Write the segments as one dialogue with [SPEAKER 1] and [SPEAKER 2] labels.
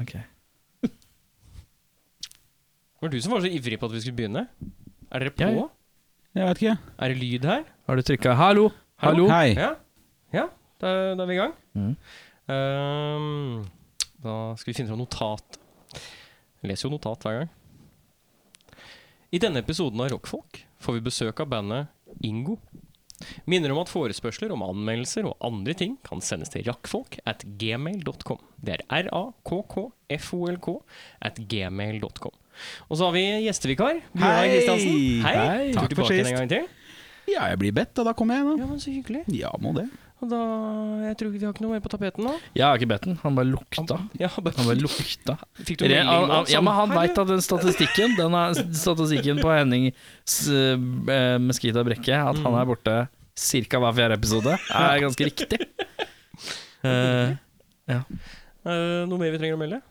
[SPEAKER 1] Ok.
[SPEAKER 2] Var det du som var så ivrig på at vi skulle begynne? Er dere på?
[SPEAKER 1] Jeg- Jeg vet ikke.
[SPEAKER 2] Er det lyd her?
[SPEAKER 3] Har du trykka 'hallo'? Hallo?
[SPEAKER 1] Hei.
[SPEAKER 2] Ja, ja da, da er vi i gang.
[SPEAKER 1] Mhm.
[SPEAKER 2] Ehm, da skal vi finne fram notat. Jeg leser jo notat hver gang. I denne episoden av Rockfolk får vi besøk av bandet Ingo. Minner om at forespørsler om anmeldelser og andre ting kan sendes til rakkfolk at gmail.com. Det er r-a-k-k-f-o-l-k at gmail.com. Og så har vi gjestevikar. Bjørnar
[SPEAKER 1] Hei!
[SPEAKER 2] Kristiansen.
[SPEAKER 3] Hei,
[SPEAKER 2] Hei! Du er
[SPEAKER 1] takk for
[SPEAKER 2] tilbake
[SPEAKER 1] sist.
[SPEAKER 2] en gang til.
[SPEAKER 1] Ja, jeg blir bedt, og da kommer jeg,
[SPEAKER 2] Ja, men så hyggelig.
[SPEAKER 1] da. Ja, må det.
[SPEAKER 2] Og da, jeg tror ikke vi har ikke noe mer på tapeten nå.
[SPEAKER 3] Jeg har ikke bedt den. Han bare lukta.
[SPEAKER 2] Ja, bare,
[SPEAKER 3] Han bare lukta.
[SPEAKER 2] fikk du
[SPEAKER 3] Re-
[SPEAKER 2] melding
[SPEAKER 3] han,
[SPEAKER 2] nå?
[SPEAKER 3] han, ja, men han
[SPEAKER 2] Sånn,
[SPEAKER 3] veit
[SPEAKER 2] «Hei,
[SPEAKER 3] at den statistikken Den er statistikken på Henning s- eh, Meskita Brekke, at han er borte ca. hver fjerde episode, er ganske riktig. Eh,
[SPEAKER 2] du». Eh, noe mer vi trenger å melde?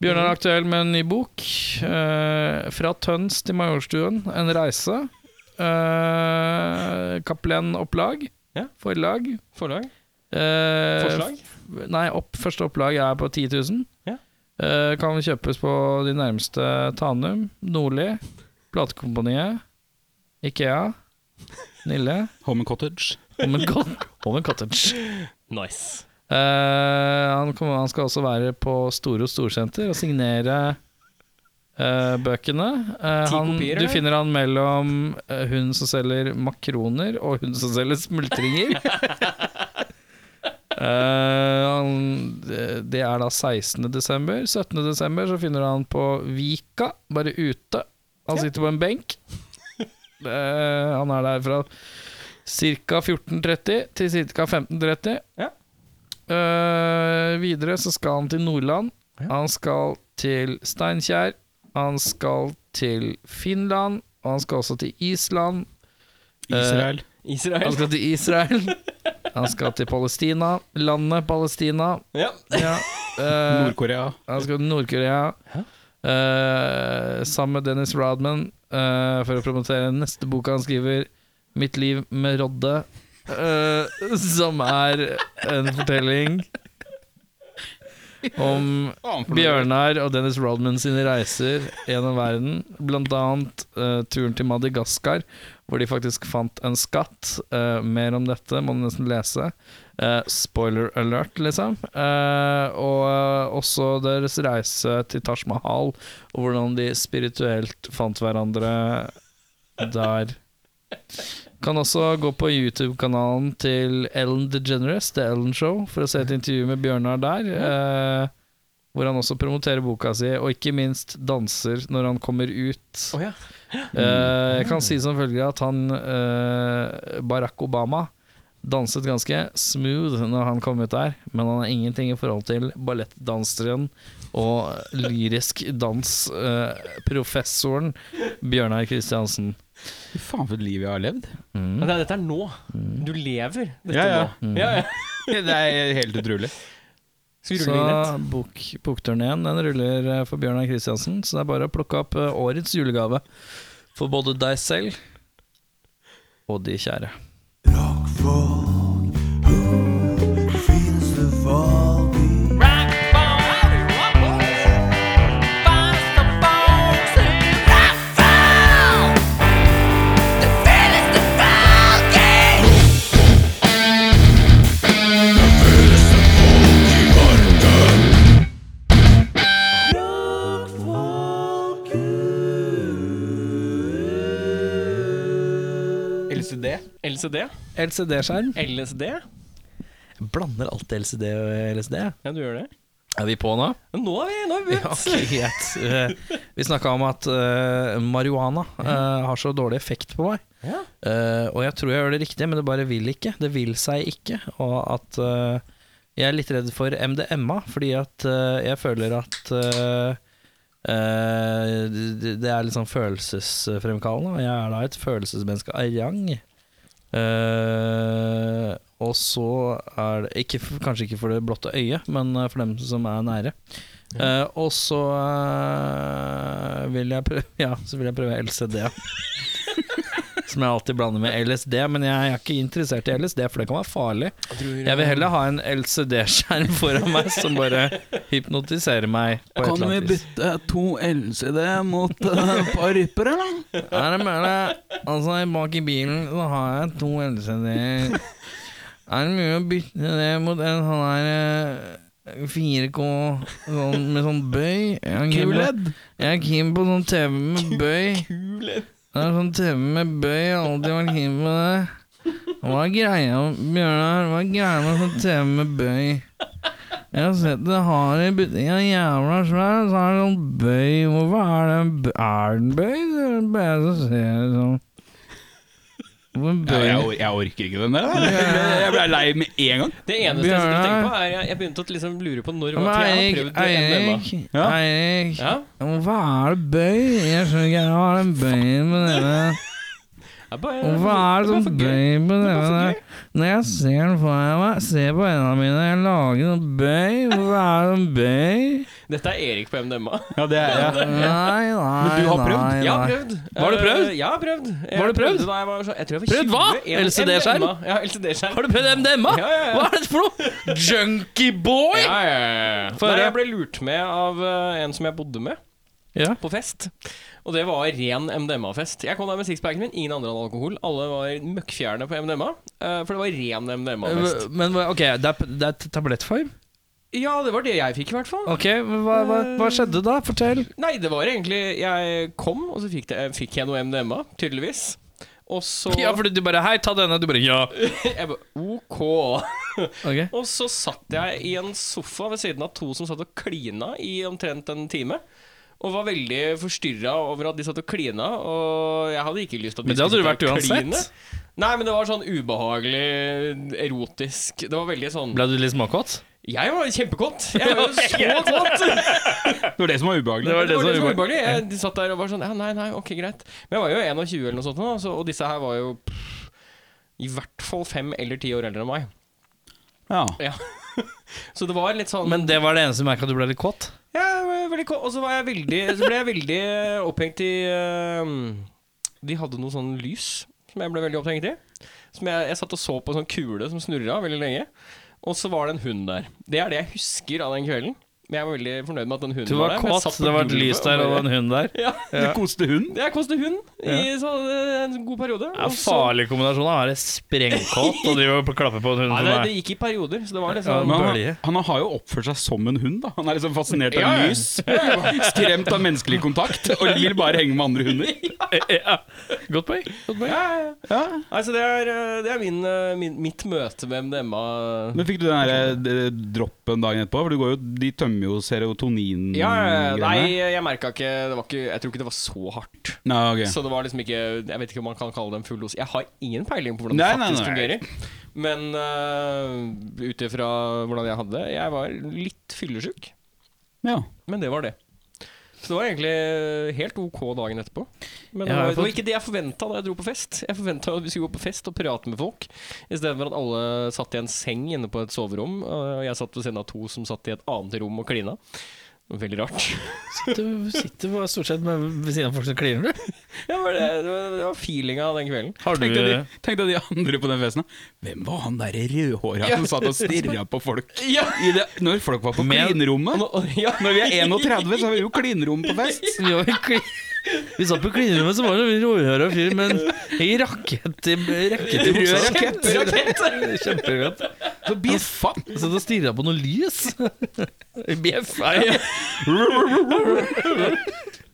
[SPEAKER 3] Bjørnar er aktuell med en ny bok. eh, 'Fra Tøns til Majorstuen. En reise'. Uh, Cappelen Opplag.
[SPEAKER 2] Ja.
[SPEAKER 3] Forlag.
[SPEAKER 2] Forlag?
[SPEAKER 3] Eh,
[SPEAKER 2] Forslag?
[SPEAKER 3] Nei, opp, første opplag er på 10 000.
[SPEAKER 2] Ja.
[SPEAKER 3] Eh, kan kjøpes på de nærmeste Tanum, Nordli, Platekompaniet, Ikea, Nille
[SPEAKER 1] Home and Cottage.
[SPEAKER 3] Home and Cot- Home and Cottage.
[SPEAKER 2] Nice.
[SPEAKER 3] Eh, han, kommer, han skal også være på Storo Storsenter og signere eh, bøkene. Eh,
[SPEAKER 2] Ti
[SPEAKER 3] han,
[SPEAKER 2] kopier,
[SPEAKER 3] du
[SPEAKER 2] eller?
[SPEAKER 3] finner han mellom eh, hun som selger makroner, og hun som selger smultringer. Eh, han, det er da 16. desember. 17. desember så finner du han på Vika, bare ute. Han
[SPEAKER 2] Ja.
[SPEAKER 3] sitter på en benk. Eh, han er der fra ca. 14.30 til ca. 15.30.
[SPEAKER 2] Ja.
[SPEAKER 3] Eh, videre så skal han til Nordland.
[SPEAKER 2] Ja.
[SPEAKER 3] Han skal til Steinkjer. Han skal til Finland. Og han skal også til Island.
[SPEAKER 1] Eh, Israel.
[SPEAKER 3] Han
[SPEAKER 2] Israel?
[SPEAKER 3] skal til Israel. Han skal til Palestina. Landet Palestina.
[SPEAKER 2] Ja.
[SPEAKER 3] Ja. Eh,
[SPEAKER 1] Nord-Korea.
[SPEAKER 3] han skal til Nord-Korea.
[SPEAKER 2] Ja.
[SPEAKER 3] Eh, sammen med Dennis Rodman eh, for å promotere neste boka han skriver, 'Mitt liv med Rodde', eh, som er en fortelling om Bjørnar og Dennis Rodman sine reiser gjennom verden. Blant annet eh, turen til Madagaskar, hvor de faktisk fant en skatt. Eh, mer om dette må du nesten lese. Eh, spoiler alert, liksom. Eh, og eh, også deres reise til Taj Mahal, og hvordan de spirituelt fant hverandre der. Kan også gå på YouTube-kanalen til Ellen DeGeneres, The Ellen Show, for å se et intervju med Bjørnar der. Eh, hvor han også promoterer boka si, og ikke minst danser når han kommer ut.
[SPEAKER 2] Å ja.
[SPEAKER 3] Eh, jeg kan si som følger at han eh, Barack Obama danset ganske smooth når han kom ut der, men han har ingenting i forhold til ballettdanseren og lyrisk dans-professoren Bjørnar Mm. Kristiansen.
[SPEAKER 1] Fy faen for et liv jeg har levd.
[SPEAKER 2] Men det er- Dette er nå. Du lever dette
[SPEAKER 1] Ja, ja.
[SPEAKER 2] nå. Ja, ja.
[SPEAKER 1] Det er helt utrolig.
[SPEAKER 2] Skal vi
[SPEAKER 3] Så
[SPEAKER 2] rulle inn et?
[SPEAKER 3] bok, bokturneen den ruller eh, for Bjørnar Kristiansen, så det er bare å plukke opp eh, årets julegave for både deg selv og de kjære.
[SPEAKER 1] LCD.
[SPEAKER 2] LCD?
[SPEAKER 3] LCD-skjerm.
[SPEAKER 2] LSD?
[SPEAKER 3] Blander alltid LCD og LSD.
[SPEAKER 2] Ja, du gjør det?
[SPEAKER 3] Er vi på nå?
[SPEAKER 2] Men nå er vi nå er vi
[SPEAKER 3] Ja,
[SPEAKER 2] begynt.
[SPEAKER 3] ok, greit. Eh, Vi snakka om at eh, marihuana eh, har så dårlig effekt på meg.
[SPEAKER 2] Ja.
[SPEAKER 3] Eh, og jeg tror jeg gjør det riktig, men det bare vil ikke. Det vil seg ikke. Og at eh, jeg er litt redd for MDMA, fordi at eh, jeg føler at eh, eh, det det er litt sånn følelsesfremkallende. Og jeg er da et følelsesmenneske av rang. Eh, og så er det ikke, f- Kanskje ikke for det blotte øyet, men eh, for dem som er nære. Eh, og så eh, vil jeg prøve Ja, så vil jeg prøve LCD. som jeg alltid blander med LSD. Men jeg er ikke interessert i LSD, for det kan være farlig. Jeg vil heller ha en LCD-skjerm foran meg som bare hypnotiserer meg. På et eller annet vis.
[SPEAKER 1] bytte to LCD mot et par ryper, eller?
[SPEAKER 3] Er det mulig? Altså, bak i bilen så har jeg to LCD-er. Er det mulig å bytte det mot en sånn her eh, 4K sånn, med sånn bøy? Jeg
[SPEAKER 1] Mm.
[SPEAKER 3] er keen på-
[SPEAKER 1] QLED.
[SPEAKER 3] jeg er keen på sånn TV med bøy.
[SPEAKER 2] Kule.
[SPEAKER 3] Det er sånn TV med bøy, jeg har alltid vært keen på det. Hva er greia, Bjørnar? Hva er greia med sånn TV med bøy? Jeg har sett det har i butikken, jævla svær, og så er det sånn bøy. Hvorfor er det en bøy? Er den bøy? Det er det bare jeg som ser det sånn. Hvorfor
[SPEAKER 1] Ja, jeg,
[SPEAKER 3] bøy?
[SPEAKER 1] or jeg orker ikke den der. Jeg ble lei med en gang.
[SPEAKER 2] Det eneste jeg skulle
[SPEAKER 3] Bjørnar.
[SPEAKER 2] tenke på, er jeg, jeg begynte å liksom lure på når
[SPEAKER 3] Ja, men
[SPEAKER 2] var jeg har
[SPEAKER 3] Eirik,
[SPEAKER 2] prøvd det ennå.
[SPEAKER 3] Eirik,
[SPEAKER 1] Ja.
[SPEAKER 3] Eirik.
[SPEAKER 2] Ja,
[SPEAKER 3] Hvorfor er det bøy? Jeg skjønner ikke, hva er den bøyen med dere?
[SPEAKER 2] jeg bare,
[SPEAKER 3] Hvorfor er det
[SPEAKER 2] bare
[SPEAKER 3] sånn
[SPEAKER 2] for gøy.
[SPEAKER 3] bøy på
[SPEAKER 2] Det er
[SPEAKER 3] nevene?
[SPEAKER 2] bare for gøy.
[SPEAKER 3] Når jeg ser den foran meg, ser på hendene mine, jeg lager noen bøy. Hvorfor er det en bøy?
[SPEAKER 2] Dette er Erik på MDMA.
[SPEAKER 1] Ja, det er jeg.
[SPEAKER 3] Nei, nei, nei.
[SPEAKER 1] Men du har prøvd?
[SPEAKER 3] nei.
[SPEAKER 2] Jeg har prøvd.
[SPEAKER 3] Har du prøvd?
[SPEAKER 2] Eh, Jeg har prøvd. Jeg
[SPEAKER 3] Har du prøvd?
[SPEAKER 2] prøvde Da jeg var så, jeg tror jeg var
[SPEAKER 3] Prøvd hva?
[SPEAKER 2] 20, en
[SPEAKER 3] LCD-skjerm?
[SPEAKER 2] MDMA. Ja, LCD-skjerm.
[SPEAKER 3] Har du prøvd MDMA?
[SPEAKER 2] Ja, ja, ja.
[SPEAKER 3] Hva er dette for noe? Junkieboy?
[SPEAKER 2] Ja, ja, ja, ja.
[SPEAKER 3] Få
[SPEAKER 2] Nei,
[SPEAKER 3] høre.
[SPEAKER 2] jeg ble lurt med av eh, en som jeg bodde med
[SPEAKER 3] Ja.
[SPEAKER 2] på fest. Og det var ren MDMA-fest. Jeg kom der med sixpacken min, ingen andre hadde alkohol. Alle var møkkfjerne på MDMA, eh, for det var ren MDMA-fest.
[SPEAKER 3] Men hva- ok, det er, det er tablettform?
[SPEAKER 2] Ja, det var det jeg fikk, i hvert fall.
[SPEAKER 3] Ok, men hva, hva, hva skjedde da? Fortell.
[SPEAKER 2] Nei, det var egentlig Jeg kom, og så fikk, det, eh, fikk jeg noe MDMA, tydeligvis. Og så
[SPEAKER 3] fordi du bare Hei, ta denne. Du bare Ja.
[SPEAKER 2] Jeg ba, OK.
[SPEAKER 3] Ok.
[SPEAKER 2] Og så satt jeg i en sofa ved siden av to som satt og klina i omtrent en time. Og var veldig forstyrra over at de satt og klina, og jeg hadde ikke lyst til at de
[SPEAKER 3] Men det hadde
[SPEAKER 2] skulle
[SPEAKER 3] du vært
[SPEAKER 2] sitte og
[SPEAKER 3] uansett.
[SPEAKER 2] kline. Nei, men det var sånn ubehagelig, erotisk Det var veldig sånn
[SPEAKER 3] Ble du litt småkåt?
[SPEAKER 2] Jeg var kjempekåt! Jeg var jo så kåt!
[SPEAKER 1] Det var det som var ubehagelig.
[SPEAKER 3] Det var
[SPEAKER 2] Det var
[SPEAKER 3] som
[SPEAKER 2] litt
[SPEAKER 3] var
[SPEAKER 2] ubehagelig. Jeg de satt der og var sånn ja, Nei, nei, ok, greit. Men jeg var jo 21 eller noe sånt, nå, så, og disse her var jo pff, i hvert fall fem eller ti år eldre enn meg.
[SPEAKER 1] Ja.
[SPEAKER 2] Så det var litt sånn
[SPEAKER 3] Men det var det eneste merka du ble litt kåt?
[SPEAKER 2] Ja, jeg var veldig ko- og så, var jeg veldig, så ble jeg veldig eh, opphengt i ehm, De hadde noe sånn lys som jeg ble veldig opphengt i. Som jeg, jeg satt og så på en sånn kule som snurra veldig lenge. Og så var det en hund der. Det er det jeg husker av den kvelden. Men jeg var veldig fornøyd med at den hunden
[SPEAKER 3] Du var
[SPEAKER 2] der. men jeg
[SPEAKER 3] kåt,
[SPEAKER 2] satt på
[SPEAKER 3] det var et
[SPEAKER 2] gulvet
[SPEAKER 3] lys der og
[SPEAKER 2] bare-
[SPEAKER 3] en hund der.
[SPEAKER 2] ja,
[SPEAKER 1] Du koste hund.
[SPEAKER 2] Jeg koste hund i sånn, eh, en god periode.
[SPEAKER 3] Det
[SPEAKER 2] og
[SPEAKER 3] er
[SPEAKER 2] så-
[SPEAKER 3] farlig kombinasjon å være sprengkåt og drive og klappe på en hund
[SPEAKER 2] Nei,
[SPEAKER 3] som
[SPEAKER 2] det,
[SPEAKER 3] er
[SPEAKER 2] det gikk i perioder, så det var
[SPEAKER 3] Ja,
[SPEAKER 1] Men
[SPEAKER 2] liksom
[SPEAKER 1] han,
[SPEAKER 3] Bølge.
[SPEAKER 1] han har jo oppført seg som en hund. da Han er liksom fascinert av
[SPEAKER 2] Ja, ja.
[SPEAKER 1] lys, skremt av menneskelig kontakt og vil bare henge med andre hunder.
[SPEAKER 3] ja. Godt poeng. Godt poeng.
[SPEAKER 2] ja, ja.
[SPEAKER 1] Ja.
[SPEAKER 2] Altså, det er, eh, det er min, eh, min, mitt møte med MDMA.
[SPEAKER 1] Men fikk du den der, eh, d- droppen dagen etterpå? For du går jo, de tømmer jo serotonin-greiene.
[SPEAKER 2] Ja, ja, ja. nei, jeg merka ikke, det var ikke Jeg tror ikke det var så hardt.
[SPEAKER 1] Nei, ok.
[SPEAKER 2] Så det var liksom ikke Jeg vet ikke om man kan kalle det en full dose. Jeg har ingen peiling på hvordan
[SPEAKER 1] Nei,
[SPEAKER 2] det
[SPEAKER 1] nei,
[SPEAKER 2] faktisk
[SPEAKER 1] nei.
[SPEAKER 2] fungerer. Men øh, ut ifra hvordan jeg hadde det Jeg var litt fyllesyk,
[SPEAKER 1] Ja.
[SPEAKER 2] men det var det. Så det var egentlig helt ok dagen etterpå. Men
[SPEAKER 3] Jeg
[SPEAKER 2] det
[SPEAKER 3] har jo
[SPEAKER 2] var, det var
[SPEAKER 3] fått-
[SPEAKER 2] ikke det jeg forventa da jeg dro på fest. Jeg forventa at vi skulle gå på fest og prate med folk, istedenfor at alle satt i en seng inne på et soverom, og jeg satt ved siden av to som satt i et annet rom og klina. Veldig rart.
[SPEAKER 3] Du sitter bare stort sett med, ved siden av folk som kliner, du.
[SPEAKER 2] Ja, men det, det var- det var feelinga av den kvelden.
[SPEAKER 3] Har
[SPEAKER 1] Tenk deg, de, tenk deg de andre på den festen. da. Hvem var han derre rødhåra som satt og stirra på folk?
[SPEAKER 2] Ja!
[SPEAKER 1] I det, når folk var på
[SPEAKER 3] Men-
[SPEAKER 1] klinrommet.
[SPEAKER 2] ja.
[SPEAKER 1] Når vi er 31, så har vi jo klinrom på fest.
[SPEAKER 3] Vi, var i kli- vi satt på klinerommet, så var det en råhøra fyr med en i rakett i rakett i
[SPEAKER 1] Rød
[SPEAKER 3] buksa.
[SPEAKER 1] rakett.
[SPEAKER 3] Kjempegodt.
[SPEAKER 1] Så bjeffa han.
[SPEAKER 3] Jeg satt og stirra på noe lys. Bjeff. Nei, ja.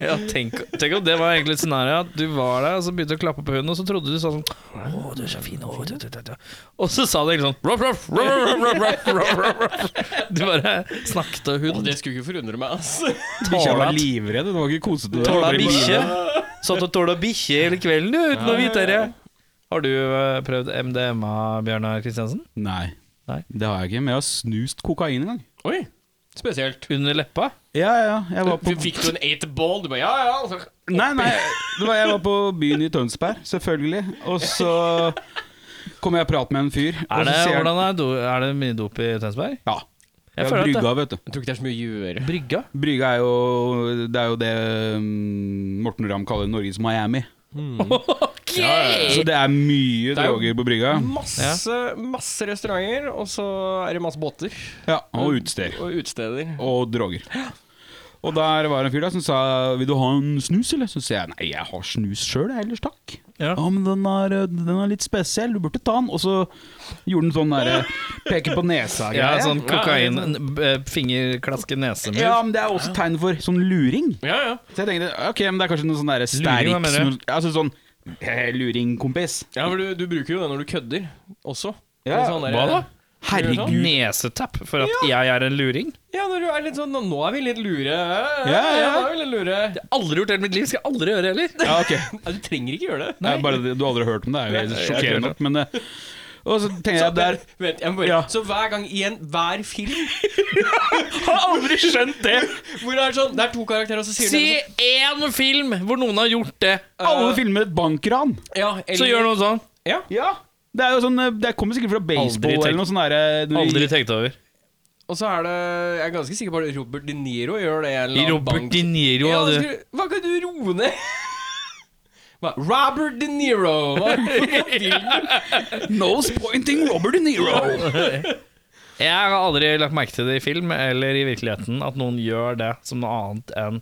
[SPEAKER 3] Ja, tenk, tenk om det var egentlig scenarioet. At du var der, og så begynte du å klappe på hunden, og så trodde du sånn Å, du er så fin. Å, du, du, du, du. Og så sa det egentlig sånn ruff, ruff, ruff, ruff, ruff, ruff, ruff, ruff, ruff. Du bare snakket til
[SPEAKER 2] Og
[SPEAKER 3] hund.
[SPEAKER 2] det skulle ikke forundre meg, altså.
[SPEAKER 1] Bikkja var
[SPEAKER 3] Tåla-
[SPEAKER 1] livredd. Det var ikke kosete. det.
[SPEAKER 3] Tåla
[SPEAKER 1] Bare-
[SPEAKER 3] bikkje. Satt og tåla bikkje hele kvelden, du, uten å
[SPEAKER 2] Ja, ja,
[SPEAKER 3] vite det.
[SPEAKER 2] ja.
[SPEAKER 3] Har du eh, prøvd MDMA, Bjørnar Kristiansen?
[SPEAKER 1] Nei.
[SPEAKER 3] Nei.
[SPEAKER 1] Det har jeg ikke. Men jeg har snust kokain en gang.
[SPEAKER 2] Oi, spesielt.
[SPEAKER 3] Under leppa?
[SPEAKER 1] Ja, ja. Jeg var på,
[SPEAKER 2] Fikk du en eight ball? Du bare ja, ja. Altså.
[SPEAKER 1] nei, nei, det var, jeg var på byen i Tønsberg, selvfølgelig. Og så kom jeg og pratet med en fyr.
[SPEAKER 3] Er
[SPEAKER 1] og så
[SPEAKER 3] det,
[SPEAKER 1] sier han-
[SPEAKER 3] hvordan er, do, er det mye dop i Tønsberg?
[SPEAKER 1] Ja.
[SPEAKER 3] Jeg
[SPEAKER 1] Jeg
[SPEAKER 3] føler at det-
[SPEAKER 1] brygga, vet du.
[SPEAKER 2] Jeg tror ikke det er så mye å gjøre.
[SPEAKER 3] Brygga?
[SPEAKER 1] Brygga er jo Det er jo det mm, Morten Ramm kaller Norges Miami.
[SPEAKER 3] Ok!
[SPEAKER 1] Så det er mye
[SPEAKER 2] Det er jo-
[SPEAKER 1] droger på brygga.
[SPEAKER 2] Masse, masse restauranter, og så er det masse båter
[SPEAKER 1] Ja, Og utesteder.
[SPEAKER 2] og utesteder.
[SPEAKER 1] Og droger. Og der var det en fyr da som sa 'vil du ha en snus', eller? Så sier jeg 'nei, jeg har snus sjøl, ellers takk'.
[SPEAKER 3] Ja.
[SPEAKER 1] Ja, men den er, eh, den er litt spesiell, du burde ta den. Og så gjorde den sånn derre peke på
[SPEAKER 3] Ja,
[SPEAKER 1] nesa-greie.
[SPEAKER 3] sånn kokain,
[SPEAKER 2] Ja,
[SPEAKER 3] eh, fingerklaske nesemur.
[SPEAKER 1] Ja, men det er også tegn for sånn luring.
[SPEAKER 2] Ja, ja.
[SPEAKER 1] Så jeg tenkte ok, men det er kanskje noe sånn derre sterk
[SPEAKER 3] Luring, hva mener du?
[SPEAKER 1] snus- Altså sånn eh, luring, kompis.
[SPEAKER 2] ja for du, du bruker jo det når du kødder også.
[SPEAKER 1] Ja,
[SPEAKER 2] Sånn der- sånn?
[SPEAKER 3] hva da?
[SPEAKER 1] Herregud.
[SPEAKER 3] Nesetapp for at jeg er en luring.
[SPEAKER 2] Ja, når du er litt sånn Nå er vi litt lure. Ja,
[SPEAKER 1] ja.
[SPEAKER 2] Nå er vi litt lure.
[SPEAKER 3] Aldri gjort det i mitt liv, skal jeg aldri gjøre heller.
[SPEAKER 1] Ja, ok.
[SPEAKER 2] Ja, du trenger ikke gjøre det.
[SPEAKER 1] Det er bare, det- du har aldri hørt om
[SPEAKER 3] Nei,
[SPEAKER 1] det, det er jo
[SPEAKER 3] jeg har ikke hørt
[SPEAKER 1] sjokkerende nok, men eh, Og så tenker jeg der
[SPEAKER 2] Vent, jeg må bare,
[SPEAKER 1] Ja.
[SPEAKER 2] Så hver gang igjen, hver film,
[SPEAKER 3] Har aldri skjønt det.
[SPEAKER 2] hvor det er sånn Det er to karakterer, og så sier
[SPEAKER 3] Si
[SPEAKER 2] den
[SPEAKER 3] én film hvor noen har gjort det.
[SPEAKER 1] Alle filmer et bankran.
[SPEAKER 2] sånn ja, eller,
[SPEAKER 3] Så gjør noen sånn.
[SPEAKER 2] Ja.
[SPEAKER 1] Ja. Det er jo sånn eh, Det kommer sikkert fra
[SPEAKER 3] Aldri
[SPEAKER 1] baseball
[SPEAKER 3] tenkt-
[SPEAKER 1] eller noe sånn derre du-
[SPEAKER 3] Aldri tenkt over.
[SPEAKER 2] Og så er det Jeg er ganske sikker på at Robert De Niro gjør det. i en eller annen
[SPEAKER 3] Robert
[SPEAKER 2] bank.
[SPEAKER 3] De Niro
[SPEAKER 2] ja,
[SPEAKER 3] hadde
[SPEAKER 2] skulle, Hva kan du roe ned? Hva? Robert De Niro! Hva
[SPEAKER 1] Nose pointing Robert De Niro.
[SPEAKER 3] Jeg har aldri lagt merke til det i film eller i virkeligheten at noen gjør det som noe annet enn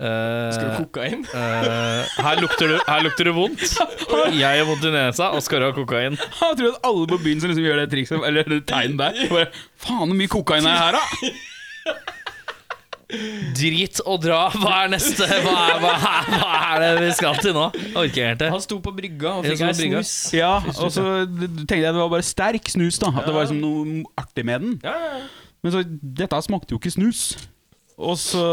[SPEAKER 3] eh,
[SPEAKER 2] Skal du kokain?
[SPEAKER 3] eh, her, lukter du, her lukter det vondt. Jeg har vondt i nesa, og skal du ha kokain?
[SPEAKER 1] Jeg tror at alle på byen som liksom gjør det trikset, eller det tegnet der bare, Faen, hvor mye kokain er her, da?
[SPEAKER 3] Drit og dra. Hva er neste? Hva er, hva er, hva er det vi skal til nå? Orker jeg helt det.
[SPEAKER 2] Han sto på brygga og
[SPEAKER 3] Jeg
[SPEAKER 2] fikk
[SPEAKER 3] sto
[SPEAKER 2] ei
[SPEAKER 3] på brygga.
[SPEAKER 2] snus.
[SPEAKER 1] Ja, og så tenkte jeg det var bare sterk snus, da. At det var liksom noe artig med den.
[SPEAKER 2] Ja, ja, ja.
[SPEAKER 1] Men så, dette smakte jo ikke snus. Og så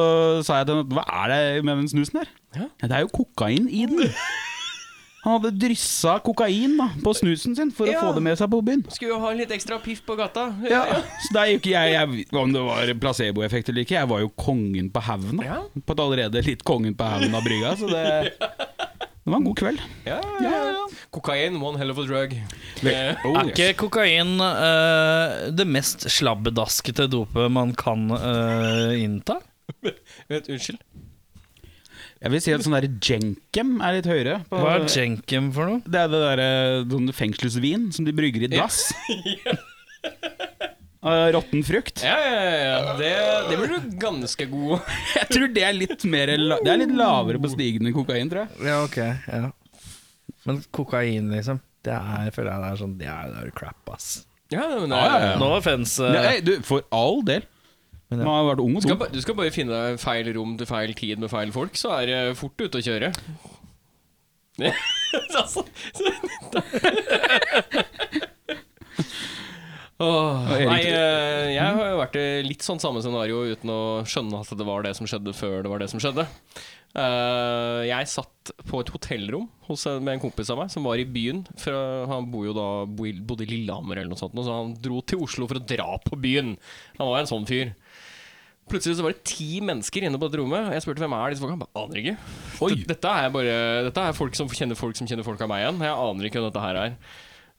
[SPEAKER 1] sa jeg til henne Hva er det med den snusen der?
[SPEAKER 2] Ja.
[SPEAKER 1] Ja, det er jo kokain i den. Han hadde dryssa kokain da, på snusen sin for
[SPEAKER 2] Ja.
[SPEAKER 1] å få det med seg på byen.
[SPEAKER 2] Skulle jo ha litt ekstra piff på gata.
[SPEAKER 1] Ja. Så der gikk jeg, jeg Om det var placeboeffekt eller ikke, jeg var jo kongen på haugen. da.
[SPEAKER 2] Ja.
[SPEAKER 1] På et allerede litt kongen på haugen av brygga, så det, det var en god kveld.
[SPEAKER 2] Ja, ja, ja. Kokain, one hell of a drug. Eh,
[SPEAKER 1] Oh,
[SPEAKER 3] Er ikke kokain eh, det mest slabbedaskete dopet man kan eh, innta?
[SPEAKER 2] Vent, unnskyld.
[SPEAKER 1] Jeg vil si at sånn der jenkem er litt høyere. På,
[SPEAKER 3] Hva er jenkem for noe?
[SPEAKER 1] det er det derre sånn fengselsvin som de brygger i dass. Av Råtten frukt.
[SPEAKER 2] Ja, ja, ja, ja. Det, det blir du ganske god
[SPEAKER 1] Jeg tror det er litt, mer la det er litt lavere på stigen enn kokain, tror jeg.
[SPEAKER 3] Ja, ok. Ja. Men kokain, liksom. Det er, føler jeg det er sånn Det er, det er crap, ass.
[SPEAKER 2] Ja, men det,
[SPEAKER 1] Ja, ja, ja.
[SPEAKER 3] No offense.
[SPEAKER 1] Nei, du, for all del.
[SPEAKER 3] Men ja.
[SPEAKER 1] Man har vært ung og
[SPEAKER 2] Du skal,
[SPEAKER 1] dum.
[SPEAKER 2] ba- du skal bare finne deg feil rom til feil tid med feil folk, så er det fort ute å kjøre. Altså, Åh,
[SPEAKER 1] Og Erik-
[SPEAKER 2] nei, eh, jeg har jo vært i litt sånn samme scenario uten å skjønne at det var det som skjedde før det var det som skjedde. Eh, jeg satt på et hotellrom hos en, med en kompis av meg som var i byen. Fra, han bor jo da, bo i- bodde i Lillehammer eller noe sånt, nå, så han dro til Oslo for å dra på byen. Han var en sånn fyr. Plutselig så var det ti mennesker inne på dette rommet, og jeg spurte hvem er disse folka. Han bare aner ikke.
[SPEAKER 1] Oi.
[SPEAKER 2] Dette- Dette er, bare, dette er folk som kjenner folk som kjenner folk av meg igjen. Jeg aner ikke hvem dette her er.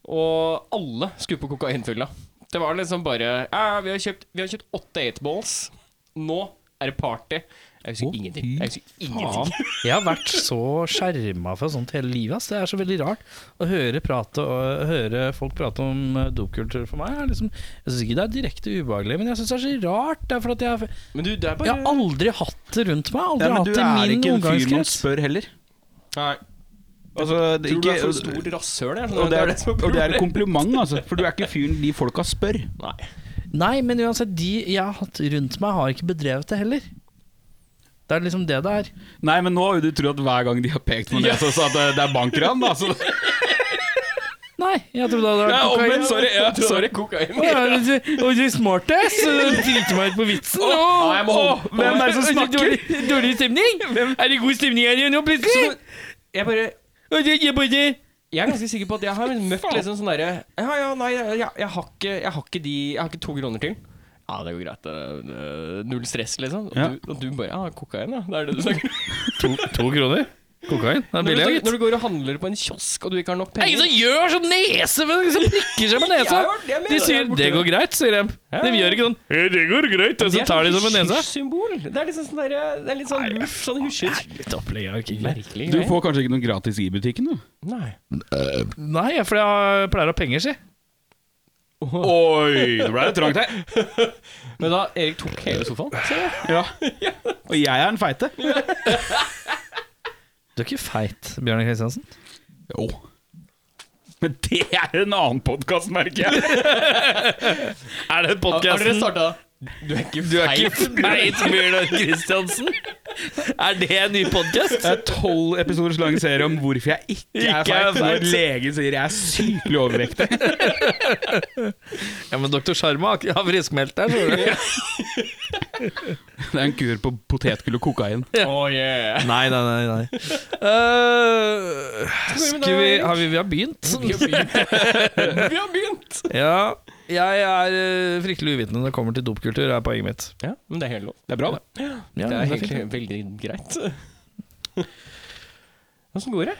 [SPEAKER 2] Og alle skulle på kokainfylla. Det var liksom bare ja, vi, har kjøpt, vi har kjøpt åtte eightballs. Nå er det party. Jeg husker
[SPEAKER 1] Å,
[SPEAKER 2] ingenting. Jeg husker
[SPEAKER 1] faen.
[SPEAKER 2] ingenting.
[SPEAKER 3] Jeg har vært så skjerma fra sånt hele livet. Ass. Det er så veldig rart å høre, prate, og, høre folk prate om eh, dopkultur for meg. Er liksom, jeg syns ikke det er direkte ubehagelig, men jeg syns det er så rart. Det er for at jeg,
[SPEAKER 2] Men du, det er
[SPEAKER 3] jeg
[SPEAKER 2] bare
[SPEAKER 3] har aldri hatt det rundt meg. Aldri
[SPEAKER 1] Ja, men du
[SPEAKER 3] hatt
[SPEAKER 1] er
[SPEAKER 3] det i min
[SPEAKER 1] ikke en fyr man
[SPEAKER 3] omgangskrets.
[SPEAKER 1] spør heller.
[SPEAKER 2] Nei.
[SPEAKER 1] Altså,
[SPEAKER 2] Tror
[SPEAKER 1] det,
[SPEAKER 2] du
[SPEAKER 1] ikke,
[SPEAKER 2] det er for stort rasshøl? jeg?
[SPEAKER 1] og det er,
[SPEAKER 2] som
[SPEAKER 1] og det er et
[SPEAKER 2] problemet.
[SPEAKER 1] kompliment, altså. For du er ikke fyren de folka spør.
[SPEAKER 2] Nei.
[SPEAKER 3] Nei, men uansett, de jeg har hatt rundt meg, har ikke bedrevet det heller. Det er liksom det det er.
[SPEAKER 1] Nei, men nå har jo du trodd at hver gang de har pekt på nesa, så at det, det er bankran, da. Så,
[SPEAKER 3] Nei, jeg trodde det hadde
[SPEAKER 1] Ja,
[SPEAKER 3] vært kokain.
[SPEAKER 1] omvendt, sorry. Ja,
[SPEAKER 2] Jeg tror
[SPEAKER 1] sorry.
[SPEAKER 2] det er kokain.
[SPEAKER 3] Å, ja, men du- Og du er smart, ass! Så du Driter meg ut på vitsen.
[SPEAKER 2] nei, jeg må holde-
[SPEAKER 3] Å, hvem er det som
[SPEAKER 1] Oi,
[SPEAKER 3] snakker? Dårlig, dårlig stemning? Er det god stemning her igjen nå, plutselig?
[SPEAKER 2] Så, jeg bare
[SPEAKER 3] Og det- jeg bare-
[SPEAKER 2] Jeg er ganske sikker på at jeg har møtt liksom sånn derre Ja, ja, nei, jeg, jeg, jeg, har ikke, jeg har ikke de Jeg har ikke to kroner til. Ja, det går greit. det er, øh, Null stress, liksom. Og,
[SPEAKER 1] Ja.
[SPEAKER 2] du, og du bare Ja, kokain, ja. Det er det du snakker om.
[SPEAKER 3] To, kroner? Kokain? Det er
[SPEAKER 2] Når du,
[SPEAKER 3] billig,
[SPEAKER 2] tar-
[SPEAKER 3] gitt.
[SPEAKER 2] når du går og handler på en kiosk, og du ikke har nok
[SPEAKER 3] Det er ingen
[SPEAKER 2] penger
[SPEAKER 3] som gjør sånn nese, men som prikker seg på nesa. De sier 'det går greit', sier de.
[SPEAKER 2] Ja.
[SPEAKER 3] De gjør ikke sånn «Eh, 'det går greit', og så tar de det med nesa.
[SPEAKER 2] sånn Hysjsymbol. Det er liksom sånn der, det er litt sånn luff, sånn hysjer.
[SPEAKER 3] Litt opplegg av
[SPEAKER 2] Merkelig
[SPEAKER 1] Du
[SPEAKER 2] greie.
[SPEAKER 1] får kanskje ikke noe gratis i butikken, du?
[SPEAKER 2] Nei.
[SPEAKER 3] Nei, for jeg har- pleier å ha penger, si.
[SPEAKER 1] Oi, det ble det trangt her.
[SPEAKER 2] Men da Erik tok hele sofaen. ser jeg.
[SPEAKER 1] Ja. Og jeg er den feite.
[SPEAKER 3] Du er ikke feit, Bjørnar Kristiansen.
[SPEAKER 1] Jo. Men det er en annen podkast, merker jeg.
[SPEAKER 3] Er det
[SPEAKER 2] Har dere
[SPEAKER 3] podkasten
[SPEAKER 2] starta? Du er ikke
[SPEAKER 3] Du er
[SPEAKER 2] feit.
[SPEAKER 3] ikke feit, Bjørnar Kristiansen? Er det en ny podkast?
[SPEAKER 1] Det er tolv episoders lang serie om hvorfor jeg ikke,
[SPEAKER 3] Ikke er
[SPEAKER 1] er feit.
[SPEAKER 3] feit.
[SPEAKER 1] Når legen sier jeg er sykelig overvektig.
[SPEAKER 3] Ja, men Dr. Sharma har friskmeldt deg. skjønner du.
[SPEAKER 1] Det er en kur på potetgull og kokain.
[SPEAKER 2] Oh, yeah.
[SPEAKER 3] Nei, nei, nei. nei. Eh, skal vi, har vi, vi har begynt.
[SPEAKER 2] Vi har begynt. Vi har begynt.
[SPEAKER 3] Ja, jeg er eh, fryktelig uvitende når det kommer til dopkultur, er poenget mitt.
[SPEAKER 2] Ja, men det er helt lov.
[SPEAKER 1] Det er bra, det.
[SPEAKER 3] Ja,
[SPEAKER 2] det er
[SPEAKER 3] det er
[SPEAKER 2] egentlig veldig greit. Åssen går det?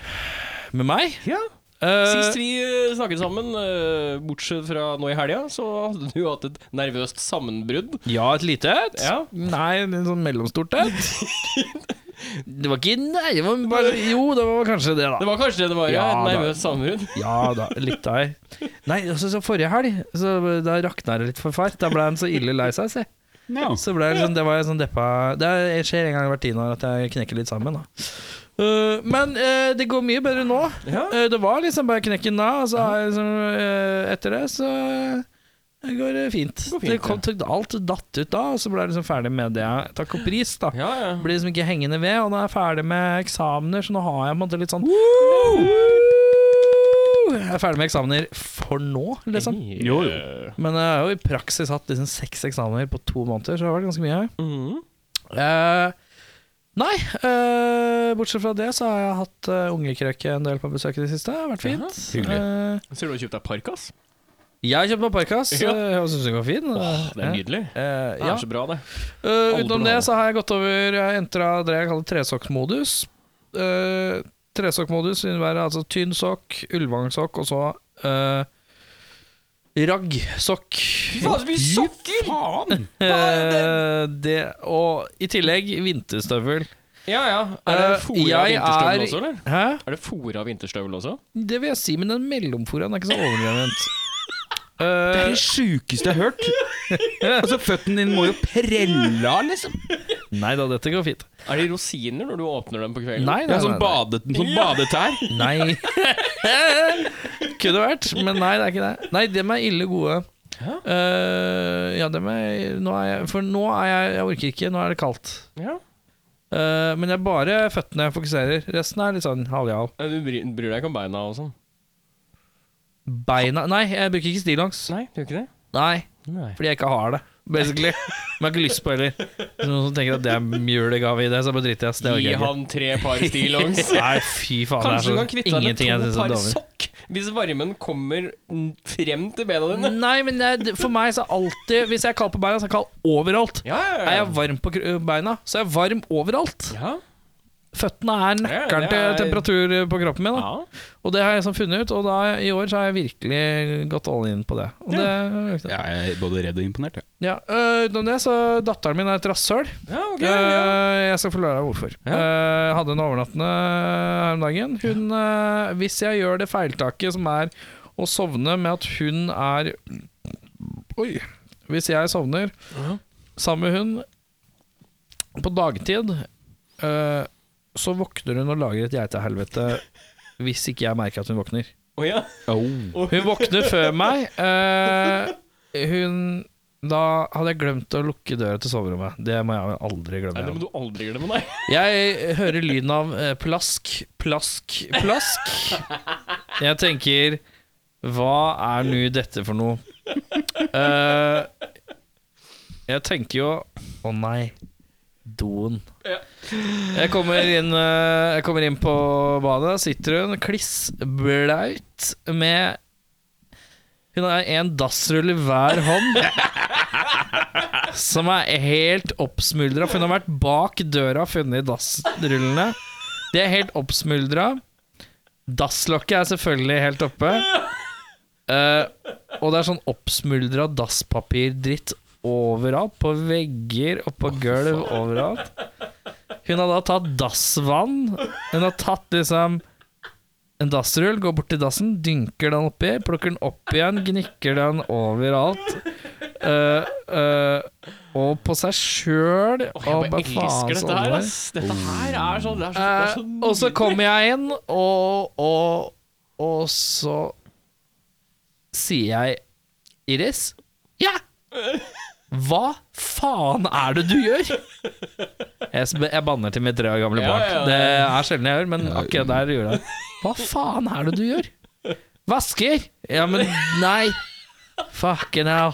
[SPEAKER 3] Med meg?
[SPEAKER 2] Ja.
[SPEAKER 3] Eh,
[SPEAKER 2] Sist vi eh, snakket sammen, eh, bortsett fra nå i helga, så hadde du hatt et nervøst sammenbrudd.
[SPEAKER 3] ja, et lite et.
[SPEAKER 2] Ja.
[SPEAKER 3] Nei, en sånn mellomstort et. det var ikke Nei, det var bare Jo, det var kanskje det,
[SPEAKER 2] Det
[SPEAKER 3] da.
[SPEAKER 2] var kanskje det det var, ja.
[SPEAKER 3] Ja,
[SPEAKER 2] Et
[SPEAKER 3] da.
[SPEAKER 2] nervøst sammenbrudd.
[SPEAKER 3] Ja da, litt av ei. Nei, altså, så forrige helg, så da rakna det litt for far. Da ble han så ille lei seg, si.
[SPEAKER 1] Ja.
[SPEAKER 3] Så ble jeg sånn, det var jeg sånn deppa Det er- skjer en gang hvert tiende år at jeg knekker litt sammen. Da. Eh, men eh, det går mye bedre nå.
[SPEAKER 2] Ja.
[SPEAKER 3] Eh, det var liksom bare knekken da, og så er jeg liksom, eh, etter det så eh, det går det fint. Det
[SPEAKER 2] går fint,
[SPEAKER 3] kom, Alt datt ut da, og så ble jeg liksom ferdig med det jeg takk og pris. da
[SPEAKER 2] Ja, ja.
[SPEAKER 3] Blir liksom ikke hengende ved, og nå er jeg ferdig med eksamener, så nå har jeg på en måte litt sånn Jeg er ferdig med eksamener for nå, liksom.
[SPEAKER 1] Jo, jo.
[SPEAKER 3] Men jeg har jo i praksis hatt liksom seks eksamener på to måneder, så det har vært ganske mye.
[SPEAKER 2] Mhm.
[SPEAKER 3] Eh, nei, eh, bortsett fra det så har jeg hatt uh, ungekrøke en del på besøk i det siste. Det har vært fint.
[SPEAKER 1] Jaha, hyggelig.
[SPEAKER 3] Eh,
[SPEAKER 2] Ser du har kjøpt deg parkas?
[SPEAKER 3] jeg kjøpte meg parkas
[SPEAKER 2] Ja.
[SPEAKER 3] eh, og syns den var fin.
[SPEAKER 2] Åh, det er nydelig.
[SPEAKER 3] Eh,
[SPEAKER 2] Det
[SPEAKER 3] ja.
[SPEAKER 2] er så bra, det.
[SPEAKER 3] Eh,
[SPEAKER 2] Alle
[SPEAKER 3] utenom
[SPEAKER 2] bra.
[SPEAKER 3] det så har jeg gått over Jeg entra det jeg kaller tresokkmodus. Uh, tresokkmodus innebærer altså tynn sokk, ulvangsokk og så uh, raggsokk.
[SPEAKER 2] Faen, så mye sokker!
[SPEAKER 1] Faen!
[SPEAKER 3] Eh, det, og i tillegg vinterstøvel.
[SPEAKER 2] Ja, ja. Er det
[SPEAKER 3] Eh,
[SPEAKER 2] fôret av
[SPEAKER 3] jeg
[SPEAKER 2] vinterstøvel
[SPEAKER 3] er-
[SPEAKER 2] også, eller?
[SPEAKER 3] Hæ?
[SPEAKER 2] Er det fôret av vinterstøvel også?
[SPEAKER 3] Det vil jeg si, men den mellomforaen er ikke så overdrevent.
[SPEAKER 1] Det er
[SPEAKER 3] Eh,
[SPEAKER 1] det sjukeste jeg har hørt. Altså, føttene dine må jo prelle av, liksom.
[SPEAKER 3] nei da, dette går fint.
[SPEAKER 2] Er det rosiner når du åpner dem på kvelden?
[SPEAKER 3] Nei,
[SPEAKER 1] Det
[SPEAKER 3] nei,
[SPEAKER 1] er sånn
[SPEAKER 3] nei, nei.
[SPEAKER 1] badet, sånn badetær.
[SPEAKER 3] nei. Kunne vært, men nei, det er ikke det. Nei, dem er ille gode.
[SPEAKER 2] Hæ?
[SPEAKER 3] Eh, ja, dem er nå er jeg, For nå er jeg Jeg orker ikke, nå er det kaldt.
[SPEAKER 2] Ja.
[SPEAKER 3] Eh, men det er bare føttene jeg fokuserer. Resten er litt sånn halvjal.
[SPEAKER 2] Du bryr, bryr deg ikke om beina og sånn?
[SPEAKER 3] Beina Nei, jeg bruker ikke stillongs.
[SPEAKER 2] Nei, du gjør ikke det?
[SPEAKER 3] Nei,
[SPEAKER 2] Nei.
[SPEAKER 3] fordi jeg ikke har det, basically. Men jeg har ikke lyst på heller. Så Noen som tenker at det er julegave i det, så bare driter jeg i det. orker
[SPEAKER 2] Gi
[SPEAKER 3] jeg ikke.
[SPEAKER 2] han tre par stillongs.
[SPEAKER 3] Nei, fy faen.
[SPEAKER 2] Kanskje du
[SPEAKER 3] det
[SPEAKER 2] kan
[SPEAKER 3] er
[SPEAKER 2] kvitte
[SPEAKER 3] så
[SPEAKER 2] deg med
[SPEAKER 3] ingenting jeg
[SPEAKER 2] to
[SPEAKER 3] synes er
[SPEAKER 2] par
[SPEAKER 3] dårlig.
[SPEAKER 2] sokk hvis varmen kommer mm, frem til bena dine.
[SPEAKER 3] Nei, men det, er- for meg så er alltid Hvis jeg er kald på beina, så er jeg kald overalt.
[SPEAKER 2] Ja,
[SPEAKER 3] Er jeg varm på kr- beina, så er jeg varm overalt.
[SPEAKER 2] ja,
[SPEAKER 3] Føttene er nøkkelen
[SPEAKER 2] Ja, det er-
[SPEAKER 3] til temperatur på kroppen min. Da.
[SPEAKER 2] ja.
[SPEAKER 3] Og det har jeg liksom funnet ut, og da, i år så har jeg virkelig gått all in på det. Og det ja.
[SPEAKER 1] Jeg er både redd og imponert. Ja.
[SPEAKER 3] Ja, øh, Utenom det, så datteren min er et rasshøl.
[SPEAKER 2] Ja, ok. Ja.
[SPEAKER 3] Øh, jeg skal forklare deg hvorfor.
[SPEAKER 2] Ja.
[SPEAKER 3] Øh, hadde en overnattende eh, her om dagen. Hun, øh, hvis jeg gjør det feiltaket som er å sovne med at hun er Oi. Hvis jeg sovner
[SPEAKER 2] Ja.
[SPEAKER 3] sammen med hun på dagtid, øh, så våkner hun og lager et geitehelvete hvis ikke jeg merker at hun våkner.
[SPEAKER 2] Å, ja.
[SPEAKER 3] Hun våkner før meg. øh, hun Da hadde jeg glemt å lukke døra til soverommet. Det må jeg aldri glemme.
[SPEAKER 2] Nei, det
[SPEAKER 3] igjen.
[SPEAKER 2] må du aldri glemme, nei.
[SPEAKER 3] Jeg hører lyden av eh, plask, plask, plask. Jeg tenker Hva er nå dette for noe? Eh, jeg tenker jo Å nei, doen.
[SPEAKER 2] Ja.
[SPEAKER 3] Jeg kommer inn, eh, jeg kommer inn på badet. Sitter hun klissblaut med Hun har en dassrull i hver hånd. Som er helt oppsmuldra, for hun har vært bak døra og funnet dassrullene. De er helt oppsmuldra. Dasslokket er selvfølgelig helt oppe. Eh, og det er sånn oppsmuldra dasspapirdritt overalt. På vegger og på gulv overalt. Hun har da tatt dassvann. Hun har tatt liksom en dassrull, går bort til dassen, dynker den oppi, plukker den opp igjen, gnikker den overalt. Eh, eh, og på seg sjøl.
[SPEAKER 2] Åh,
[SPEAKER 3] og
[SPEAKER 2] jeg bare
[SPEAKER 3] bare faen
[SPEAKER 2] elsker
[SPEAKER 3] så
[SPEAKER 2] dette her,
[SPEAKER 3] over.
[SPEAKER 2] ass. Dette her er sånn det er så, det er
[SPEAKER 3] Eh,
[SPEAKER 2] så
[SPEAKER 3] og så
[SPEAKER 2] nydelig.
[SPEAKER 3] kommer jeg inn, og, og, og så sier jeg Iris? Ja! Hva faen er det du gjør? Jeg, sp- jeg banner til mitt tre år gamle
[SPEAKER 2] Ja,
[SPEAKER 3] barn.
[SPEAKER 2] ja, ja.
[SPEAKER 3] Det er sjelden jeg gjør, men akkurat der gjorde jeg det. Hva faen er det du gjør? Vasker? Ja, men nei. Fucking hell.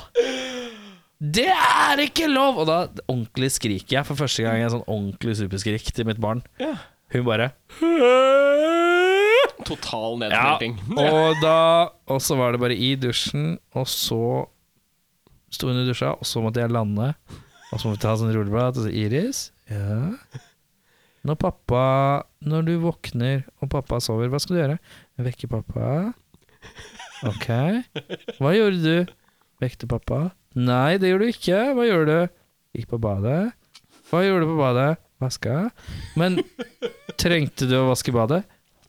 [SPEAKER 3] Det er ikke lov! Og da ordentlig skriker jeg for første gang. En sånn ordentlig superskrik til mitt barn.
[SPEAKER 2] Ja.
[SPEAKER 3] Hun bare
[SPEAKER 2] Total
[SPEAKER 3] Ja.
[SPEAKER 2] nedsmelting.
[SPEAKER 3] Og da Og så var det bare i dusjen, og så sto hun i dusja, og så måtte jeg lande. Og så måtte jeg ha sånn rulleblad. Og så Iris, ja Når pappa Når du våkner og pappa sover, hva skal du gjøre? Vekke pappa. Ok. Hva gjorde du? Vekte pappa. Nei, det gjorde du ikke. Hva gjorde du? Gikk på badet. Hva gjorde du på badet? Vaska. Men trengte du å vaske badet?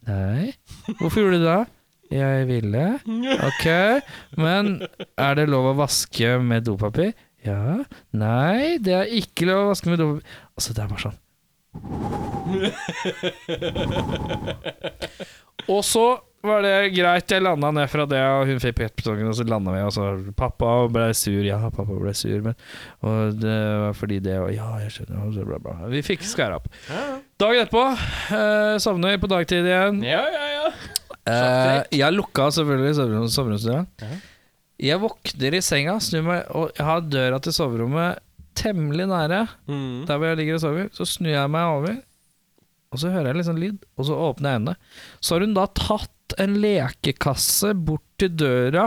[SPEAKER 3] Nei. Hvorfor gjorde du det? Jeg ville. Ok. Men er det lov å vaske med dopapir? Ja. Nei, det er ikke lov å vaske med dopapir. Altså, det er bare sånn. Og så var det greit, jeg landa ned fra det, og hun fikk pettbetongen, og så landa vi, og så Pappa ble sur, ja, pappa ble sur, men Og det var fordi det, og ja, jeg skjønner, og så bla, bla. Vi fikk skæra opp. Dagen etterpå eh, sovner vi på dagtid igjen.
[SPEAKER 2] Ja, ja, ja.
[SPEAKER 3] Eh, jeg lukka selvfølgelig soverom- soveromsdøra.
[SPEAKER 2] Ja.
[SPEAKER 3] Jeg våkner i senga, snur meg og jeg har døra til soverommet temmelig nære.
[SPEAKER 2] Mm.
[SPEAKER 3] Der hvor jeg ligger og sover. Så snur jeg meg over, og så hører jeg litt sånn lyd, og så åpner jeg øynene. Så har hun da tatt en lekekasse bort til døra,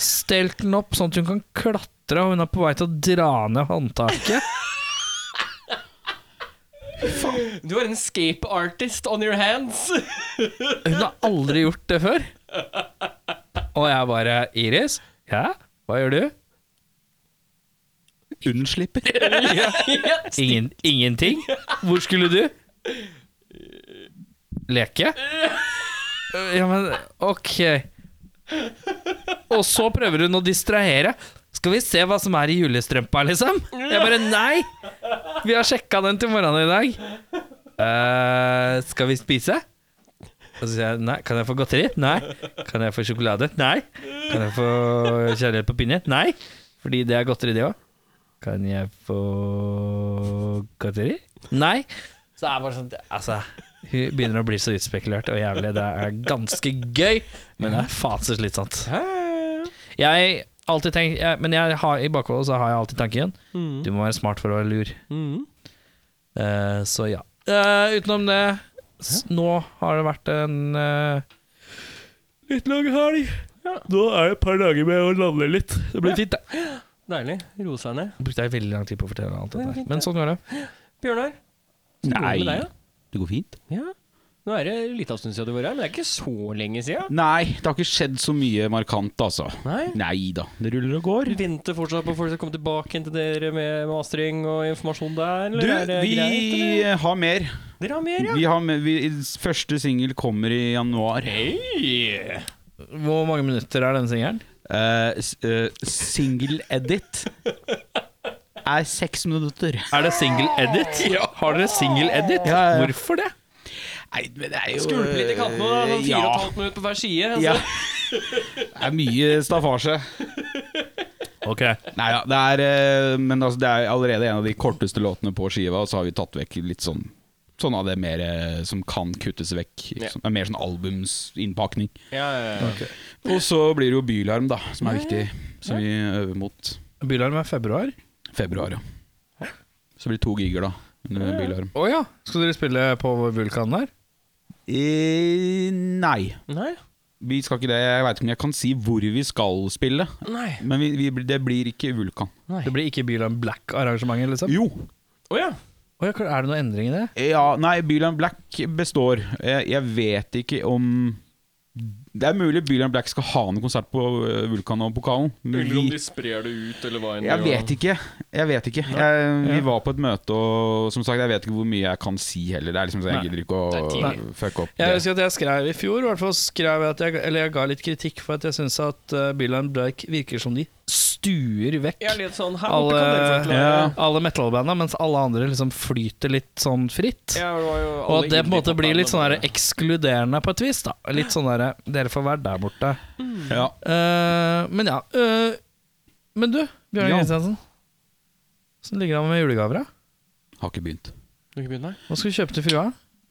[SPEAKER 3] stelt den opp sånn at hun kan klatre, og hun er på vei til å dra ned håndtaket.
[SPEAKER 2] Du er en escape artist on your hands.
[SPEAKER 3] Hun har aldri gjort det før. Og jeg bare Iris? Ja? Hva gjør du?
[SPEAKER 1] Unnslipper.
[SPEAKER 3] Ingen, ingenting? Hvor skulle du? Leke? Ja, men ok. Og så prøver hun å distrahere. Skal vi se hva som er i julestrømpa, liksom? Jeg bare nei! Vi har sjekka den til morgenen i dag. Eh, skal vi spise? Og så sier jeg nei. Kan jeg få godteri? Nei. Kan jeg få sjokolade? Nei. Kan jeg få kjærlighet på pinne? Nei. Fordi det er godteri, det òg. Kan jeg få godteri? Nei. Så er det bare sånn Altså, hun begynner å bli så utspekulert og jævlig. Det er ganske gøy, men det er faen så slitsomt. Jeg alltid tenker jeg, Men jeg har, i bakhodet så har jeg alltid tanken
[SPEAKER 2] Mm.
[SPEAKER 3] Du må være smart for å være lur. Eh, så ja. Eh, utenom det, s nå har det vært en eh, litt lang helg. Nå er det et par dager med å lande litt. Det blir fint, det.
[SPEAKER 2] Deilig. Roe seg ned.
[SPEAKER 3] Brukte jeg veldig lang tid på å fortelle alt
[SPEAKER 2] Det
[SPEAKER 3] dette.
[SPEAKER 2] er
[SPEAKER 3] her.
[SPEAKER 2] fint,
[SPEAKER 3] Men
[SPEAKER 2] det.
[SPEAKER 3] sånn går det.
[SPEAKER 2] Bjørnar, hvordan går det med deg,
[SPEAKER 1] det går fint.
[SPEAKER 2] da? Ja. Nå er det litt av en stund siden du var her, men det er ikke så lenge siden.
[SPEAKER 1] Nei, det har ikke skjedd så mye markant, altså.
[SPEAKER 2] Nei.
[SPEAKER 1] Nei da, det ruller og går.
[SPEAKER 2] Vi Venter fortsatt på folk som kommer tilbake igjen til dere med mastering og informasjon der?
[SPEAKER 1] Du,
[SPEAKER 2] Eller er det greit?
[SPEAKER 1] vi
[SPEAKER 2] Eller?
[SPEAKER 1] har mer.
[SPEAKER 2] Dere har mer, ja?
[SPEAKER 1] Vi har mer vi, første singel kommer i januar.
[SPEAKER 2] Hey.
[SPEAKER 3] Hvor mange minutter er denne singelen?
[SPEAKER 1] Eh, s- eh, single edit er seks minutter.
[SPEAKER 3] Er det single edit? Har dere single edit?
[SPEAKER 1] Ja, ja.
[SPEAKER 3] Hvorfor det?
[SPEAKER 1] Nei, men det er jo
[SPEAKER 2] Skulpe litt i kantene, da. Sånn fire og et
[SPEAKER 1] Ja.
[SPEAKER 2] halvt minutt på hver side. Altså.
[SPEAKER 1] ja. Det er mye staffasje.
[SPEAKER 3] Ok
[SPEAKER 1] Nei da, det er eh, Men altså, det er allerede en av de korteste låtene på skiva, og så har vi tatt vekk litt sånn Sånn av det mer eh, som kan kuttes vekk.
[SPEAKER 2] Ja.
[SPEAKER 1] Som er mer sånn albumsinnpakning.
[SPEAKER 2] Ja, ja, ja.
[SPEAKER 1] Og så blir det jo Bylarm, da, som er viktig. Som vi øver mot
[SPEAKER 3] Bylarm er februar.
[SPEAKER 1] februar, ja. Så blir det to giger, da. Under Bylarm.
[SPEAKER 3] Å ja. Skal dere spille på Vulkan der?
[SPEAKER 1] Eh, nei.
[SPEAKER 2] Nei.
[SPEAKER 1] Vi skal ikke det. Jeg veit ikke om jeg kan si hvor vi skal spille.
[SPEAKER 2] Nei.
[SPEAKER 1] Men vi, vi, det blir ikke Vulkan.
[SPEAKER 2] Nei.
[SPEAKER 3] Det blir ikke Bylarm Black-arrangementet, liksom?
[SPEAKER 1] Jo!
[SPEAKER 2] Å ja.
[SPEAKER 3] Å ja, klar, er det noen endring i det?
[SPEAKER 1] Ja, nei, Byland Black består. Jeg, jeg vet ikke om Det er mulig Byland Black skal ha en konsert på eh, Vulkan og pokalen. men
[SPEAKER 2] Eller om
[SPEAKER 1] vi-
[SPEAKER 2] de sprer det ut, eller hva enn
[SPEAKER 1] Jeg
[SPEAKER 2] de gjør.
[SPEAKER 1] vet ikke. Jeg vet ikke. Jeg, vi var på et møte, og som sagt, jeg vet ikke hvor mye jeg kan si heller. Det er liksom så Jeg
[SPEAKER 3] Nei.
[SPEAKER 1] gidder ikke
[SPEAKER 2] Det er
[SPEAKER 1] å
[SPEAKER 2] tidlig.
[SPEAKER 1] fucke
[SPEAKER 3] Jeg
[SPEAKER 1] opp. Det.
[SPEAKER 3] husker at jeg skrev i fjor, i hvert fall skrev jeg at jeg, eller jeg ga litt kritikk for at jeg syns at uh, Byland Black virker som de stuer vekk
[SPEAKER 2] Jeg er litt sånn Her borte kan dere
[SPEAKER 3] alle,
[SPEAKER 2] forklare.
[SPEAKER 1] Ja.
[SPEAKER 3] alle metal-banda, mens alle andre liksom flyter litt sånn fritt.
[SPEAKER 2] Ja, det var jo
[SPEAKER 3] Og
[SPEAKER 2] alle
[SPEAKER 3] at det på en måte
[SPEAKER 2] indie-popband
[SPEAKER 3] blir litt sånn
[SPEAKER 2] bare-
[SPEAKER 3] der ekskluderende på et vis. da Litt sånn der, Dere får være der borte.
[SPEAKER 1] Ja.
[SPEAKER 3] Eh, men ja. eh, men du, Bjørn
[SPEAKER 1] Ja.
[SPEAKER 3] Kristiansen. Åssen ligger det an med julegaver? da?
[SPEAKER 1] Har ikke begynt.
[SPEAKER 2] Du kan begynne her.
[SPEAKER 3] Hva skal du kjøpe til frua?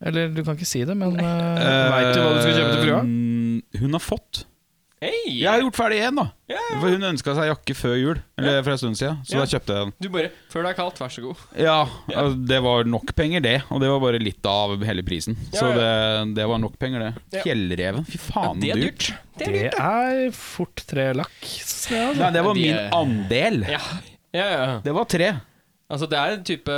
[SPEAKER 3] Eller du kan ikke si det, men uh,
[SPEAKER 1] Eh,
[SPEAKER 3] veit du hva du skal kjøpe til frua?
[SPEAKER 1] Hun har fått.
[SPEAKER 2] Hey!
[SPEAKER 1] Jeg har gjort ferdig én, da.
[SPEAKER 2] Ja.
[SPEAKER 1] For hun ønska seg jakke før jul, eller for en stund siden. Så
[SPEAKER 2] Ja.
[SPEAKER 1] da kjøpte jeg den.
[SPEAKER 2] Du bare Før det er kaldt, vær så god.
[SPEAKER 1] Ja, altså, det var nok penger, det. Og det var bare litt av hele prisen.
[SPEAKER 2] Ja,
[SPEAKER 1] Så
[SPEAKER 2] ja.
[SPEAKER 1] det, det var nok penger, det.
[SPEAKER 2] Ja.
[SPEAKER 1] Fjellreven, fy faen,
[SPEAKER 2] det er
[SPEAKER 1] dyrt.
[SPEAKER 2] dyrt. Det er
[SPEAKER 3] Det
[SPEAKER 2] dyrt.
[SPEAKER 3] er fort tre lakk. synes jeg, altså.
[SPEAKER 1] Nei, det var
[SPEAKER 2] De-
[SPEAKER 1] min andel.
[SPEAKER 2] Ja. ja, ja.
[SPEAKER 1] Det var tre.
[SPEAKER 2] Altså, det er en type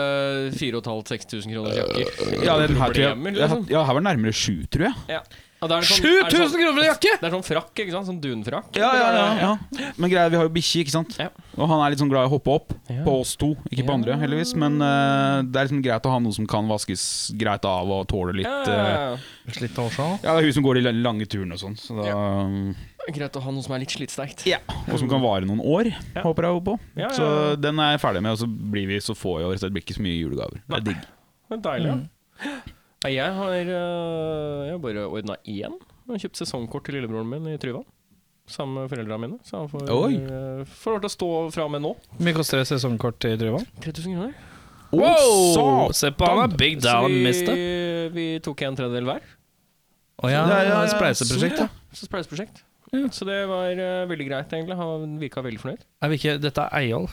[SPEAKER 2] 4500-6000 kroners
[SPEAKER 3] Øh,
[SPEAKER 2] jakker.
[SPEAKER 1] Ja, den her, tror jeg,
[SPEAKER 2] Problemer,
[SPEAKER 1] jeg,
[SPEAKER 2] liksom.
[SPEAKER 1] ja, her var det nærmere sju, tror jeg.
[SPEAKER 2] Ja. Og da er det sånn- er det
[SPEAKER 3] 7000
[SPEAKER 2] sånn-
[SPEAKER 3] kroner for en jakke!
[SPEAKER 2] Det er sånn frakk, ikke sant? Sånn dunfrakk.
[SPEAKER 1] Ja, ja, ja, ja. Men greia, vi har jo bikkje, ikke sant?
[SPEAKER 2] Ja.
[SPEAKER 1] Og han er litt sånn glad i å hoppe opp.
[SPEAKER 2] Ja.
[SPEAKER 1] På oss to, ikke på
[SPEAKER 2] Ja.
[SPEAKER 1] andre, heldigvis. Men eh, det er liksom greit å ha noe som kan vaskes greit av og tåle litt
[SPEAKER 2] Ja,
[SPEAKER 1] eh,
[SPEAKER 2] ja, ja.
[SPEAKER 3] Slitt også.
[SPEAKER 1] Ja, det er hun som går de lange turene og sånn, så da,
[SPEAKER 3] øh,
[SPEAKER 2] Greit å ha noe som er litt slitsterkt.
[SPEAKER 1] ja. og som kan vare noen år,
[SPEAKER 2] Ja.
[SPEAKER 1] håper jeg jo på.
[SPEAKER 2] Ja, ja,
[SPEAKER 1] Så
[SPEAKER 2] ja.
[SPEAKER 1] den er jeg ferdig med, og så blir vi så få i år, så det blir ikke så mye julegaver. Det er digg.
[SPEAKER 2] Det er deilig,
[SPEAKER 3] Mm.
[SPEAKER 2] ja. Nei, Jeg har, øh, jeg har bare ordna én. Jeg har kjøpt sesongkort til lillebroren min i Tryvann. Sammen med foreldra mine. Så han får,
[SPEAKER 1] Oi.
[SPEAKER 2] øh, får lov til å stå fra og med nå.
[SPEAKER 3] Hvor mye koster et sesongkort til Drøvan?
[SPEAKER 2] 3000 kroner.
[SPEAKER 1] Wow!
[SPEAKER 3] Se på han er big
[SPEAKER 2] Så
[SPEAKER 3] down, mister.
[SPEAKER 2] vi, vi tok en tredjedel hver.
[SPEAKER 3] Å ja,
[SPEAKER 1] Ja, ja, ja.
[SPEAKER 3] spleiseprosjekt, ja.
[SPEAKER 2] Så spleiseprosjekt. Så det var øh, veldig greit, egentlig. Han virka veldig fornøyd.
[SPEAKER 3] Er vi ikke, dette er Eyolf.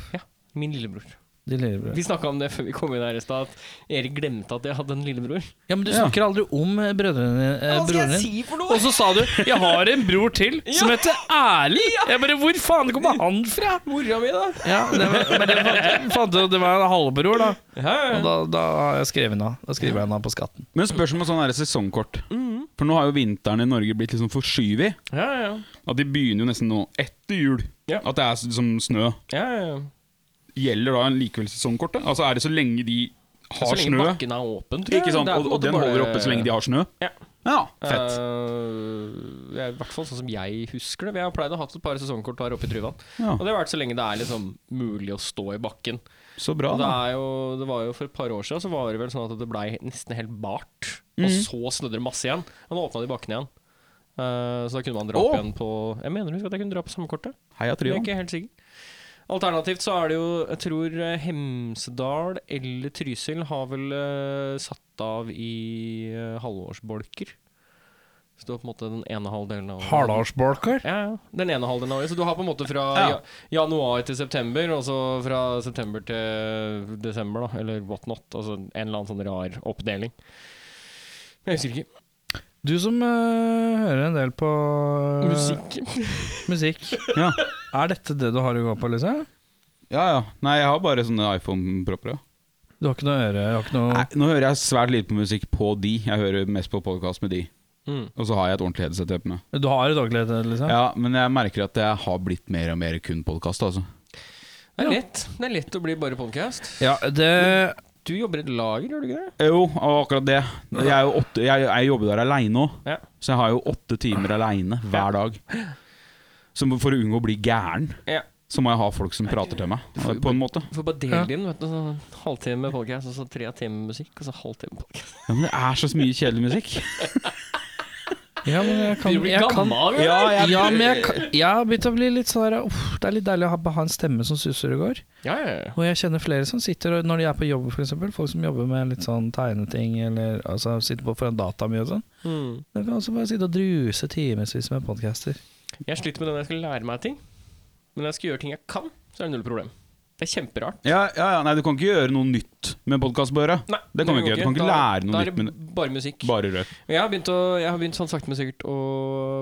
[SPEAKER 2] Min lillebror.
[SPEAKER 3] De lillebror.
[SPEAKER 2] Vi snakka om det før vi kom inn her i stad, at Erik glemte at jeg hadde en lillebror.
[SPEAKER 3] Ja, men du
[SPEAKER 1] Ja.
[SPEAKER 3] snakker aldri om eh, brødrene dine. eh, broren din.
[SPEAKER 2] si for
[SPEAKER 3] Og så sa du 'jeg har en bror til som heter Erling'. Jeg bare 'hvor faen kommer han fra?'
[SPEAKER 2] Mora mi, da!
[SPEAKER 3] Ja, det var, men det var, faen, det- det var en halvbror, da.
[SPEAKER 2] Ja, ja.
[SPEAKER 3] Og da, da har jeg skrevet den av. Da skriver jeg den av på skatten.
[SPEAKER 1] Men spørsmål sånn er det sesongkort.
[SPEAKER 2] Mm.
[SPEAKER 1] For nå har jo vinteren i Norge blitt liksom forskyvig.
[SPEAKER 2] ja, ja.
[SPEAKER 1] At de begynner jo nesten nå etter jul.
[SPEAKER 2] Ja.
[SPEAKER 1] At det er s- som snø.
[SPEAKER 2] ja, ja.
[SPEAKER 1] Gjelder da likevel sesongkortet? Altså er det så lenge de
[SPEAKER 2] så
[SPEAKER 1] har
[SPEAKER 2] lenge
[SPEAKER 1] snø?
[SPEAKER 2] bakken er åpen, tror jeg.
[SPEAKER 1] Ikke sant? Og, og den holder oppe så lenge de har snø?
[SPEAKER 2] Ja.
[SPEAKER 1] ja
[SPEAKER 2] Øh,
[SPEAKER 1] fett.
[SPEAKER 2] I hvert fall sånn som jeg husker det. Vi har pleid å ha et par sesongkort her oppe i Tryvann.
[SPEAKER 1] Ja.
[SPEAKER 2] Og det har vært så lenge det er liksom mulig å stå i bakken.
[SPEAKER 1] Så bra,
[SPEAKER 2] Og det,
[SPEAKER 1] da.
[SPEAKER 2] er jo, det var jo For et par år siden så var det vel sånn at det blei nesten helt bart. Og så snødde det masse igjen. Og nå åpna de bakken igjen. Eh, så da kunne man dra
[SPEAKER 1] Å!
[SPEAKER 2] opp igjen på Jeg mener husk at jeg kunne dra på samme kortet.
[SPEAKER 1] Heia
[SPEAKER 2] Jeg er
[SPEAKER 1] Tryvann.
[SPEAKER 2] ikke helt sikker. Alternativt så er det jo, jeg tror eh, Hemsedal eller Trysil har vel eh, satt av i eh, halvårsbolker. Så du har på en måte den ene halvdelen av
[SPEAKER 3] Hardalsbolker?
[SPEAKER 2] Ja, ja. Den ene halvdelen av året. Så du har på en måte fra
[SPEAKER 1] Ja.
[SPEAKER 2] ja. januar til september, og så fra september til desember, da. Eller what not. Altså en eller annen sånn rar oppdeling. Jeg husker ikke.
[SPEAKER 3] Du som eh, hører en del på eh,
[SPEAKER 2] Musikk.
[SPEAKER 3] musikk.
[SPEAKER 1] Ja.
[SPEAKER 3] Er dette det du har å gå på, liksom? Lise?
[SPEAKER 1] ja ja. Nei, jeg har bare sånne iPhone-propper. Ja.
[SPEAKER 3] Du har ikke noe øre? Du har ikke noe
[SPEAKER 1] Nei, nå hører jeg svært lite på musikk på de. Jeg hører mest på podkast med de.
[SPEAKER 2] Mm.
[SPEAKER 1] Og så har jeg et ordentlig headset i øynene.
[SPEAKER 3] Du har et liksom? ordentlig hete, Lise?
[SPEAKER 1] Ja, men jeg merker at jeg har blitt mer og mer kun podkast, altså.
[SPEAKER 2] Det
[SPEAKER 3] Ja.
[SPEAKER 2] er lett. Det er lett å bli bare podcast.
[SPEAKER 3] Ja, det
[SPEAKER 2] Du jobber i et lager, gjør du ikke det?
[SPEAKER 1] Jo, og akkurat det. Jeg, er jo åtte, jeg, jeg jobber der aleine òg,
[SPEAKER 2] Ja.
[SPEAKER 1] så jeg har jo åtte timer aleine hver dag. Så for å unngå å bli gæren,
[SPEAKER 2] Ja.
[SPEAKER 1] så må jeg ha folk som prater til meg, på en måte.
[SPEAKER 2] Du får bare dele
[SPEAKER 3] Ja.
[SPEAKER 2] din. Vet du, sånn halvtime podcast, og så tre timer musikk, og så halvtime podcast.
[SPEAKER 1] Ja, men det er så mye kjedelig musikk.
[SPEAKER 3] Ja, men jeg kan, jeg kan
[SPEAKER 2] Ja.
[SPEAKER 1] jeg,
[SPEAKER 3] ja, men jeg, kan- jeg har begynt å bli litt sånn der uff, Det er litt deilig å ha, ha en stemme som suser og går.
[SPEAKER 2] Ja, ja, ja.
[SPEAKER 3] Og jeg kjenner flere som sitter og, når de er på jobb, f.eks. Folk som jobber med litt sånn tegneting, eller altså, sitter på foran data mye og sånn.
[SPEAKER 2] Mm.
[SPEAKER 3] De kan også bare sitte og druse timevis med podcaster.
[SPEAKER 2] Jeg sliter med det når jeg skal lære meg ting. Men når jeg skal gjøre ting jeg kan, så er det null problem. Det er kjemperart.
[SPEAKER 1] ja, ja, ja, nei, du kan ikke gjøre noe nytt med podkast på øret.
[SPEAKER 2] Nei,
[SPEAKER 1] Det kan
[SPEAKER 2] går
[SPEAKER 1] du ikke gjøre. Du kan ikke
[SPEAKER 2] Da-
[SPEAKER 1] lære noe nytt
[SPEAKER 2] Da
[SPEAKER 1] med
[SPEAKER 2] er det bare musikk.
[SPEAKER 1] bare rødt.
[SPEAKER 2] Og Jeg har begynt, å, jeg har begynt sånn sakte, men sikkert å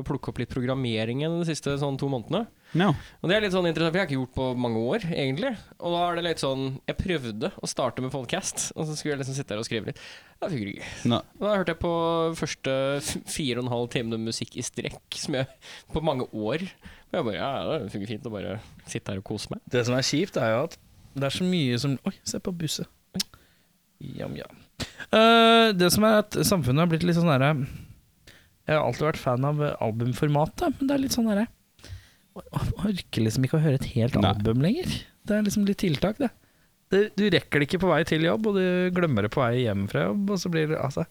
[SPEAKER 2] plukke opp litt programmering igjen de siste sånn to månedene.
[SPEAKER 1] No.
[SPEAKER 2] Og det er litt sånn interessant, for jeg har ikke gjort på mange år, egentlig. Og da er det litt sånn Jeg prøvde å starte med podcast, og så skulle jeg liksom sitte her og skrive litt. Da funker det ikke.
[SPEAKER 1] No.
[SPEAKER 2] Og Da hørte jeg på første f- fire og en halv time med musikk i strekk som jeg, på mange år. Og jeg bare Ja, ja, det funker fint å bare sitte her og kose meg.
[SPEAKER 3] Det som er kjipt, er jo at det er så mye som Oi, se på busset. Oi. Jam, jam. Eh, det som er at samfunnet har blitt litt sånn derre Jeg har alltid vært fan av eh, albumformatet, men det er litt sånn derre Man orker liksom ikke å høre et helt
[SPEAKER 1] Nei.
[SPEAKER 3] album lenger. Det er liksom litt tiltak, det. det. Du rekker det ikke på vei til jobb, og du glemmer det på vei hjem fra jobb, og så blir det altså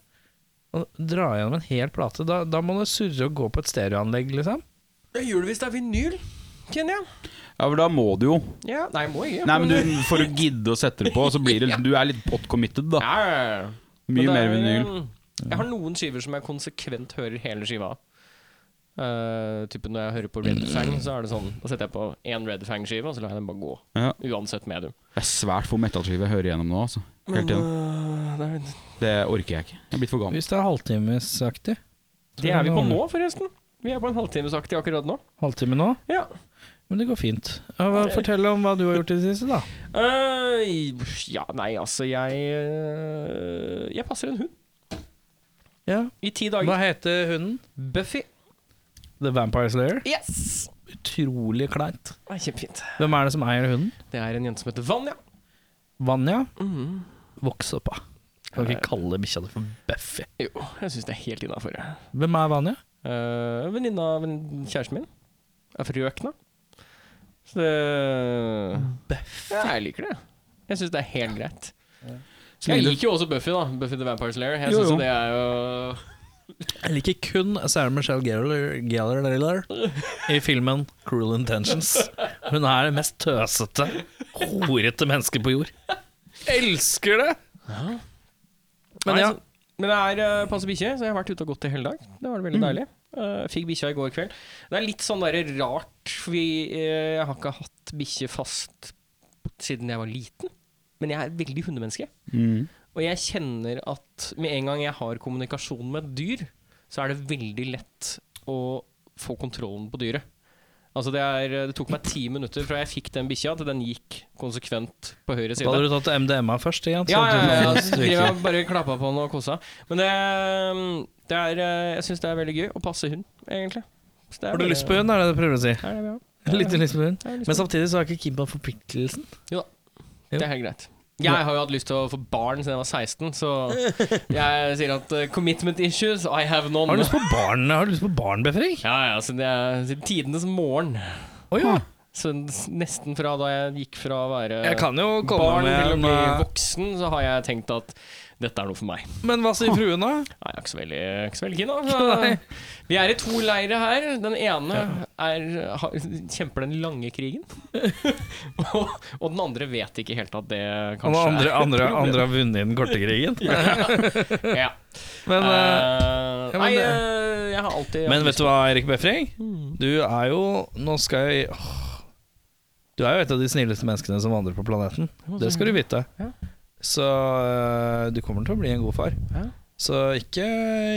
[SPEAKER 3] Å dra gjennom en hel plate, da, da må du surre og gå på et stereoanlegg, liksom.
[SPEAKER 2] Jeg gjør det hvis det er vinyl, kjenner jeg.
[SPEAKER 1] Ja, for da må du jo.
[SPEAKER 2] Ja, nei, må jeg ikke.
[SPEAKER 1] Nei, men du, For å gidde å sette det på, så blir det Du er litt pot committed, da.
[SPEAKER 2] Ja, ja, ja. Men
[SPEAKER 1] Mye
[SPEAKER 2] det
[SPEAKER 1] mer
[SPEAKER 2] er- um,
[SPEAKER 1] vinyl.
[SPEAKER 2] Jeg har noen skiver som jeg konsekvent hører hele skiva av. Eh, typen når jeg hører på Red Fang, så er det sånn Da setter jeg på én Red Fang-skive, og så lar jeg den bare gå.
[SPEAKER 1] Ja.
[SPEAKER 2] Uansett medium.
[SPEAKER 1] Det er svært få metallskiver jeg hører igjennom nå. altså
[SPEAKER 2] Mm.
[SPEAKER 1] Helt igjennom. Det orker jeg ikke. Jeg er blitt for gammel.
[SPEAKER 3] Hvis det er halvtimesaktig.
[SPEAKER 2] det er vi på nå, forresten. Vi er på en halvtimesaktig akkurat nå.
[SPEAKER 3] Halvtime nå?
[SPEAKER 2] Ja.
[SPEAKER 3] Men det går fint. Ja, hva- Fortell om hva du har gjort i det siste, da.
[SPEAKER 2] Eh, ja, nei, altså, jeg eh, Jeg passer en hund
[SPEAKER 3] Ja.
[SPEAKER 2] i ti
[SPEAKER 3] Hva
[SPEAKER 2] dager.
[SPEAKER 3] heter hunden?
[SPEAKER 2] Buffy.
[SPEAKER 3] The Vampire Slayer.
[SPEAKER 2] Yes!
[SPEAKER 3] Utrolig kleint.
[SPEAKER 2] Det er kjempefint.
[SPEAKER 3] Hvem er det som eier hunden?
[SPEAKER 2] Det er en jente som heter Vanja.
[SPEAKER 3] Vanja?
[SPEAKER 2] Mhm.
[SPEAKER 3] Vokse opp, da. Kan ikke kalle bikkja di for Buffy.
[SPEAKER 2] Jo, jeg syns det er helt innafor. Ja.
[SPEAKER 3] Hvem er Vanja?
[SPEAKER 2] Eh, Venninna av en- kjæresten min er frøkna. Så det ja, Jeg liker det. Jeg syns det er helt greit.
[SPEAKER 1] Så
[SPEAKER 2] Jeg
[SPEAKER 1] lenge du-
[SPEAKER 2] liker jo også Buffy, da. Buffy the Vampire Slayer. Jeg
[SPEAKER 1] Jo,
[SPEAKER 2] synes
[SPEAKER 1] jo.
[SPEAKER 2] jo det er jo
[SPEAKER 3] Jeg liker kun Sarah Michelle Gellar Gellar i filmen Cruel Intentions. Hun er det mest tøsete, horete mennesket på jord. Elsker det! Men
[SPEAKER 2] Nei,
[SPEAKER 3] ja.
[SPEAKER 2] så- Men det er eh, passe bikkje, så jeg har vært ute og gått i hele dag. Det var det veldig deilig. Eh, fikk bikkja i går kveld. Det er litt sånn der rart, for vi, eh, jeg har ikke hatt bikkje fast siden jeg var liten. Men jeg er veldig hundemenneske.
[SPEAKER 1] Mm.
[SPEAKER 2] Og jeg kjenner at med en gang jeg har kommunikasjon med et dyr, så er det veldig lett å få kontrollen på dyret. Altså det, er, det tok meg ti minutter fra jeg fikk den bikkja, til den gikk konsekvent på
[SPEAKER 3] Da
[SPEAKER 2] høyre side.
[SPEAKER 3] hadde du tatt MDMA først, igjen.
[SPEAKER 2] Ja, ja, ja, ja. Driver og bare klappa på den og kosa. Men det, det er Jeg syns det er veldig gøy å passe hund, egentlig. Så det er
[SPEAKER 3] Har du
[SPEAKER 2] bare-
[SPEAKER 3] lyst på hund, er det det du prøver å si?
[SPEAKER 2] Det er det vi har.
[SPEAKER 3] Litt lyst på hund.
[SPEAKER 2] Det er lyst på
[SPEAKER 3] Men samtidig så har ikke Kimba forpliktelsen.
[SPEAKER 2] Det er helt greit. Jeg har jo hatt lyst til å få barn siden jeg var 16, så jeg sier at eh, commitment issues, I have none.
[SPEAKER 3] Har du lyst på barn, har du lyst på barnbefring?
[SPEAKER 2] Ja, ja, siden, jeg, siden tidenes morgen.
[SPEAKER 3] Å ja.
[SPEAKER 2] Så s- nesten fra da jeg gikk fra å være
[SPEAKER 3] Jeg kan jo komme
[SPEAKER 2] barn til å
[SPEAKER 3] med
[SPEAKER 2] bli
[SPEAKER 3] en
[SPEAKER 2] voksen, så har jeg tenkt at dette er noe for meg.
[SPEAKER 3] eh, Men hva sier fruen, da?
[SPEAKER 2] Nei, jeg er ikke så veldig, jeg er ikke så veldig keen, da.
[SPEAKER 3] Nei.
[SPEAKER 2] Så, vi er i to leire her. Den ene er, har, kjemper den lange krigen. og, og den andre vet ikke helt at det
[SPEAKER 3] Han
[SPEAKER 2] kanskje
[SPEAKER 3] andre, andre, andre har vunnet den korte krigen.
[SPEAKER 2] er ja.
[SPEAKER 3] Men, eh,
[SPEAKER 2] Eh,
[SPEAKER 3] ja, men
[SPEAKER 2] Nei,
[SPEAKER 3] det-
[SPEAKER 2] eh, Mm. jeg har alltid
[SPEAKER 3] men vet du hva, Erik Befring? Du er jo Nå skal jeg åh. Du er jo et av de snilleste menneskene som vandrer på planeten. Det skal du vite.
[SPEAKER 2] Ja.
[SPEAKER 3] Så eh, du kommer til å bli en god far.
[SPEAKER 2] Ja.
[SPEAKER 3] Så ikke,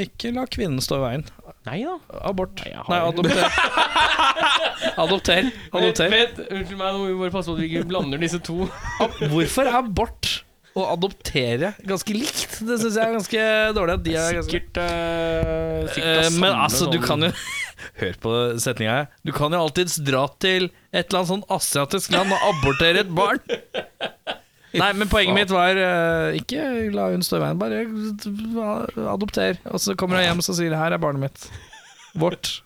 [SPEAKER 3] ikke la kvinnen stå i veien.
[SPEAKER 2] Nei da.
[SPEAKER 3] Abort.
[SPEAKER 2] Nei, jeg har-
[SPEAKER 3] Nei, adopter. adopter. Adopter.
[SPEAKER 2] Vent, vent, unnskyld meg, nå må vi bare passe på at vi ikke blander disse to.
[SPEAKER 3] Hvorfor er abort og adoptere ganske likt? Det syns jeg er ganske dårlig. At de er ganske
[SPEAKER 2] Sikkert, eh, sikkert
[SPEAKER 3] Eh,
[SPEAKER 2] det
[SPEAKER 3] men
[SPEAKER 2] samme
[SPEAKER 3] altså, du
[SPEAKER 2] sånn-
[SPEAKER 3] kan jo Hør på setninga her. Du kan jo alltids dra til et eller annet sånn asiatisk land og abortere et barn. Nei, men poenget mitt var eh, ikke la hun stå i veien, bare eh, adopter. Og så kommer hun hjem og sier 'her er barnet mitt'. Vårt.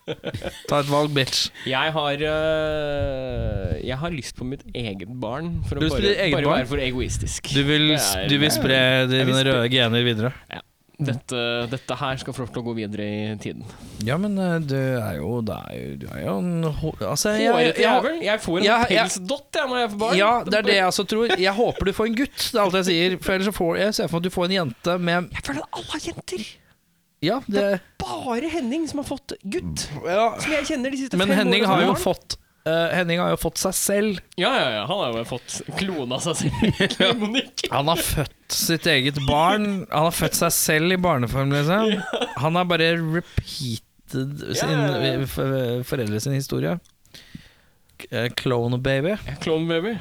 [SPEAKER 3] Ta et valg, bitch.
[SPEAKER 2] Jeg har eh, Jeg har lyst på mitt eget barn, for
[SPEAKER 3] Du
[SPEAKER 2] å
[SPEAKER 3] vil
[SPEAKER 2] bare,
[SPEAKER 3] spille eget
[SPEAKER 2] bare
[SPEAKER 3] barn?
[SPEAKER 2] være for egoistisk.
[SPEAKER 3] Du vil,
[SPEAKER 2] Det er-
[SPEAKER 3] du vil spre
[SPEAKER 2] vil
[SPEAKER 3] dine
[SPEAKER 2] spre-
[SPEAKER 3] røde gener videre.
[SPEAKER 2] Dette, dette her skal få lov til å gå videre i tiden.
[SPEAKER 3] Ja, men eh, du er jo Du er jo, du er jo en hå- Altså, jeg, jeg,
[SPEAKER 2] Hårete
[SPEAKER 3] jeg,
[SPEAKER 2] jævel! Jeg får en
[SPEAKER 3] Ja, ja.
[SPEAKER 2] pelsdott jeg, når jeg får barn.
[SPEAKER 3] Ja, det er det jeg også tror. Jeg håper du får en gutt. Det er alt jeg sier. For ellers så får jeg ser for meg at du får en jente med
[SPEAKER 2] Jeg føler at alle har jenter.
[SPEAKER 3] Ja, det
[SPEAKER 2] Bare Henning som har fått gutt.
[SPEAKER 3] ja.
[SPEAKER 2] Som jeg kjenner de siste
[SPEAKER 3] Men
[SPEAKER 2] fem
[SPEAKER 3] Henning har jo
[SPEAKER 2] barn.
[SPEAKER 3] fått eh, Henning har jo fått seg selv.
[SPEAKER 2] Ja, ja, ja. Han har jo fått klona seg selv. Klonikk.
[SPEAKER 3] Han har født sitt eget barn. Han har født seg selv i barneform, liksom. Han har bare repeated sin, eh,
[SPEAKER 2] Ja, ja, ja.
[SPEAKER 3] for, foreldre sin historie. eh, Clone Baby.
[SPEAKER 2] Clone Baby.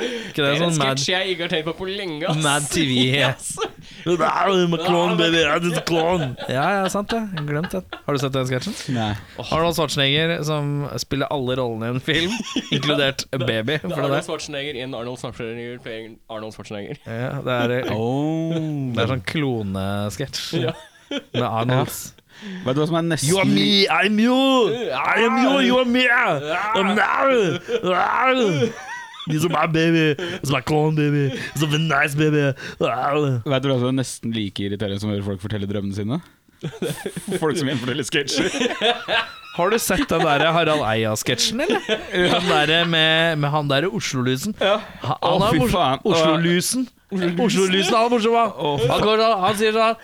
[SPEAKER 3] Ikke det
[SPEAKER 2] Det er en
[SPEAKER 3] sånn Mad,
[SPEAKER 2] sketsj jeg ikke har tenkt på på lenge. ass.
[SPEAKER 3] mad E. TV?
[SPEAKER 2] Yes.
[SPEAKER 3] I'm a clone, baby. I'm just a clone. Ja, ja, sant det. Jeg Glemt det. Har du sett den sketsjen?
[SPEAKER 1] Nei.
[SPEAKER 3] Arnold Schwarzenegger som spiller alle rollene i en film, inkludert baby.
[SPEAKER 2] Det er
[SPEAKER 3] For det,
[SPEAKER 2] Arnold
[SPEAKER 3] der.
[SPEAKER 2] Schwarzenegger in Arnold Schwarzenegger playing Arnold Schwarzenegger.
[SPEAKER 3] Ja, det, er,
[SPEAKER 1] Oh.
[SPEAKER 3] det er sånn klonesketsj
[SPEAKER 2] sånn. Ja.
[SPEAKER 3] med Arnold.
[SPEAKER 1] Vet du hva som er nesten
[SPEAKER 3] I'm you! I am you, you are me! I'm now! These are my baby. It's my clone baby. It's a nice baby.
[SPEAKER 1] Vet du hva som er nesten like irriterende som å høre folk fortelle drømmene sine? Folk som gjenforteller sketsjer.
[SPEAKER 3] Har du sett den der Harald Eia-sketsjen, eller? Den der med, med han derre Oslo-lusen. Han
[SPEAKER 1] Å,
[SPEAKER 3] er
[SPEAKER 1] fy
[SPEAKER 3] Os-
[SPEAKER 1] faen.
[SPEAKER 3] Oslo-lusen. Oslo-lusen, han er morsom, han. Han, går, sånn- han sier sånn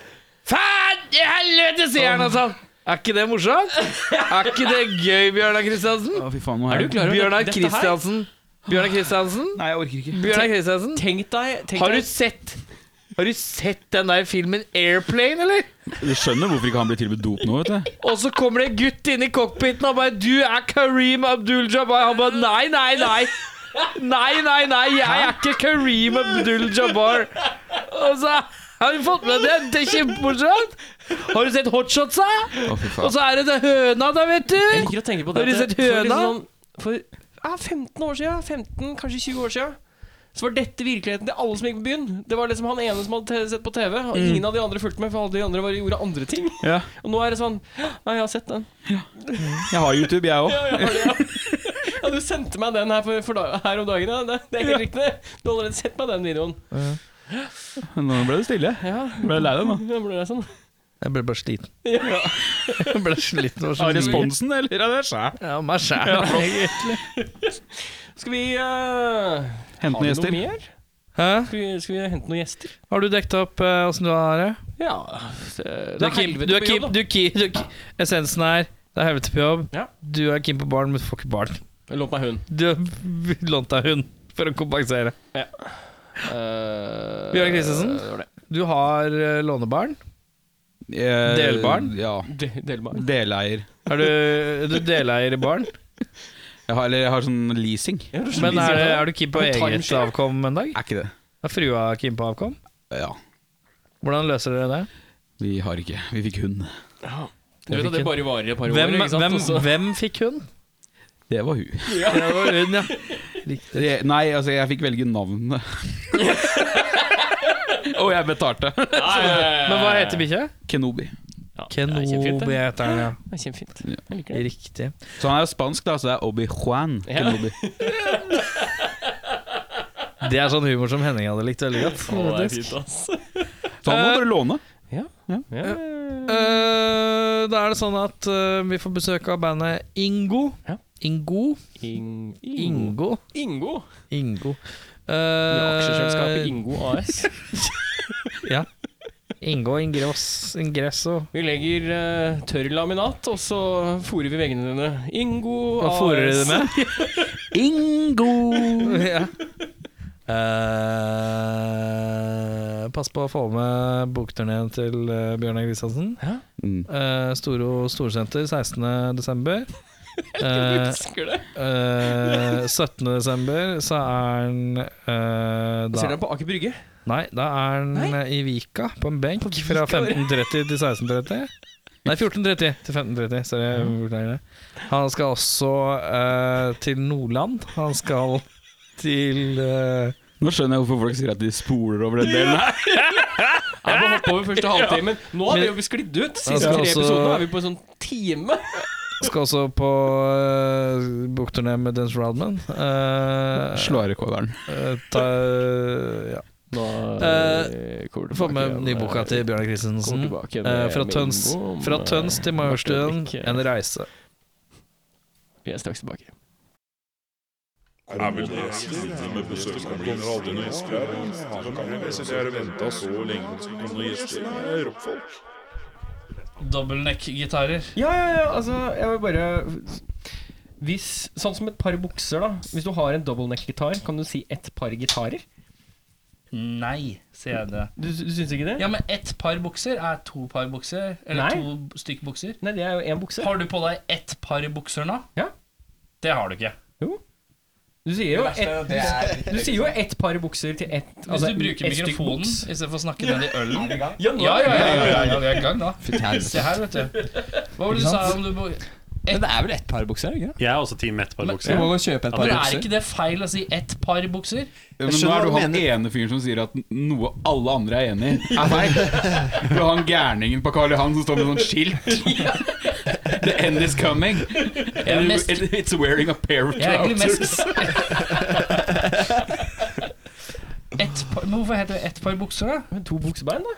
[SPEAKER 3] Faen i helvete, sier han og sånn. Er ikke det morsomt? Er ikke det gøy, Bjørnar Kristiansen?
[SPEAKER 1] Å, fy faen, nå
[SPEAKER 2] Er du klar over
[SPEAKER 3] Bjørnar
[SPEAKER 2] dette her?
[SPEAKER 3] Kristiansen. Bjørnar Kristiansen.
[SPEAKER 1] Nei, jeg orker ikke.
[SPEAKER 3] Bjørnar Kristiansen.
[SPEAKER 2] Tenk deg, tenk
[SPEAKER 3] Har du
[SPEAKER 2] deg
[SPEAKER 3] sett Har du sett den der filmen Airplane, eller?
[SPEAKER 1] Du skjønner hvorfor ikke han blir tilbudt dop nå, vet du.
[SPEAKER 3] Og så kommer det en gutt inn i cockpiten og bare 'Du er Kareem Abdul-Jabbar'. Han bare 'Nei, nei, nei'. Nei, nei, nei, jeg er ikke Kareem Abdul-Jabbar. Og så har vi fått med det. Det er kjempemorsomt. Har du sett Hotshots, da?
[SPEAKER 1] Å, fy
[SPEAKER 3] Og
[SPEAKER 2] Altså-
[SPEAKER 3] så er det det høna, da, vet
[SPEAKER 2] Jeg
[SPEAKER 3] du.
[SPEAKER 2] liker å tenke på
[SPEAKER 3] Har du
[SPEAKER 2] det. at
[SPEAKER 3] sett
[SPEAKER 2] det- for
[SPEAKER 3] høna?
[SPEAKER 2] liksom Sånn, for ja, 15 år siden, 15, kanskje 20 år siden, så var dette virkeligheten til alle som gikk på byen. Det var liksom han ene som hadde te- sett på TV, og ingen av de andre fulgte med, for alle de andre bare gjorde andre ting.
[SPEAKER 1] Ja.
[SPEAKER 2] Og nå er det sånn Ja, jeg har sett den.
[SPEAKER 1] Jeg har YouTube, jeg òg.
[SPEAKER 2] Ja, jeg har det, ja. ja du sendte meg den her, for, for da, her om dagen, ja. Det, det er helt riktig. Du har allerede sett meg den videoen.
[SPEAKER 1] Nå ble det stille.
[SPEAKER 2] Ja,
[SPEAKER 1] Ble lei deg nå?
[SPEAKER 2] da ble det sånn.
[SPEAKER 3] Jeg ble bare sliten.
[SPEAKER 2] Ja.
[SPEAKER 3] Jeg ble sliten
[SPEAKER 1] Av responsen, eller av det sjæl?
[SPEAKER 3] Ja, meg sjæl.
[SPEAKER 2] Skal vi eh, Har
[SPEAKER 1] Hent noen
[SPEAKER 2] vi
[SPEAKER 1] gjester.
[SPEAKER 2] noe mer?
[SPEAKER 3] Hæ?
[SPEAKER 2] Skal vi, skal vi hente noen gjester?
[SPEAKER 3] Har du dekket opp eh, åssen du har det?
[SPEAKER 2] Ja
[SPEAKER 3] Du er keen, du er keen, du er keen, du er keen. Essensen er det er helvete på jobb.
[SPEAKER 2] Ja.
[SPEAKER 3] Du er keen på barn, men du får ikke barn.
[SPEAKER 2] Lånt meg hund.
[SPEAKER 3] Du har lånt deg hund for å kompensere.
[SPEAKER 2] Uh,
[SPEAKER 3] Bjørn Kristiansen?
[SPEAKER 2] Det var det.
[SPEAKER 3] Du har eh, lånebarn.
[SPEAKER 1] Eh,
[SPEAKER 3] Delbarn?
[SPEAKER 1] Ja.
[SPEAKER 2] De- Delbar.
[SPEAKER 1] Deleier.
[SPEAKER 3] Er du, er du deleier i barn?
[SPEAKER 1] Jeg har, eller jeg har sånn leasing.
[SPEAKER 3] Men er, det- er du keen på
[SPEAKER 2] Men
[SPEAKER 3] eget
[SPEAKER 2] timeshare?
[SPEAKER 3] avkom en dag?
[SPEAKER 1] Er ikke det?
[SPEAKER 3] Er frua keen på avkom?
[SPEAKER 1] Ja.
[SPEAKER 3] Hvordan løser dere det?
[SPEAKER 1] Vi har ikke. Vi fikk hund.
[SPEAKER 2] Du vet at det bare varer et par
[SPEAKER 3] Hvem,
[SPEAKER 2] år, ikke sant?
[SPEAKER 3] hvem,
[SPEAKER 2] Og så-
[SPEAKER 3] hvem fikk hund?
[SPEAKER 1] Det var hun.
[SPEAKER 3] Det var hun, ja.
[SPEAKER 1] Det- Nei, altså, jeg fikk velge navnet. Og jeg betalte.
[SPEAKER 2] Ja, ja, ja, ja.
[SPEAKER 3] Men hva heter bikkja?
[SPEAKER 1] Kenobi.
[SPEAKER 2] Ja, det er kjempefint,
[SPEAKER 3] Kenobi
[SPEAKER 2] det.
[SPEAKER 3] heter den, ja.
[SPEAKER 2] Det er kjempefint.
[SPEAKER 1] Ja.
[SPEAKER 2] Jeg liker det.
[SPEAKER 3] Riktig.
[SPEAKER 1] Så han er jo spansk, da, så det er Obi-Juan
[SPEAKER 2] Ja.
[SPEAKER 1] Kenobi.
[SPEAKER 3] Det er sånn humor som Henning hadde likt veldig godt.
[SPEAKER 2] Å, det er
[SPEAKER 3] faktisk.
[SPEAKER 2] fint, ass.
[SPEAKER 1] Så han må bare låne.
[SPEAKER 2] Ja.
[SPEAKER 3] Eh, da er det sånn at eh, vi får besøk av bandet Ingo.
[SPEAKER 2] Ja.
[SPEAKER 3] Ingo?
[SPEAKER 2] Ing- Ingo.
[SPEAKER 3] Ingo.
[SPEAKER 2] Ingo.
[SPEAKER 3] Ingo. Uh,
[SPEAKER 2] Med aksjeselskapet Ingo AS.
[SPEAKER 3] Ja. Ingo Ingress, Ingresso.
[SPEAKER 2] Vi legger eh, tørr laminat, og så fôrer vi veggene dine. Ingo
[SPEAKER 3] Hva
[SPEAKER 2] AS.
[SPEAKER 3] fôrer du det med?
[SPEAKER 1] Ingo!
[SPEAKER 3] ja. Eh, pass på å få med bokturneen til eh, Bjørnar Kristiansen.
[SPEAKER 1] Mm.
[SPEAKER 3] Eh, Storo Storsenter 16.12.
[SPEAKER 2] Jeg
[SPEAKER 3] Uh,
[SPEAKER 2] elsker det.
[SPEAKER 3] uh, 17.12. så er den eh,
[SPEAKER 2] Jeg ser
[SPEAKER 3] da,
[SPEAKER 2] deg på Aker Brygge.
[SPEAKER 3] Nei, da er den
[SPEAKER 2] Nei?
[SPEAKER 3] eh, i Vika, på en benk,
[SPEAKER 2] På Vika,
[SPEAKER 3] fra
[SPEAKER 2] bare.
[SPEAKER 3] 15.30 til 16.30. Nei, 14.30 til 15.30. Sorry, jeg beklager det. Han skal også eh, til Nordland. Han skal til eh,
[SPEAKER 1] Nå skjønner jeg hvorfor folk sier at de spoler over den delen her.
[SPEAKER 2] Jeg har hoppet over første halvtimen. Nå har vi jo sklidd ut.
[SPEAKER 3] Jeg
[SPEAKER 2] Siste
[SPEAKER 3] skal
[SPEAKER 2] tre
[SPEAKER 3] også-
[SPEAKER 2] episoder er vi på en sånn time.
[SPEAKER 3] Skal også på uh, bokturné med Dennis Rodman. Eh,
[SPEAKER 1] Slå av rekorderen.
[SPEAKER 3] eh, ta, ja.
[SPEAKER 2] Nå
[SPEAKER 3] Eh,
[SPEAKER 2] kommer
[SPEAKER 3] Få med nyboka til Bjørnar Christensen. Eh, fra, tøns,
[SPEAKER 2] eh,
[SPEAKER 3] fra Tøns til Majorstuen. En reise.
[SPEAKER 2] Vi er straks tilbake.
[SPEAKER 4] Er vel det siste med besøkskommunen aldri noen gjester her. Hva kan vi sitte vente så lenge på noen gjester? Det er rockfolk.
[SPEAKER 3] Dobbelneck-gitarer.
[SPEAKER 2] Ja, ja, ja, altså, jeg vil bare Hvis, sånn som et par bukser, da. Hvis du har en double neck-gitar, kan du si ett par gitarer?
[SPEAKER 5] Nei, sier jeg det.
[SPEAKER 2] Du, du syns ikke det?
[SPEAKER 5] Ja, men ett par bukser er to par bukser. Eller
[SPEAKER 2] Nei.
[SPEAKER 5] to stykk bukser.
[SPEAKER 2] Nei, det er jo én bukse.
[SPEAKER 5] Har du på deg ett par bukser nå?
[SPEAKER 2] Ja.
[SPEAKER 5] Det har du ikke.
[SPEAKER 6] Du sier jo ett Du sier jo ett par bukser til ett
[SPEAKER 5] Hvis
[SPEAKER 6] altså,
[SPEAKER 5] du bruker
[SPEAKER 6] ett stykk
[SPEAKER 5] mikrofonen
[SPEAKER 6] buks.
[SPEAKER 5] istedenfor å snakke ned i ølen
[SPEAKER 6] Ja, nå-
[SPEAKER 5] Ja, ja, ja, ja, ja, ja, vi er i gang, da. Se her, vet du. Hva var det du sa om du bo-
[SPEAKER 7] Men det er vel ett par bukser? er det Ikke?
[SPEAKER 8] Jeg er også team ett par
[SPEAKER 7] det? Vi
[SPEAKER 8] bukser.
[SPEAKER 7] må jo
[SPEAKER 5] Men
[SPEAKER 7] kjøpe et par
[SPEAKER 5] er
[SPEAKER 7] bukser.
[SPEAKER 5] ikke det feil å si ett par
[SPEAKER 1] Men
[SPEAKER 5] bukser?
[SPEAKER 7] Jeg
[SPEAKER 1] nå
[SPEAKER 7] skjønner
[SPEAKER 1] er du
[SPEAKER 7] hva du
[SPEAKER 1] han ene fyren som sier at n- noe alle andre er enig i, er feil. Du er han gærningen på Karl Johan som står med sånn skilt. The end is coming.
[SPEAKER 5] Jeg er mest,
[SPEAKER 1] It's wearing a pair of
[SPEAKER 5] jeg er egentlig
[SPEAKER 1] trousers.
[SPEAKER 5] mest ett par, Men hvorfor heter det ett par bukser, da?
[SPEAKER 6] Men To buksebein, da?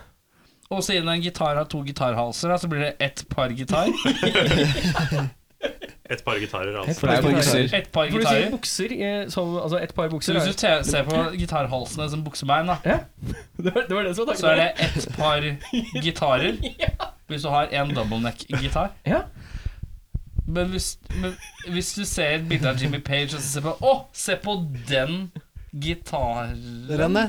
[SPEAKER 5] Og siden en gitar har to gitarhalser, da, så blir det ett par gitar.
[SPEAKER 8] Ett par gitarer, altså.
[SPEAKER 7] For det er jo bukser.
[SPEAKER 5] Ett par
[SPEAKER 6] For du sier
[SPEAKER 5] gitarer.
[SPEAKER 6] bukser eh, som Altså ett par
[SPEAKER 5] Så
[SPEAKER 6] bukser.
[SPEAKER 5] hvis du
[SPEAKER 6] er-
[SPEAKER 5] te- ser på gitarhalsene som buksebein, da,
[SPEAKER 6] Det var det, var det som var
[SPEAKER 5] så er det ett par gitarer. Hvis du har en double neck-gitar.
[SPEAKER 6] Ja.
[SPEAKER 5] Men hvis, men hvis du ser et bilde av Jimmy Page og så ser på Å, se på den gitaren!
[SPEAKER 7] Renne,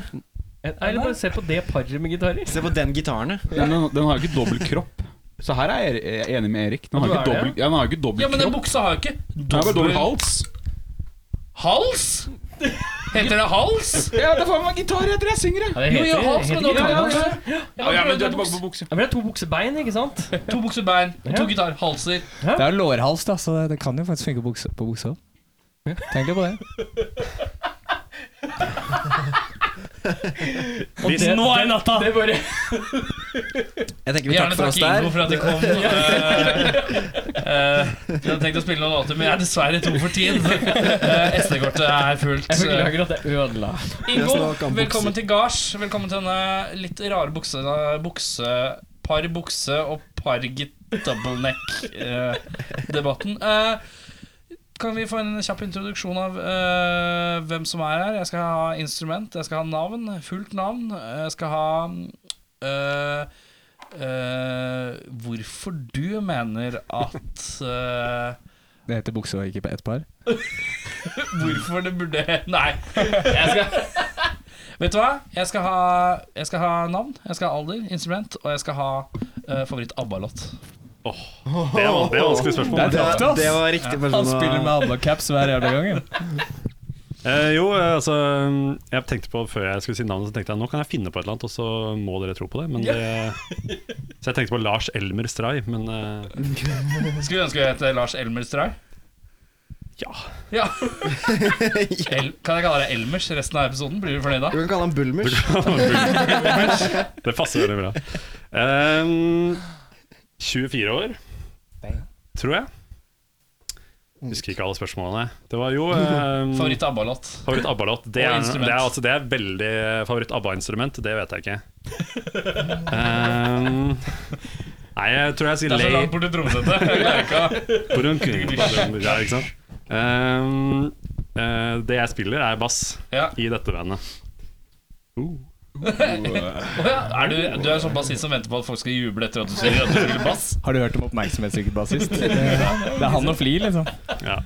[SPEAKER 6] Nei, eller bare se på det paret med gitarer.
[SPEAKER 7] se på den gitaren. du.
[SPEAKER 1] Ja, men den, den har jo ikke dobbel kropp. Så her er jeg er enig med Erik. Den har
[SPEAKER 6] Du
[SPEAKER 1] jo
[SPEAKER 6] er
[SPEAKER 1] ikke
[SPEAKER 6] det?
[SPEAKER 1] dobbel, ja, den har jo ikke dobbel
[SPEAKER 5] Ja, men den
[SPEAKER 1] kropp.
[SPEAKER 5] buksa har jo ikke
[SPEAKER 1] Den har bare dobbel hals.
[SPEAKER 5] hals! Heter det hals?
[SPEAKER 1] Ja, det er faen meg gitar etter jeg synger, jeg.
[SPEAKER 6] det
[SPEAKER 5] Jo, jo, hals, men da har
[SPEAKER 6] ja,
[SPEAKER 5] du
[SPEAKER 1] Ja, ja, men du er tilbake på bukse.
[SPEAKER 6] Ja, men det er to buksebein, ikke sant?
[SPEAKER 5] to buksebein,
[SPEAKER 6] Ja.
[SPEAKER 5] to gitarhalser.
[SPEAKER 7] Det er jo lårhals, da, så det kan jo faktisk funke bukse, på buksa. Tenk litt på det.
[SPEAKER 8] Hvis,
[SPEAKER 6] det-
[SPEAKER 8] nå er
[SPEAKER 6] natta! Det bare
[SPEAKER 7] Jeg tenker vi
[SPEAKER 5] Gjerne
[SPEAKER 7] takker for
[SPEAKER 5] takk
[SPEAKER 7] oss der.
[SPEAKER 5] Ingo for at de kom. Eh, eh, jeg hadde tenkt å spille noen låter, men jeg er dessverre tom for tid. Eh, SD-kortet er fullt. eh,
[SPEAKER 6] Jeg beklager at jeg ødela.
[SPEAKER 5] Ingo,
[SPEAKER 7] Jeg snakker om bukser.
[SPEAKER 5] velkommen til gards. Velkommen til denne litt rare bukse, bukse par bukse og par git- double neck-debatten. Eh, kan vi få en kjapp introduksjon av eh, hvem som er her? Jeg skal ha instrument, jeg skal ha navn, fullt navn. Jeg skal ha eh, eh, hvorfor du mener at eh,
[SPEAKER 7] Det heter bukse og ikke på ett par.
[SPEAKER 5] Hvorfor det burde Nei. Jeg skal Vet du hva? Jeg skal ha, jeg skal ha navn, jeg skal ha alder, instrument, og jeg skal ha eh, favoritt-ABBA-låt.
[SPEAKER 8] det er van- det er vanskelig spørsmål.
[SPEAKER 7] var, det var riktig person Han spiller med abba-caps hver jævla gang. ja.
[SPEAKER 8] Eh, jo, eh, altså Jeg tenkte på Før jeg skulle si navnet, så tenkte jeg nå kan jeg finne på et eller annet, og så må dere tro på det. Men det så jeg tenkte på Lars Elmer Stray, men eh,
[SPEAKER 5] Skulle ønske jeg het Lars Elmer Stray.
[SPEAKER 8] ja.
[SPEAKER 5] Ja. El, kan jeg kalle deg Elmers resten av episoden? Blir du fornøyd da?
[SPEAKER 7] Du kan kalle han Bulmers.
[SPEAKER 8] Det passer veldig bra. Ehm, 24 år, tror jeg. Husker ikke alle spørsmålene. Det var jo ehm,
[SPEAKER 5] Favoritt-ABBA-låt.
[SPEAKER 8] Favoritt ABBA-låt. Det,
[SPEAKER 5] Og
[SPEAKER 8] er-
[SPEAKER 5] instrument.
[SPEAKER 8] det, er altså, det er veldig favoritt ABBA-instrument. Det vet jeg ikke. Ehm, nei, jeg tror jeg sier
[SPEAKER 5] Det er så
[SPEAKER 8] Lay
[SPEAKER 5] langt borti trommesettet. Jeg klarer ikke å-
[SPEAKER 8] sånn, Ja, ikke sant? Ehm, eh, Det jeg spiller, er bass
[SPEAKER 5] Ja.
[SPEAKER 8] i dette bandet.
[SPEAKER 5] Å ja. Er du, du er en sånn bassist som venter på at folk skal juble etter at du sier at du spiller bass?
[SPEAKER 7] Har du hørt om oppmerksomhetssyke bassist? Det er han og fly, liksom.
[SPEAKER 8] Ja.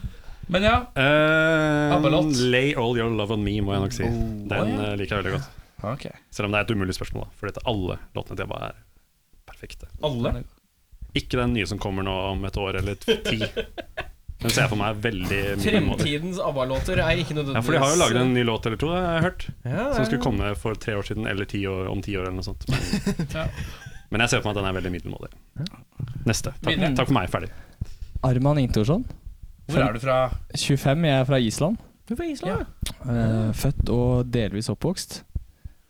[SPEAKER 5] Men ja.
[SPEAKER 8] Ehm,
[SPEAKER 5] ABBA-låt.
[SPEAKER 8] Lay All Your Love On Me, må jeg nok si. Den eh, liker jeg veldig godt.
[SPEAKER 5] Ok.
[SPEAKER 8] Selv om det er et umulig spørsmål, da, fordi at alle låtene til ABBA er perfekte.
[SPEAKER 5] Alle?
[SPEAKER 8] Ikke den nye som kommer nå om et år eller et ti. Den ser jeg for meg veldig mye måter.
[SPEAKER 6] Fremtidens ABBA-låter er ikke nødvendigvis
[SPEAKER 8] Ja, for de har jo laget en ny låt eller to, har jeg hørt.
[SPEAKER 6] Ja,
[SPEAKER 8] Som skulle
[SPEAKER 6] ja.
[SPEAKER 8] komme for tre år siden, eller ti år, om ti år, eller noe sånt.
[SPEAKER 5] Ja.
[SPEAKER 8] Men jeg ser for meg at den er veldig middelmådig. Neste. Takk,
[SPEAKER 5] Videre.
[SPEAKER 8] takk for meg. Ferdig.
[SPEAKER 7] Arman Ingtorsson.
[SPEAKER 5] Hvor er du fra?
[SPEAKER 7] 25, jeg er fra Island.
[SPEAKER 6] Du er fra Island, ja.
[SPEAKER 7] Eh, født og delvis oppvokst.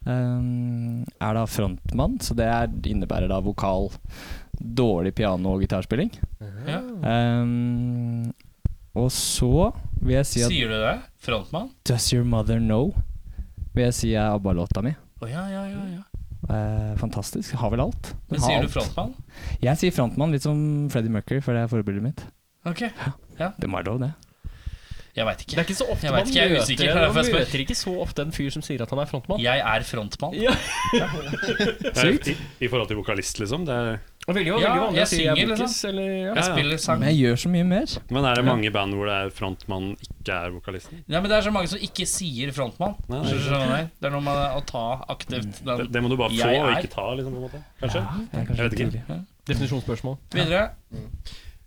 [SPEAKER 7] Eh, er da frontmann, så det er, innebærer da vokal, dårlig piano og gitarspilling.
[SPEAKER 5] Ja.
[SPEAKER 7] Eh, og så vil jeg si at
[SPEAKER 5] Sier du det? Frontmann?
[SPEAKER 7] Does Your Mother Know vil jeg si er ABBA-låta mi.
[SPEAKER 5] Å ja, ja, ja, ja.
[SPEAKER 7] Eh, fantastisk. Har vel alt. Den
[SPEAKER 5] Men
[SPEAKER 7] har
[SPEAKER 5] sier du
[SPEAKER 7] alt.
[SPEAKER 5] frontmann?
[SPEAKER 7] Jeg sier frontmann, litt som Freddie Mercury, for det er forbildet mitt.
[SPEAKER 5] Ok.
[SPEAKER 7] Det må være lov, det.
[SPEAKER 5] Jeg veit ikke.
[SPEAKER 6] Det er ikke så ofte
[SPEAKER 5] Jeg
[SPEAKER 6] man
[SPEAKER 5] vet ikke, jeg er
[SPEAKER 6] møter
[SPEAKER 5] usikker,
[SPEAKER 6] Man
[SPEAKER 5] derfor jeg spør.
[SPEAKER 6] møter ikke så ofte en fyr som sier at han er frontmann.
[SPEAKER 5] Jeg er frontmann.
[SPEAKER 6] Ja.
[SPEAKER 8] Eh, I, I forhold til vokalist, liksom. Det er,
[SPEAKER 6] Og veldig, veldig
[SPEAKER 5] Ja,
[SPEAKER 6] vanlig
[SPEAKER 5] jeg
[SPEAKER 6] å si jeg
[SPEAKER 5] synger,
[SPEAKER 6] er
[SPEAKER 5] liksom.
[SPEAKER 6] bokis, eller ja.
[SPEAKER 5] Jeg spiller sang.
[SPEAKER 7] Men jeg gjør så mye mer.
[SPEAKER 8] men er det mange band hvor det er frontmannen ikke er vokalisten?
[SPEAKER 5] Nei, men Det er så mange som ikke sier frontmann.
[SPEAKER 8] Nei, nei.
[SPEAKER 5] Skjønner du hva jeg mener? Det er noe med å ta aktivt
[SPEAKER 8] Det,
[SPEAKER 5] den.
[SPEAKER 8] det må du bare få
[SPEAKER 5] Jeg
[SPEAKER 8] og
[SPEAKER 5] er-
[SPEAKER 8] ikke ta, liksom, på en måte. Kanskje?
[SPEAKER 7] Det er kanskje
[SPEAKER 8] Jeg vet ikke.
[SPEAKER 7] tidlig.
[SPEAKER 6] Definisjonsspørsmål.
[SPEAKER 5] Videre.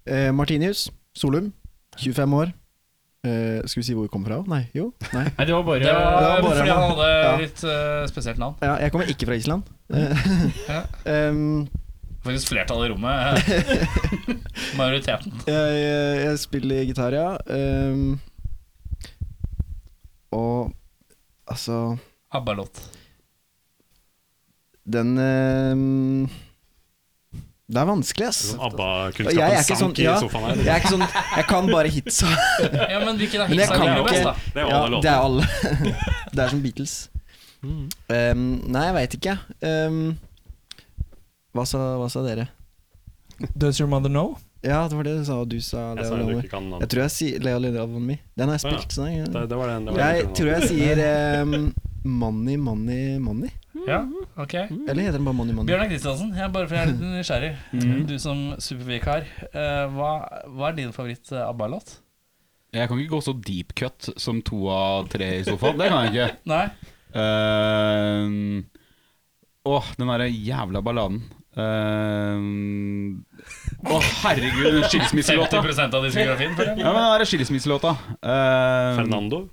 [SPEAKER 9] Eh, Martinius Solum, 25 år. Eh, skal vi si hvor vi kommer fra? Nei, jo. Nei.
[SPEAKER 6] Nei, det var bare
[SPEAKER 5] Det var
[SPEAKER 9] Det var bare-
[SPEAKER 5] fordi han hadde
[SPEAKER 9] Ja.
[SPEAKER 5] litt eh, spesielt navn.
[SPEAKER 9] Ja, jeg kommer ikke fra Island. Eh,
[SPEAKER 5] Ja.
[SPEAKER 9] Em,
[SPEAKER 5] Faktisk flertallet i rommet. eh, Majoriteten.
[SPEAKER 9] jeg, jeg spiller gitar, ja. Em, og altså
[SPEAKER 5] ABBA-låt.
[SPEAKER 9] Den em, Det er vanskelig, ass.
[SPEAKER 8] Sånn
[SPEAKER 9] Jeg er
[SPEAKER 8] ABBA-kunnskapen
[SPEAKER 9] ikke
[SPEAKER 8] sank
[SPEAKER 9] sånn-
[SPEAKER 8] i
[SPEAKER 9] ja.
[SPEAKER 8] sofaen her.
[SPEAKER 9] Jeg er ikke sånn Jeg kan bare hits.
[SPEAKER 5] Ja, men hvilken er
[SPEAKER 9] Men jeg
[SPEAKER 5] hitsa
[SPEAKER 9] kan
[SPEAKER 5] du
[SPEAKER 9] ikke-
[SPEAKER 5] best, da?
[SPEAKER 8] Det er jo
[SPEAKER 9] Ja,
[SPEAKER 8] alle
[SPEAKER 9] det
[SPEAKER 8] låtene.
[SPEAKER 9] er alle. det er som Beatles. Um, nei, jeg veit ikke. Um, hva, sa, hva sa dere?
[SPEAKER 7] Does your mother know?
[SPEAKER 9] Ja, det var det du sa, og du sa
[SPEAKER 8] Jeg
[SPEAKER 9] Lea
[SPEAKER 8] sa jo du
[SPEAKER 9] Lea.
[SPEAKER 8] ikke kan
[SPEAKER 9] Jeg
[SPEAKER 8] navnet.
[SPEAKER 9] tror jeg sier Lea Lea Love On Me. Den har
[SPEAKER 8] Å,
[SPEAKER 9] jeg
[SPEAKER 8] ja.
[SPEAKER 9] spilt. så jeg-
[SPEAKER 8] Det, det var den. Det var
[SPEAKER 9] Jeg
[SPEAKER 8] den.
[SPEAKER 9] tror jeg sier um, Money, Money, Money.
[SPEAKER 5] Ja, ok
[SPEAKER 9] Eller heter den bare Money, Money?
[SPEAKER 5] Bjørnar Kristiansen, jeg er bare fordi jeg er litt nysgjerrig.
[SPEAKER 6] Mm.
[SPEAKER 5] Du som supervikar, eh, hva, hva er din eh, favoritt-ABBA-låt?
[SPEAKER 1] Jeg kan ikke gå så deep cut som to av tre i sofaen. Det kan jeg ikke.
[SPEAKER 5] Nei?
[SPEAKER 1] Ehm, Åh, den derre jævla balladen. Ehm, Åh, herregud, den skilsmisselåta.
[SPEAKER 5] 50 av diskografien? føler jeg.
[SPEAKER 1] Ja, men den derre skilsmisselåta. Ehm,
[SPEAKER 8] Fernando.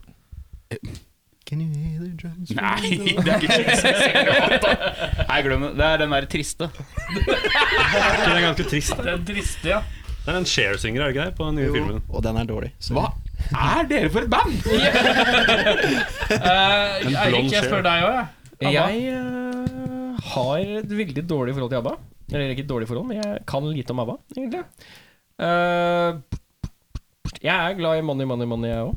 [SPEAKER 9] Can you hear the drums?
[SPEAKER 1] Nei, det er ikke skilsmisselåta. Nei, glem det. Det er den derre triste.
[SPEAKER 8] Den er ganske trist.
[SPEAKER 5] Det er dristig, ja.
[SPEAKER 8] Det er en Cher-synger, er det ikke det? På den nye filmen.
[SPEAKER 9] Og den er dårlig. Så.
[SPEAKER 1] Hva er dere for et band?!
[SPEAKER 5] Eh,
[SPEAKER 8] En blond
[SPEAKER 5] Eirik, jeg spør
[SPEAKER 8] sjel.
[SPEAKER 5] deg òg, jeg.
[SPEAKER 6] Jeg eh, har et veldig dårlig forhold til ABBA. Eller ikke et dårlig forhold, men jeg kan lite om ABBA, egentlig. Eh, jeg er glad i Money, Money, Money, jeg òg.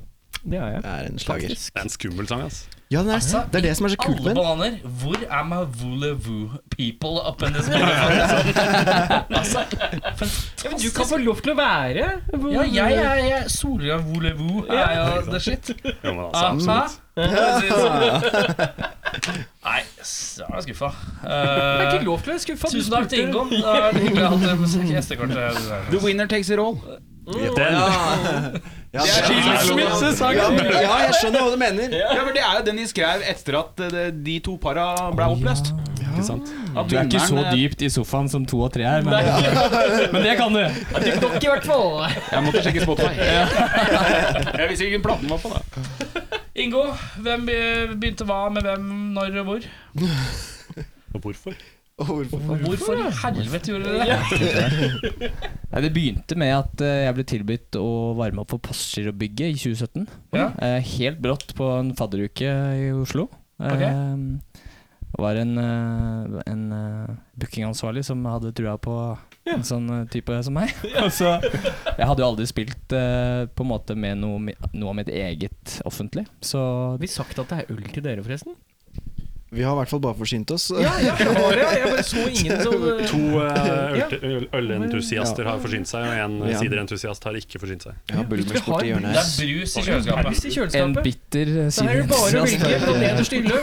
[SPEAKER 6] Det er jeg.
[SPEAKER 9] Det er en slager.
[SPEAKER 8] Det er en skummel sang, ass.
[SPEAKER 9] Ja, den er, det er det som er så kult
[SPEAKER 5] Altså, Alle
[SPEAKER 9] med den.
[SPEAKER 5] bananer. Hvor er my voulez-vous people up in this motherfucker? altså,
[SPEAKER 6] Ja, men du kan få lov til å være
[SPEAKER 5] ja, jeg er jeg, Solveig voulez-vous. Er jo the shit.
[SPEAKER 8] Jo, men altså,
[SPEAKER 5] Ah,
[SPEAKER 8] absolutt.
[SPEAKER 5] hæ? Nei, s- jeg er skuffa.
[SPEAKER 6] Det er
[SPEAKER 5] Eh,
[SPEAKER 6] ikke lov til å eh. være skuffa.
[SPEAKER 5] Tusen takk til Ingon. Det var hyggelig at dere besøkte gjestekortet.
[SPEAKER 1] The winner takes it all.
[SPEAKER 8] Den.
[SPEAKER 9] Ja, ja, men- ja, jeg skjønner hva du mener.
[SPEAKER 1] Ja, men Det er jo den de skrev etter at eh, de to para ble oppløst.
[SPEAKER 8] Ikke sant?
[SPEAKER 1] At
[SPEAKER 7] Du er ikke så
[SPEAKER 1] vinneren, eh,
[SPEAKER 7] dypt i sofaen som to og tre er, men, men det kan du.
[SPEAKER 6] Dukk dokk, i hvert fall.
[SPEAKER 1] Jeg måtte sjekke Spotify. Jeg visste ikke hvilken plate den var på. da
[SPEAKER 5] Ingo, hvem be- begynte hva med hvem, når og hvor?
[SPEAKER 8] Og hvorfor?
[SPEAKER 9] Og hvorfor?
[SPEAKER 5] Og hvorfor i helvete gjorde dere det?
[SPEAKER 7] Nei, det begynte med at eh, jeg ble tilbudt å varme opp for Passerbygget i 2017.
[SPEAKER 5] Ja.
[SPEAKER 7] Eh, helt brått på en fadderuke i Oslo.
[SPEAKER 5] Ok.
[SPEAKER 7] Eh, det var en, eh, en eh, bookingansvarlig som hadde trua på en sånn eh, type som meg. Og så, jeg hadde jo aldri spilt eh, på en måte med noe, mi- noe av mitt eget offentlig, så
[SPEAKER 6] Har vi sagt at det er øl til dere, forresten?
[SPEAKER 9] Vi har i hvert fall bare forsynt oss.
[SPEAKER 6] Ja, ja, det var det. Jeg bare så ingen som eh,
[SPEAKER 8] To eh, øl- øl- ølentusiaster har forsynt seg, og en eh,
[SPEAKER 9] Ja.
[SPEAKER 8] siderentusiast har ikke forsynt seg.
[SPEAKER 9] Ja, Bulmers
[SPEAKER 6] har
[SPEAKER 9] borti hjørnet
[SPEAKER 5] Det
[SPEAKER 9] her.
[SPEAKER 5] er brus i
[SPEAKER 6] Brus i
[SPEAKER 5] kjøleskapet.
[SPEAKER 7] en
[SPEAKER 6] kjøleskapet.
[SPEAKER 7] bitter altså.
[SPEAKER 6] Så her er det bare å
[SPEAKER 7] sydentusiast.
[SPEAKER 6] velge fra nederst i hylle.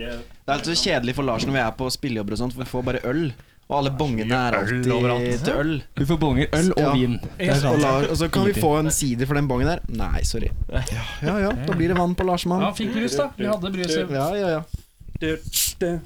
[SPEAKER 9] Det er alltid så kjedelig for Lars når vi er på spillejobber og sånt, for vi får bare øl. Og alle bongene er
[SPEAKER 8] øl
[SPEAKER 9] alltid
[SPEAKER 8] overalt.
[SPEAKER 9] til øl.
[SPEAKER 7] Du får bonger, øl og
[SPEAKER 9] Ja.
[SPEAKER 7] vin. Det er
[SPEAKER 9] Og,
[SPEAKER 7] sant.
[SPEAKER 9] Lars, og så kan vi få en sider for den bongen der. Nei, sorry. Ja, ja, ja, da blir det vann på Lars,
[SPEAKER 5] Ja,
[SPEAKER 9] mann.
[SPEAKER 5] fikk brus, da. Vi hadde brus i
[SPEAKER 9] Ja, ja, ja.
[SPEAKER 5] der,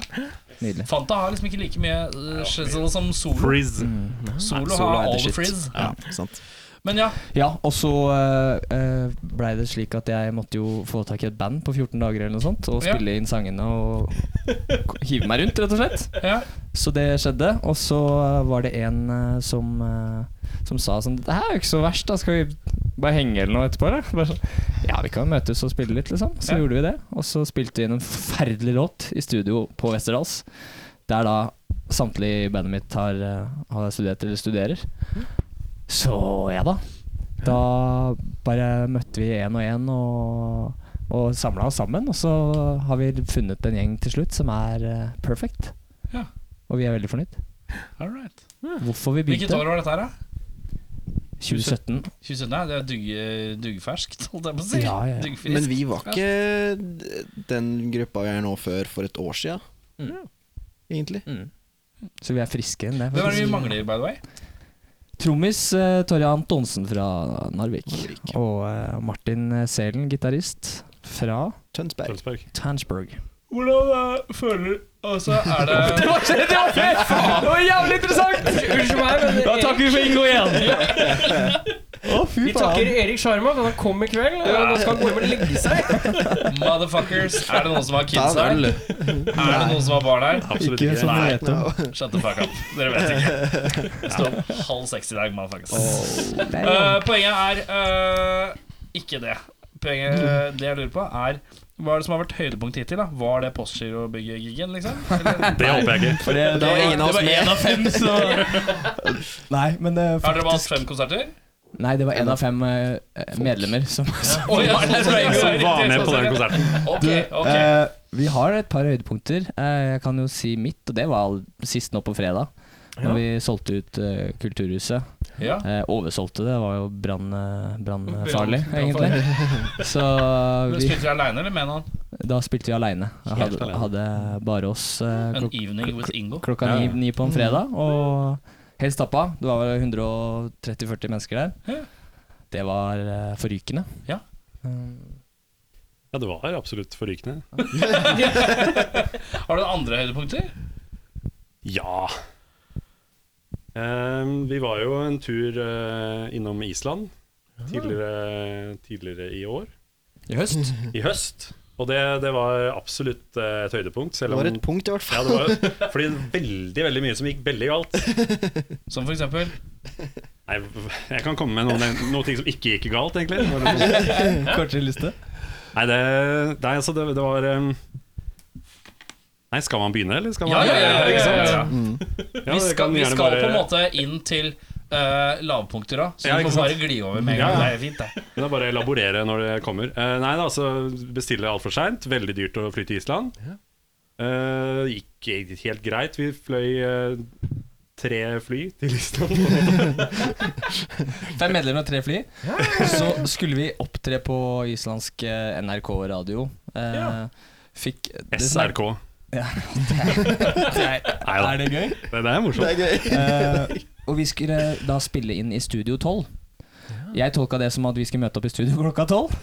[SPEAKER 5] ja.
[SPEAKER 7] Nydelig.
[SPEAKER 5] Fanta har liksom ikke like mye eh, shizzle som Solo.
[SPEAKER 8] Frizz.
[SPEAKER 9] Mm.
[SPEAKER 5] Solo
[SPEAKER 9] Solo
[SPEAKER 5] har
[SPEAKER 9] er the
[SPEAKER 5] all the
[SPEAKER 9] shit.
[SPEAKER 5] frizz.
[SPEAKER 9] Ja, sant.
[SPEAKER 5] Men ja,
[SPEAKER 7] Ja, og så uh, blei det slik at jeg måtte jo få tak i et band på 14 dager eller noe sånt, og
[SPEAKER 5] Ja.
[SPEAKER 7] spille inn sangene og k- hive meg rundt, rett og slett.
[SPEAKER 5] ja.
[SPEAKER 7] Så det skjedde. Og så var det en eh, som, eh, som sa sånn Det her er jo ikke så verst, da. Skal vi bare henge eller noe etterpå, eller? Bare sånn, ja, vi kan møtes og spille litt, liksom. Så
[SPEAKER 5] Ja.
[SPEAKER 7] gjorde vi det. Og så spilte vi inn en forferdelig låt i studio på Westerdals, der da samtlige i bandet mitt har, eh, har studert eller studerer. Så ja da. Da bare møtte vi én og én og, og samla oss sammen. Og så har vi funnet en gjeng til slutt som er eh, perfect.
[SPEAKER 5] Ja.
[SPEAKER 7] Og vi er veldig fornøyd.
[SPEAKER 5] All right.
[SPEAKER 7] Hvorfor vi
[SPEAKER 5] Hvilket
[SPEAKER 7] begynte?
[SPEAKER 5] år var dette her, da?
[SPEAKER 7] 2017.
[SPEAKER 5] 2017? Ja, det er dugge- duggferskt, holdt jeg på å si.
[SPEAKER 7] Ja, ja, ja.
[SPEAKER 5] Duggfriskt.
[SPEAKER 9] Men vi var ikke d- den gruppa vi er nå, før for et år sia. Egentlig.
[SPEAKER 7] Så vi er friske enn det.
[SPEAKER 5] Hvem er det vi
[SPEAKER 7] faktisk.
[SPEAKER 5] mangler, by the way?
[SPEAKER 7] Trommis uh, Torje Antonsen fra Narvik. Og eh, Martin eh, Selen, gitarist fra
[SPEAKER 9] Tønsberg.
[SPEAKER 8] Tønsberg.
[SPEAKER 7] Tansburg.
[SPEAKER 5] Hvordan eh, føler Altså, er det
[SPEAKER 6] Det var så- det var fair. Det var jævlig interessant! Unnskyld meg, men
[SPEAKER 7] Da takker vi for Ingo igjen! Å,
[SPEAKER 9] fy
[SPEAKER 6] Vi takker Erik Sjarma, for han kom i kveld. Og nå skal han gå hjem og legge seg.
[SPEAKER 5] Motherfuckers, er det noen som har kids her?
[SPEAKER 9] Faen,
[SPEAKER 5] Er det noen som har barn her?
[SPEAKER 8] Absolutt
[SPEAKER 7] Ikke som
[SPEAKER 8] Nei.
[SPEAKER 7] vi vet om.
[SPEAKER 5] Shut the fuck up. Dere vet ikke. Jeg står opp halv seks i dag, motherfuckers. Eh, poenget er eh, ikke det. Poenget, det jeg lurer på, er hva er det som har vært høydepunkt hittil? da? Var det Postgirobygget-giggen, liksom? Eller?
[SPEAKER 8] Det håper jeg ikke.
[SPEAKER 7] For det,
[SPEAKER 9] Da var ingen av
[SPEAKER 5] Det
[SPEAKER 9] oss
[SPEAKER 5] var
[SPEAKER 9] med.
[SPEAKER 5] en av fem, så Har
[SPEAKER 7] nei, men det,
[SPEAKER 5] dere bare hatt fem konserter?
[SPEAKER 7] nei, det var én av fem eh, medlemmer som
[SPEAKER 5] Oi, ja, det er poenget, det er
[SPEAKER 8] Som
[SPEAKER 5] riktig,
[SPEAKER 8] var med på den
[SPEAKER 5] sånn sett.
[SPEAKER 8] konserten.
[SPEAKER 5] Ok, ok.
[SPEAKER 7] Eh, vi har et par høydepunkter. Eh, jeg kan jo si mitt, og det var sist nå på fredag. Når vi solgte ut eh, Kulturhuset.
[SPEAKER 5] Ja.
[SPEAKER 7] Eh, oversolgte det, var jo brann- eh, brannfarlig, egentlig. Så
[SPEAKER 5] Men
[SPEAKER 7] vi,
[SPEAKER 5] Spilte dere aleine, eller med noen?
[SPEAKER 7] da spilte vi aleine. Hadde, hadde bare oss eh,
[SPEAKER 5] An
[SPEAKER 7] klok
[SPEAKER 5] evening with Ingo?
[SPEAKER 7] klokka ni, ni på
[SPEAKER 5] Mm.
[SPEAKER 7] en fredag. Og helt stappa. Det var vel 130-40 mennesker
[SPEAKER 5] Ja.
[SPEAKER 7] der. Det var eh, forrykende.
[SPEAKER 5] Ja.
[SPEAKER 7] Eh,
[SPEAKER 8] Ja, det var absolutt forrykende.
[SPEAKER 5] Har dere andre høydepunkter?
[SPEAKER 8] Ja. Ehm, vi var jo en tur eh, innom Island tidligere, tidligere i år.
[SPEAKER 7] I høst.
[SPEAKER 8] I høst. Og det, det var absolutt eh, et høydepunkt.
[SPEAKER 9] Det
[SPEAKER 8] Selv om
[SPEAKER 9] var et punkt, i hvert
[SPEAKER 8] ja,
[SPEAKER 9] fall.
[SPEAKER 8] det var jo fordi det var veldig veldig mye som gikk veldig galt.
[SPEAKER 5] Som for eksempel?
[SPEAKER 8] Nei, jeg kan komme med noen, noen ting som ikke gikk galt, egentlig. Bare-
[SPEAKER 7] Kortere liste.
[SPEAKER 8] Nei, det, nei altså, det, det var ehm, Nei, skal man begynne, eller? Skal man,
[SPEAKER 5] Ja, ja, ja, ja,
[SPEAKER 8] Ikke sant?
[SPEAKER 5] ja, ja.
[SPEAKER 8] Ja,
[SPEAKER 5] Vi
[SPEAKER 8] det
[SPEAKER 5] skal,
[SPEAKER 8] kan
[SPEAKER 5] vi
[SPEAKER 8] gjerne
[SPEAKER 5] skal på en måte inn til eh, lavpunkter, da. Så
[SPEAKER 8] Ja,
[SPEAKER 5] vi
[SPEAKER 8] ikke
[SPEAKER 5] får
[SPEAKER 8] sant?
[SPEAKER 5] bare gli over med en
[SPEAKER 8] Ja,
[SPEAKER 5] gang.
[SPEAKER 8] ja.
[SPEAKER 5] Det er fint, det.
[SPEAKER 8] Men det er bare å elaborere når det kommer. Eh, nei da, altså bestille altfor seint. Veldig dyrt å fly til Island. Eh, gikk egentlig helt greit. Vi fløy eh, tre fly til Island.
[SPEAKER 7] Fem medlemmer og tre fly. Så skulle vi opptre på islandsk eh, NRK radio. Eh, Fikk det som er-
[SPEAKER 8] SRK.
[SPEAKER 7] det er-
[SPEAKER 8] Nei da.
[SPEAKER 7] Er det gøy?
[SPEAKER 8] Det, det er morsomt.
[SPEAKER 9] Det er gøy.
[SPEAKER 7] Eh, og vi skulle da spille inn i Studio 12. Jeg tolka det som at vi skulle møte opp i studio klokka tolv.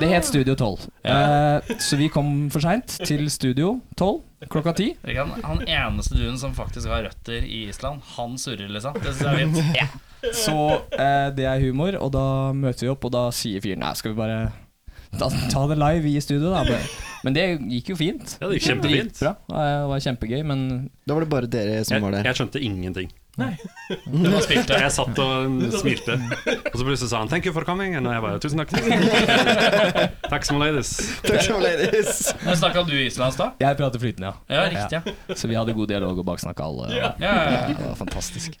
[SPEAKER 7] Det het Studio 12. Eh, så vi kom for seint til Studio 12 klokka ti.
[SPEAKER 5] Ikke sant? Han eneste duen som faktisk har røtter i Island, han surrer, liksom. Det synes jeg er fint.
[SPEAKER 7] Så eh, det er humor, og da møter vi opp, og da sier fyren Nei, skal vi bare ta, ta det live i studio, da. Men- Men det gikk jo fint.
[SPEAKER 8] Ja, det gikk kjempefint.
[SPEAKER 7] Dritbra. Eh, Det var kjempegøy, men
[SPEAKER 9] Da var det bare dere som var
[SPEAKER 8] Jeg,
[SPEAKER 9] der.
[SPEAKER 8] jeg skjønte ingenting.
[SPEAKER 5] Du bare spilte.
[SPEAKER 8] Jeg satt og mm, smilte, og så plutselig sa han 'thank you for coming'. Og jeg bare 'tusen takk'. Takk som ladies.
[SPEAKER 9] Takk skal du ha, ladies.
[SPEAKER 5] Men Snakka du islandsk da?
[SPEAKER 7] jeg prater flytende, ja.
[SPEAKER 5] Ja, riktig. Ja.
[SPEAKER 7] Så vi hadde god dialog og baksnakka alle. og-
[SPEAKER 5] Ja, ja, ja.
[SPEAKER 7] Det var fantastisk.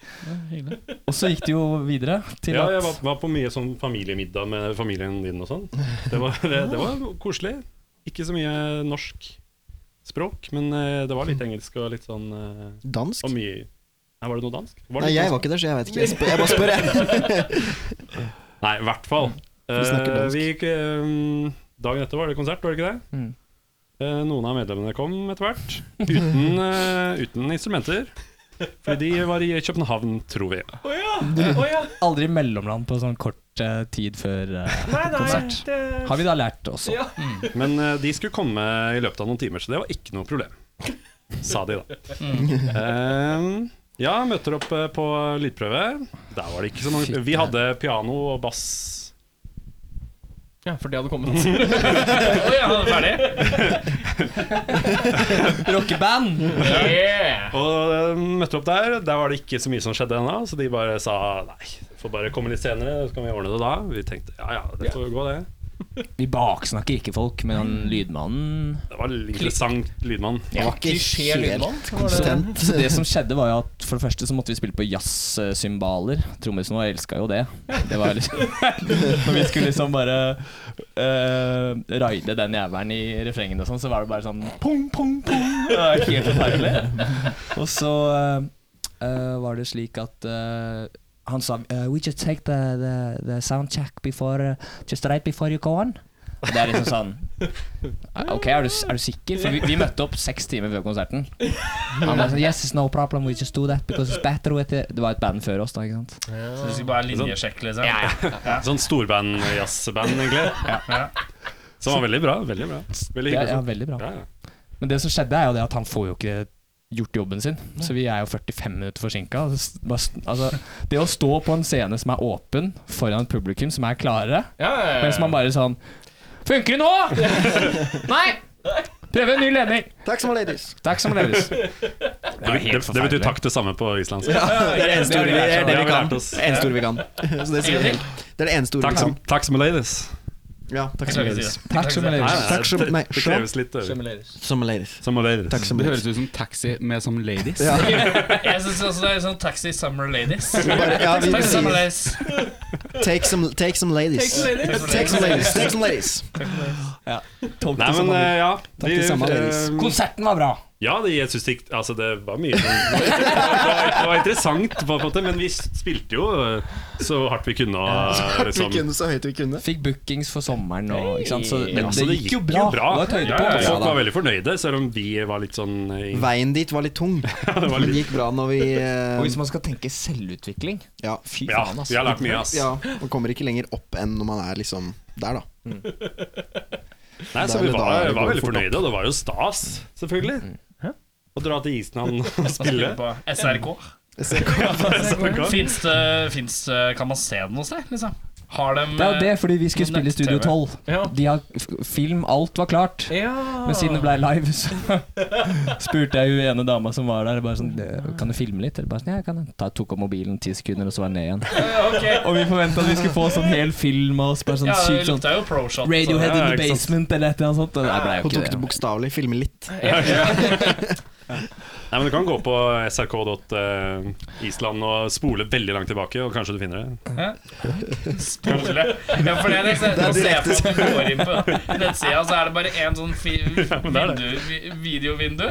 [SPEAKER 7] Og så gikk det jo videre til
[SPEAKER 8] Ja, jeg
[SPEAKER 7] at
[SPEAKER 8] var, var på mye sånn familiemiddag med familien din og sånn. Det var, det, det var koselig. Ikke så mye norsk språk, men eh, det var litt engelsk og litt sånn eh,
[SPEAKER 9] Dansk?
[SPEAKER 8] Og mye Nei, var det noe dansk? Var det
[SPEAKER 9] Nei,
[SPEAKER 8] litt
[SPEAKER 9] jeg var
[SPEAKER 8] dansk?
[SPEAKER 9] ikke der, så jeg vet ikke. Jeg, spør, jeg bare spør, jeg.
[SPEAKER 8] Nei, i hvert fall.
[SPEAKER 9] Mm. vi snakker
[SPEAKER 8] Eh,
[SPEAKER 9] dansk.
[SPEAKER 8] vi gikk eh, Dagen etter var det konsert, var det ikke det?
[SPEAKER 7] Mm.
[SPEAKER 8] Eh, noen av medlemmene kom etter hvert, uten, eh, uten instrumenter. Fordi de var i København, tror vi.
[SPEAKER 6] Å ja! Å ja!
[SPEAKER 7] aldri mellomland på sånn kort eh, tid før eh,
[SPEAKER 6] Nei, nei.
[SPEAKER 7] Konsert.
[SPEAKER 6] Det...
[SPEAKER 7] Har vi da lært også.
[SPEAKER 6] Ja.
[SPEAKER 8] Men eh, de skulle komme i løpet av noen timer, så det var ikke noe problem. Sa de, da. Eh, ja, møter opp eh, på lydprøve. Der var det ikke så mange Vi hadde piano og bass.
[SPEAKER 6] ja, for det hadde kommet.
[SPEAKER 5] Å ja, er du ferdig?
[SPEAKER 7] Rockeband!
[SPEAKER 5] Yeah.
[SPEAKER 8] Og eh, møtte opp der. Der var det ikke så mye som skjedde ennå, så de bare sa nei, får bare komme litt senere, så kan vi ordne det da. Vi tenkte ja ja, det får gå, det.
[SPEAKER 7] Vi baksnakker ikke folk, men han lydmannen
[SPEAKER 8] Det var litt interessant lydmann.
[SPEAKER 9] Jeg var ikke helt konsistent.
[SPEAKER 7] Så det som skjedde var jo at For det første så måtte vi spille på jazzsymbaler. Trommisen vår elska jo det. Det var liksom Når vi skulle liksom bare eh, raide den jævelen i refrengene og sånn, så var det bare sånn pung, pung, pung. Det var helt forferdelig. Og så eh, eh, var det slik at eh, han sa eh, We just take the, the, the sound check before eh, Just right before you go on. Og det er liksom sånn "Ah, Ok, er du, er du sikker? For vi, vi møtte opp seks timer før konserten. Han var sånn Yes, it's no problem, we just do that because it's better with it. Det var et band før oss, da, ikke sant?
[SPEAKER 5] Så du skulle bare linjesjekke, liksom?
[SPEAKER 8] Sånn storband, jazzband, egentlig.
[SPEAKER 5] Ja.
[SPEAKER 8] Som var veldig bra. Veldig bra. Veldig
[SPEAKER 7] Det er, ja,
[SPEAKER 8] hyggelig.
[SPEAKER 7] veldig bra.
[SPEAKER 8] Ja, ja.
[SPEAKER 7] Men det som skjedde, er jo det at han får jo ikke gjort jobben sin. Så vi er jo 45 minutter forsinka. Altså, det å stå på en scene som er åpen, foran et publikum som er klarere,
[SPEAKER 6] Ja, ja, ja.
[SPEAKER 7] mens man bare sånn Funker det nå?! Nei! Prøve en ny ledning.
[SPEAKER 9] Takk som var ladies.
[SPEAKER 7] Takk som ledes. Det
[SPEAKER 8] Det, det, det betyr takk det samme på islandsk.
[SPEAKER 9] Ja, det er det eneste ordet vi, det er det
[SPEAKER 8] Det har
[SPEAKER 9] vi
[SPEAKER 8] vi
[SPEAKER 9] kan.
[SPEAKER 8] lært oss.
[SPEAKER 9] Det eneste ordet vi kan. Så det sier vi helt. Det er det eneste ordet
[SPEAKER 8] Takk
[SPEAKER 9] vi
[SPEAKER 8] som,
[SPEAKER 9] kan.
[SPEAKER 8] takk som ladies.
[SPEAKER 9] Ja, takk som ladies.
[SPEAKER 7] Takk som
[SPEAKER 8] Nei,
[SPEAKER 7] ledes.
[SPEAKER 8] nei,
[SPEAKER 9] Takk som-
[SPEAKER 8] det-
[SPEAKER 9] nei,
[SPEAKER 8] Det kreves litt øving.
[SPEAKER 9] Som ladies.
[SPEAKER 8] Som ladies.
[SPEAKER 9] Takk som
[SPEAKER 1] Det
[SPEAKER 9] ladies.
[SPEAKER 1] høres ut som taxi med som ladies.
[SPEAKER 9] Ja,
[SPEAKER 5] Jeg syns også det er sånn Taxi Summer Ladies.
[SPEAKER 9] bare, ja, vi
[SPEAKER 5] Taxi Summer
[SPEAKER 9] sier
[SPEAKER 5] Ladies.
[SPEAKER 9] take some, take some ladies. Take some ladies. Take some ladies.
[SPEAKER 8] Nei, men eh, ja.
[SPEAKER 9] Takk til samme ladies.
[SPEAKER 8] eh,
[SPEAKER 7] Konserten var bra.
[SPEAKER 8] Ja, det, jeg synes det, gikk- altså, det var mye som det var, det var interessant, på en måte, men vi spilte jo eh, så hardt vi kunne. Og, liksom,
[SPEAKER 9] kunne så høyt vi kunne.
[SPEAKER 7] Fikk bookings for sommeren og ikke sant? Så,
[SPEAKER 8] Ja,
[SPEAKER 7] men
[SPEAKER 8] så
[SPEAKER 7] det gikk jo bra. Det var et
[SPEAKER 8] Ja,
[SPEAKER 7] høydepunkt.
[SPEAKER 8] ja, ja,
[SPEAKER 7] Ja,
[SPEAKER 8] folk
[SPEAKER 7] da.
[SPEAKER 8] var veldig fornøyde, selv om vi var litt sånn eh,
[SPEAKER 9] Veien dit var litt tung,
[SPEAKER 8] det var
[SPEAKER 9] men det
[SPEAKER 8] litt,
[SPEAKER 9] gikk bra når vi eh,
[SPEAKER 7] Og hvis man skal tenke selvutvikling
[SPEAKER 9] Ja,
[SPEAKER 7] Fy
[SPEAKER 8] Ja,
[SPEAKER 7] faen, ass.
[SPEAKER 8] vi har lært mye, ass.
[SPEAKER 9] ja, man kommer ikke lenger opp enn når man er liksom der, da.
[SPEAKER 8] Nei, så vi
[SPEAKER 9] Der eller da er
[SPEAKER 8] var, var veldig
[SPEAKER 9] det går fort Mm.
[SPEAKER 8] fornøyde, og det var jo stas, selvfølgelig. Å dra til Island og spille.
[SPEAKER 5] På SRK. Fins det, finnes det eh, Kan man se det noe sted, liksom? Har de
[SPEAKER 7] Det er jo det, fordi vi skulle
[SPEAKER 5] Nett-TV.
[SPEAKER 7] spille i Studio 12.
[SPEAKER 6] Ja.
[SPEAKER 7] De har f- film, alt var klart.
[SPEAKER 6] Ja.
[SPEAKER 7] Men siden det ble live, så spurte jeg hun ene dama som var der, bare sånn «Det- Kan du filme litt? Eller bare sånn, ja, jeg kan det». Ta, tok opp mobilen ti sekunder, og så var jeg ned igjen.
[SPEAKER 5] eh,
[SPEAKER 7] Og vi forventa at vi skulle få sånn hel film og så bare sånn
[SPEAKER 5] Ja, det
[SPEAKER 7] sykt sånn
[SPEAKER 5] lukta jo pro-shot.
[SPEAKER 7] Radiohead
[SPEAKER 8] Ja,
[SPEAKER 7] in the
[SPEAKER 8] ikke sant.
[SPEAKER 7] basement eller et eller annet sånt. Og det ble jo
[SPEAKER 9] Hun tok
[SPEAKER 7] ikke
[SPEAKER 9] det
[SPEAKER 7] det.
[SPEAKER 9] bokstavelig. Filme litt.
[SPEAKER 8] Nei, men Du kan gå på srk.island eh, og spole veldig langt tilbake, og kanskje du finner det.
[SPEAKER 5] Spole. Ja, for det er liksom det er direkte. Se på, du går inn på nettsida, så er det bare én sånn fi vindu, vi- videovindu.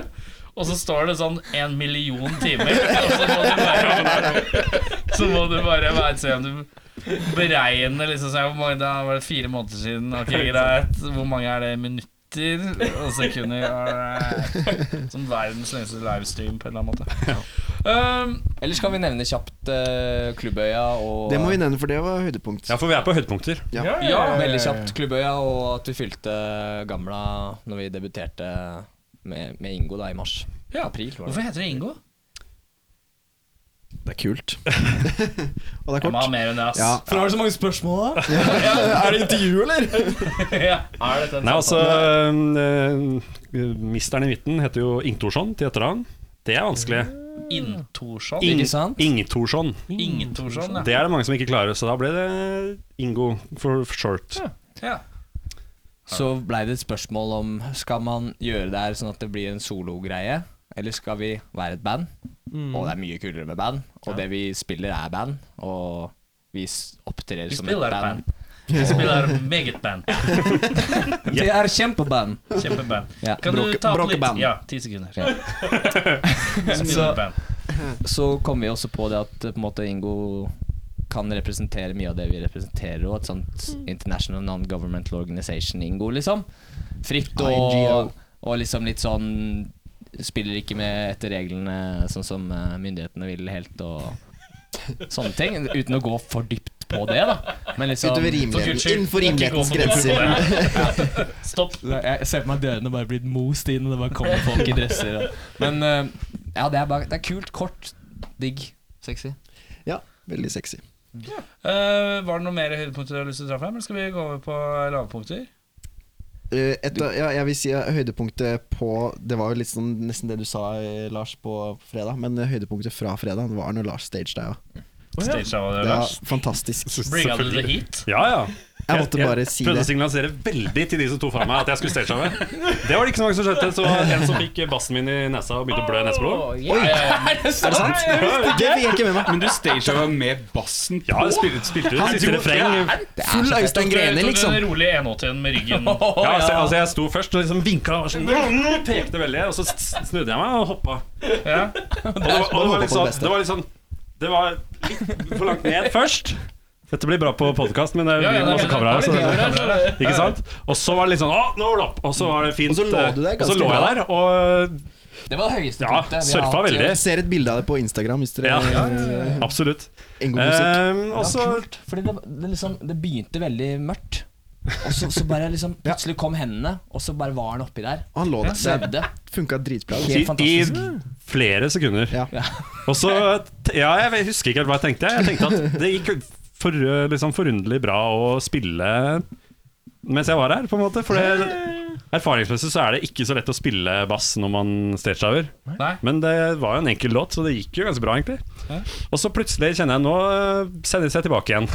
[SPEAKER 5] Og så står det sånn én million timer, og så må du bare Så må du bare være, se om du beregner liksom så er det hvor mange, Da var det fire måneder siden. Ok, greit. Hvor mange er det i minutter og sekunder? alright. Som Sånn verdens lengste livestream på en eller annen måte. Um,
[SPEAKER 7] Ellers kan vi nevne kjapt eh, Klubbøya og
[SPEAKER 9] Det må vi nevne, for det var høydepunkt.
[SPEAKER 8] Ja, for vi er på høydepunkter.
[SPEAKER 5] Eh,
[SPEAKER 7] Ja, veldig kjapt Klubbøya, og at vi fylte Gamla når vi debuterte med, med Ingo da i mars.
[SPEAKER 5] Ja.
[SPEAKER 7] April, var det.
[SPEAKER 5] Hvorfor heter det Ingo?
[SPEAKER 9] Det er kult. Og det er
[SPEAKER 5] Jeg må ha
[SPEAKER 9] kort.
[SPEAKER 5] mer enn det, ass.
[SPEAKER 9] Ja.
[SPEAKER 7] For har du så mange spørsmål, da?
[SPEAKER 9] Er det intervju, eller?
[SPEAKER 5] ja, er dette en
[SPEAKER 8] Nei,
[SPEAKER 5] samtale?
[SPEAKER 8] altså eh, Misteren i midten heter jo Ingtorsson til etternavn. Det er vanskelig.
[SPEAKER 5] Inntorsson?
[SPEAKER 8] Ing-
[SPEAKER 7] Mm. Ikke sant?
[SPEAKER 8] Ingtorsson.
[SPEAKER 5] Ingtorsson, ja.
[SPEAKER 8] Det er det mange som ikke klarer, så da ble det Ingo for short.
[SPEAKER 5] ja.
[SPEAKER 7] Så blei det et spørsmål om Skal man gjøre det her sånn at det blir en sologreie, eller skal vi være et band?
[SPEAKER 5] Mm.
[SPEAKER 7] Og det er mye kulere med band, og det vi spiller, er band. Og vi s- opptrer
[SPEAKER 5] Vi
[SPEAKER 7] som et
[SPEAKER 5] spiller band.
[SPEAKER 7] band.
[SPEAKER 5] Vi spiller meget band.
[SPEAKER 7] Det er kjempeband!
[SPEAKER 5] Kjempeband.
[SPEAKER 7] Ja.
[SPEAKER 5] Kan du
[SPEAKER 9] Bråke-
[SPEAKER 5] ta opp litt?
[SPEAKER 9] bråkeband.
[SPEAKER 5] Ja, ti sekunder.
[SPEAKER 7] Ja.
[SPEAKER 5] Spiller band.
[SPEAKER 7] Så kom vi også på det at eh, på en måte Ingo kan representere mye av det vi representerer, og et sånt International Non-Governmental Organization Ingo, liksom. Fritt og,
[SPEAKER 9] INGO.
[SPEAKER 7] og liksom litt sånn Spiller ikke med etter reglene sånn som eh, myndighetene vil helt, og sånne ting. Uten å gå for dypt på det, da. Men liksom
[SPEAKER 5] For
[SPEAKER 9] Utover
[SPEAKER 5] guds
[SPEAKER 9] rimeligheten.
[SPEAKER 5] skyld,
[SPEAKER 9] Innenfor
[SPEAKER 5] ikke gå
[SPEAKER 9] rimelighetens
[SPEAKER 5] for dypt på
[SPEAKER 9] grenser.
[SPEAKER 5] det. Ja. Stopp.
[SPEAKER 7] Jeg ser for meg dørene bare blitt most inn, og det bare kommer folk i dresser og Men eh, ja, det er, bare, det er kult, kort, digg, sexy.
[SPEAKER 9] Ja, veldig sexy.
[SPEAKER 5] Eh, var det noe mer høydepunkter du har lyst til å dra frem, eller skal vi gå over på lavpunkter?
[SPEAKER 9] Eh, Et, av- ja, jeg vil si at høydepunktet på Det var jo litt sånn nesten det du sa, eh, Lars, på fredag. Men eh, høydepunktet fra fredag var når Lars staged deg. Ja.
[SPEAKER 5] Stage av det,
[SPEAKER 9] Det var
[SPEAKER 5] Lars.
[SPEAKER 9] fantastisk.
[SPEAKER 5] Bring out the heat.
[SPEAKER 8] Ja, ja.
[SPEAKER 9] Jeg måtte bare si
[SPEAKER 8] prøvde
[SPEAKER 9] det.
[SPEAKER 8] å signalisere veldig til de som tok fra meg at jeg skulle stagehave. Det var det ikke så mange som skjønte, så en som fikk bassen min i nesa og begynte å blø neseblod.
[SPEAKER 9] Er det sant? Det fikk jeg ikke med meg.
[SPEAKER 1] Men du stagehava med bassen på?
[SPEAKER 8] Ja, jeg spilte, spilte jo
[SPEAKER 9] Han
[SPEAKER 8] siste
[SPEAKER 9] dro-
[SPEAKER 8] refreng.
[SPEAKER 9] Full Øystein Grene,
[SPEAKER 5] Tok
[SPEAKER 9] liksom.
[SPEAKER 5] en rolig 180 med ryggen.
[SPEAKER 8] Ja, altså, altså, jeg sto først og liksom vinka og var sånn, "Nå!" pekte veldig, og så s- snudde jeg meg og hoppa.
[SPEAKER 5] Ja.
[SPEAKER 8] Og det var, og det var
[SPEAKER 9] håpe på det
[SPEAKER 8] liksom
[SPEAKER 9] beste.
[SPEAKER 8] Det var liksom Det var litt for langt ned først. Dette blir bra på podkast, men det
[SPEAKER 5] Ja,
[SPEAKER 8] blir
[SPEAKER 5] ja,
[SPEAKER 8] masse
[SPEAKER 5] det-
[SPEAKER 8] kameraer.
[SPEAKER 5] det-
[SPEAKER 8] Så,
[SPEAKER 5] det- det- det- det-
[SPEAKER 8] ikke sant? Og så var det litt sånn Å, nå var det opp! Og så var det fint. eh,
[SPEAKER 9] Og så lå du der
[SPEAKER 8] og så
[SPEAKER 9] ganske
[SPEAKER 8] lå jeg
[SPEAKER 9] bra.
[SPEAKER 8] der og
[SPEAKER 7] Det var det høyeste
[SPEAKER 8] ja,
[SPEAKER 7] punktet vi har
[SPEAKER 8] surfa
[SPEAKER 7] hatt.
[SPEAKER 8] veldig.
[SPEAKER 9] Jeg ser et bilde av det på Instagram hvis dere
[SPEAKER 8] Ja,
[SPEAKER 9] ja. Eh,
[SPEAKER 8] absolutt.
[SPEAKER 9] Ingo Musikk.
[SPEAKER 8] Um, og så
[SPEAKER 7] Fordi det, det, liksom, det begynte veldig mørkt. Og så, så bare liksom plutselig kom hendene, og så bare var han oppi der.
[SPEAKER 9] Og han lå der.
[SPEAKER 7] Svevde.
[SPEAKER 9] Det funka dritbra.
[SPEAKER 7] Helt
[SPEAKER 8] i, i
[SPEAKER 7] fantastisk.
[SPEAKER 8] flere sekunder.
[SPEAKER 9] Ja.
[SPEAKER 8] Og så Ja, jeg husker ikke helt hva jeg tenkte. Jeg tenkte at det gikk for, liksom forunderlig bra å spille mens jeg var her, på en måte. For det, erfaringsmessig så er det ikke så lett å spille bass når man stagediver.
[SPEAKER 5] Nei.
[SPEAKER 8] Men det var jo en enkel låt, så det gikk jo ganske bra, egentlig. Og så plutselig kjenner jeg nå eh, sendes jeg tilbake igjen.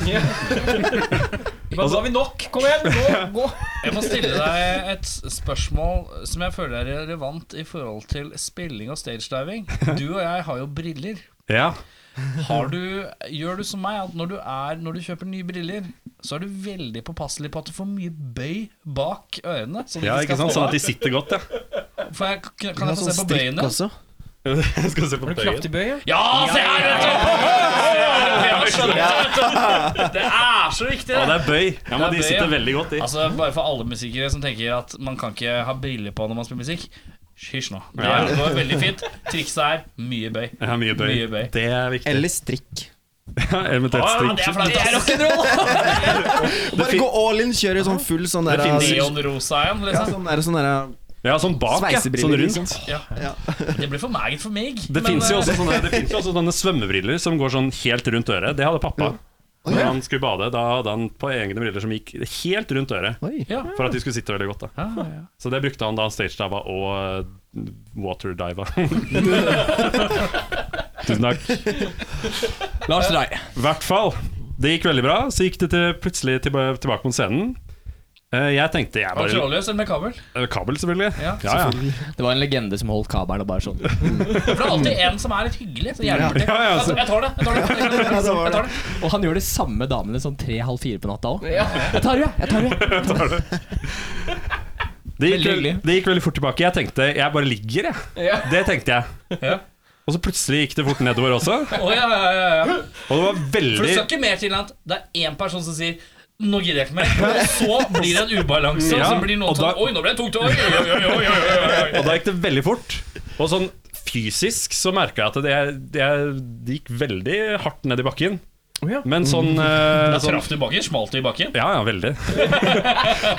[SPEAKER 6] Nå har vi nok! Kom igjen! Gå! gå.
[SPEAKER 5] Jeg må stille deg et spørsmål som jeg føler er relevant i forhold til spilling og stagediving. Du og jeg har jo briller.
[SPEAKER 8] Ja,
[SPEAKER 5] Har du, gjør du som meg at når du, er, når du kjøper nye briller, så er du veldig påpasselig på at du får mye bøy bak ørene? Så de
[SPEAKER 8] ja
[SPEAKER 5] skal
[SPEAKER 8] ikke sant?
[SPEAKER 5] stå
[SPEAKER 8] Sånn at de sitter godt, ja.
[SPEAKER 5] av. Får jeg, kan- kan jeg få se på bøyene?
[SPEAKER 9] sånn også.
[SPEAKER 8] Jeg skal se på bøyen.
[SPEAKER 6] Kraftig bøy, ja.
[SPEAKER 5] Ja, se her! vet du! Det er så viktig!
[SPEAKER 8] Å, det er bøy. Ja, men
[SPEAKER 5] Det er
[SPEAKER 8] de
[SPEAKER 5] bøy,
[SPEAKER 8] sitter
[SPEAKER 5] ja.
[SPEAKER 8] veldig godt, de.
[SPEAKER 5] Altså, Bare for alle musikere som tenker at man kan ikke ha briller på når man spiller musikk. Hysj nå. Det
[SPEAKER 8] Ja.
[SPEAKER 5] går veldig fint. Trikset er mye bøy.
[SPEAKER 8] Ja, mye bøy.
[SPEAKER 5] Mye bøy.
[SPEAKER 8] Det er viktig.
[SPEAKER 9] Eller strikk.
[SPEAKER 8] Ja, eventuelt
[SPEAKER 5] Ah,
[SPEAKER 8] strikk.
[SPEAKER 5] det er flaut, ass!
[SPEAKER 9] Bare gå all in, kjør i sånn full sånn der
[SPEAKER 5] Neonrosa igjen,
[SPEAKER 9] ja,
[SPEAKER 5] liksom.
[SPEAKER 9] sånn der, sånn der
[SPEAKER 8] Ja, sånn bak, ja. Sånn
[SPEAKER 9] Sveisebriller,
[SPEAKER 8] rundt.
[SPEAKER 9] liksom.
[SPEAKER 5] Det blir for meget for meg.
[SPEAKER 8] Det
[SPEAKER 5] men,
[SPEAKER 8] fins
[SPEAKER 5] eh,
[SPEAKER 8] jo, også sånne- det finnes jo også sånne svømmebriller som går sånn helt rundt øret. Det hadde pappa. Når han skulle bade, da hadde han på egne briller som gikk helt rundt øret.
[SPEAKER 9] Oi.
[SPEAKER 5] Ja.
[SPEAKER 8] For at de skulle sitte veldig godt. da Så det brukte han da han stagediva og eh, waterdiva. Tusen takk.
[SPEAKER 7] Lars Rei.
[SPEAKER 8] I hvert fall. Det gikk veldig bra. Så gikk det til, plutselig tilba- tilbake mot scenen. Eh, Jeg tenkte jeg
[SPEAKER 5] Var det
[SPEAKER 8] bare
[SPEAKER 5] trådløs eller med kabel?
[SPEAKER 8] Eh, Kabel, selvfølgelig.
[SPEAKER 5] Ja.
[SPEAKER 8] ja.
[SPEAKER 7] Det var en legende som holdt kabelen og bare sånn.
[SPEAKER 5] For det er alltid en som er litt hyggelig. Så jævlig artig.
[SPEAKER 8] Ja, ja,
[SPEAKER 5] Altså,
[SPEAKER 8] altså.
[SPEAKER 5] Jeg tar det. Jeg tar det. Jeg tar det.
[SPEAKER 9] Ja, så var
[SPEAKER 5] Jeg tar
[SPEAKER 9] det.
[SPEAKER 5] det.
[SPEAKER 7] Og han gjør de samme damene sånn tre-halv fire på natta òg. Jeg tar det, jeg tar det.
[SPEAKER 8] Det gikk,
[SPEAKER 7] Veldig hyggelig.
[SPEAKER 8] det gikk veldig fort tilbake. Jeg tenkte jeg bare ligger, jeg. Det tenkte jeg.
[SPEAKER 5] Ja.
[SPEAKER 8] Og så plutselig gikk det fort nedover også.
[SPEAKER 5] Å, ja, ja, ja, ja.
[SPEAKER 8] Og det
[SPEAKER 5] For
[SPEAKER 8] var
[SPEAKER 5] det
[SPEAKER 8] veldig
[SPEAKER 5] skal ikke mer til enn at det er én person som sier nå gidder jeg ikke mer. Og så blir det en ubalanse. Og
[SPEAKER 8] Ja,
[SPEAKER 5] så blir noen
[SPEAKER 8] og da-
[SPEAKER 5] sånn Oi, nå ble det tungt! Oi, oi, oi, oi, oi, oi, oi.
[SPEAKER 8] Og da gikk det veldig fort. Og sånn fysisk så merka jeg at det, det, det gikk veldig hardt ned i bakken. Men sånn, eh,
[SPEAKER 5] Mm. Da
[SPEAKER 8] sånn
[SPEAKER 5] traff du bakken. Smalt i bakken.
[SPEAKER 8] Ja, ja, veldig.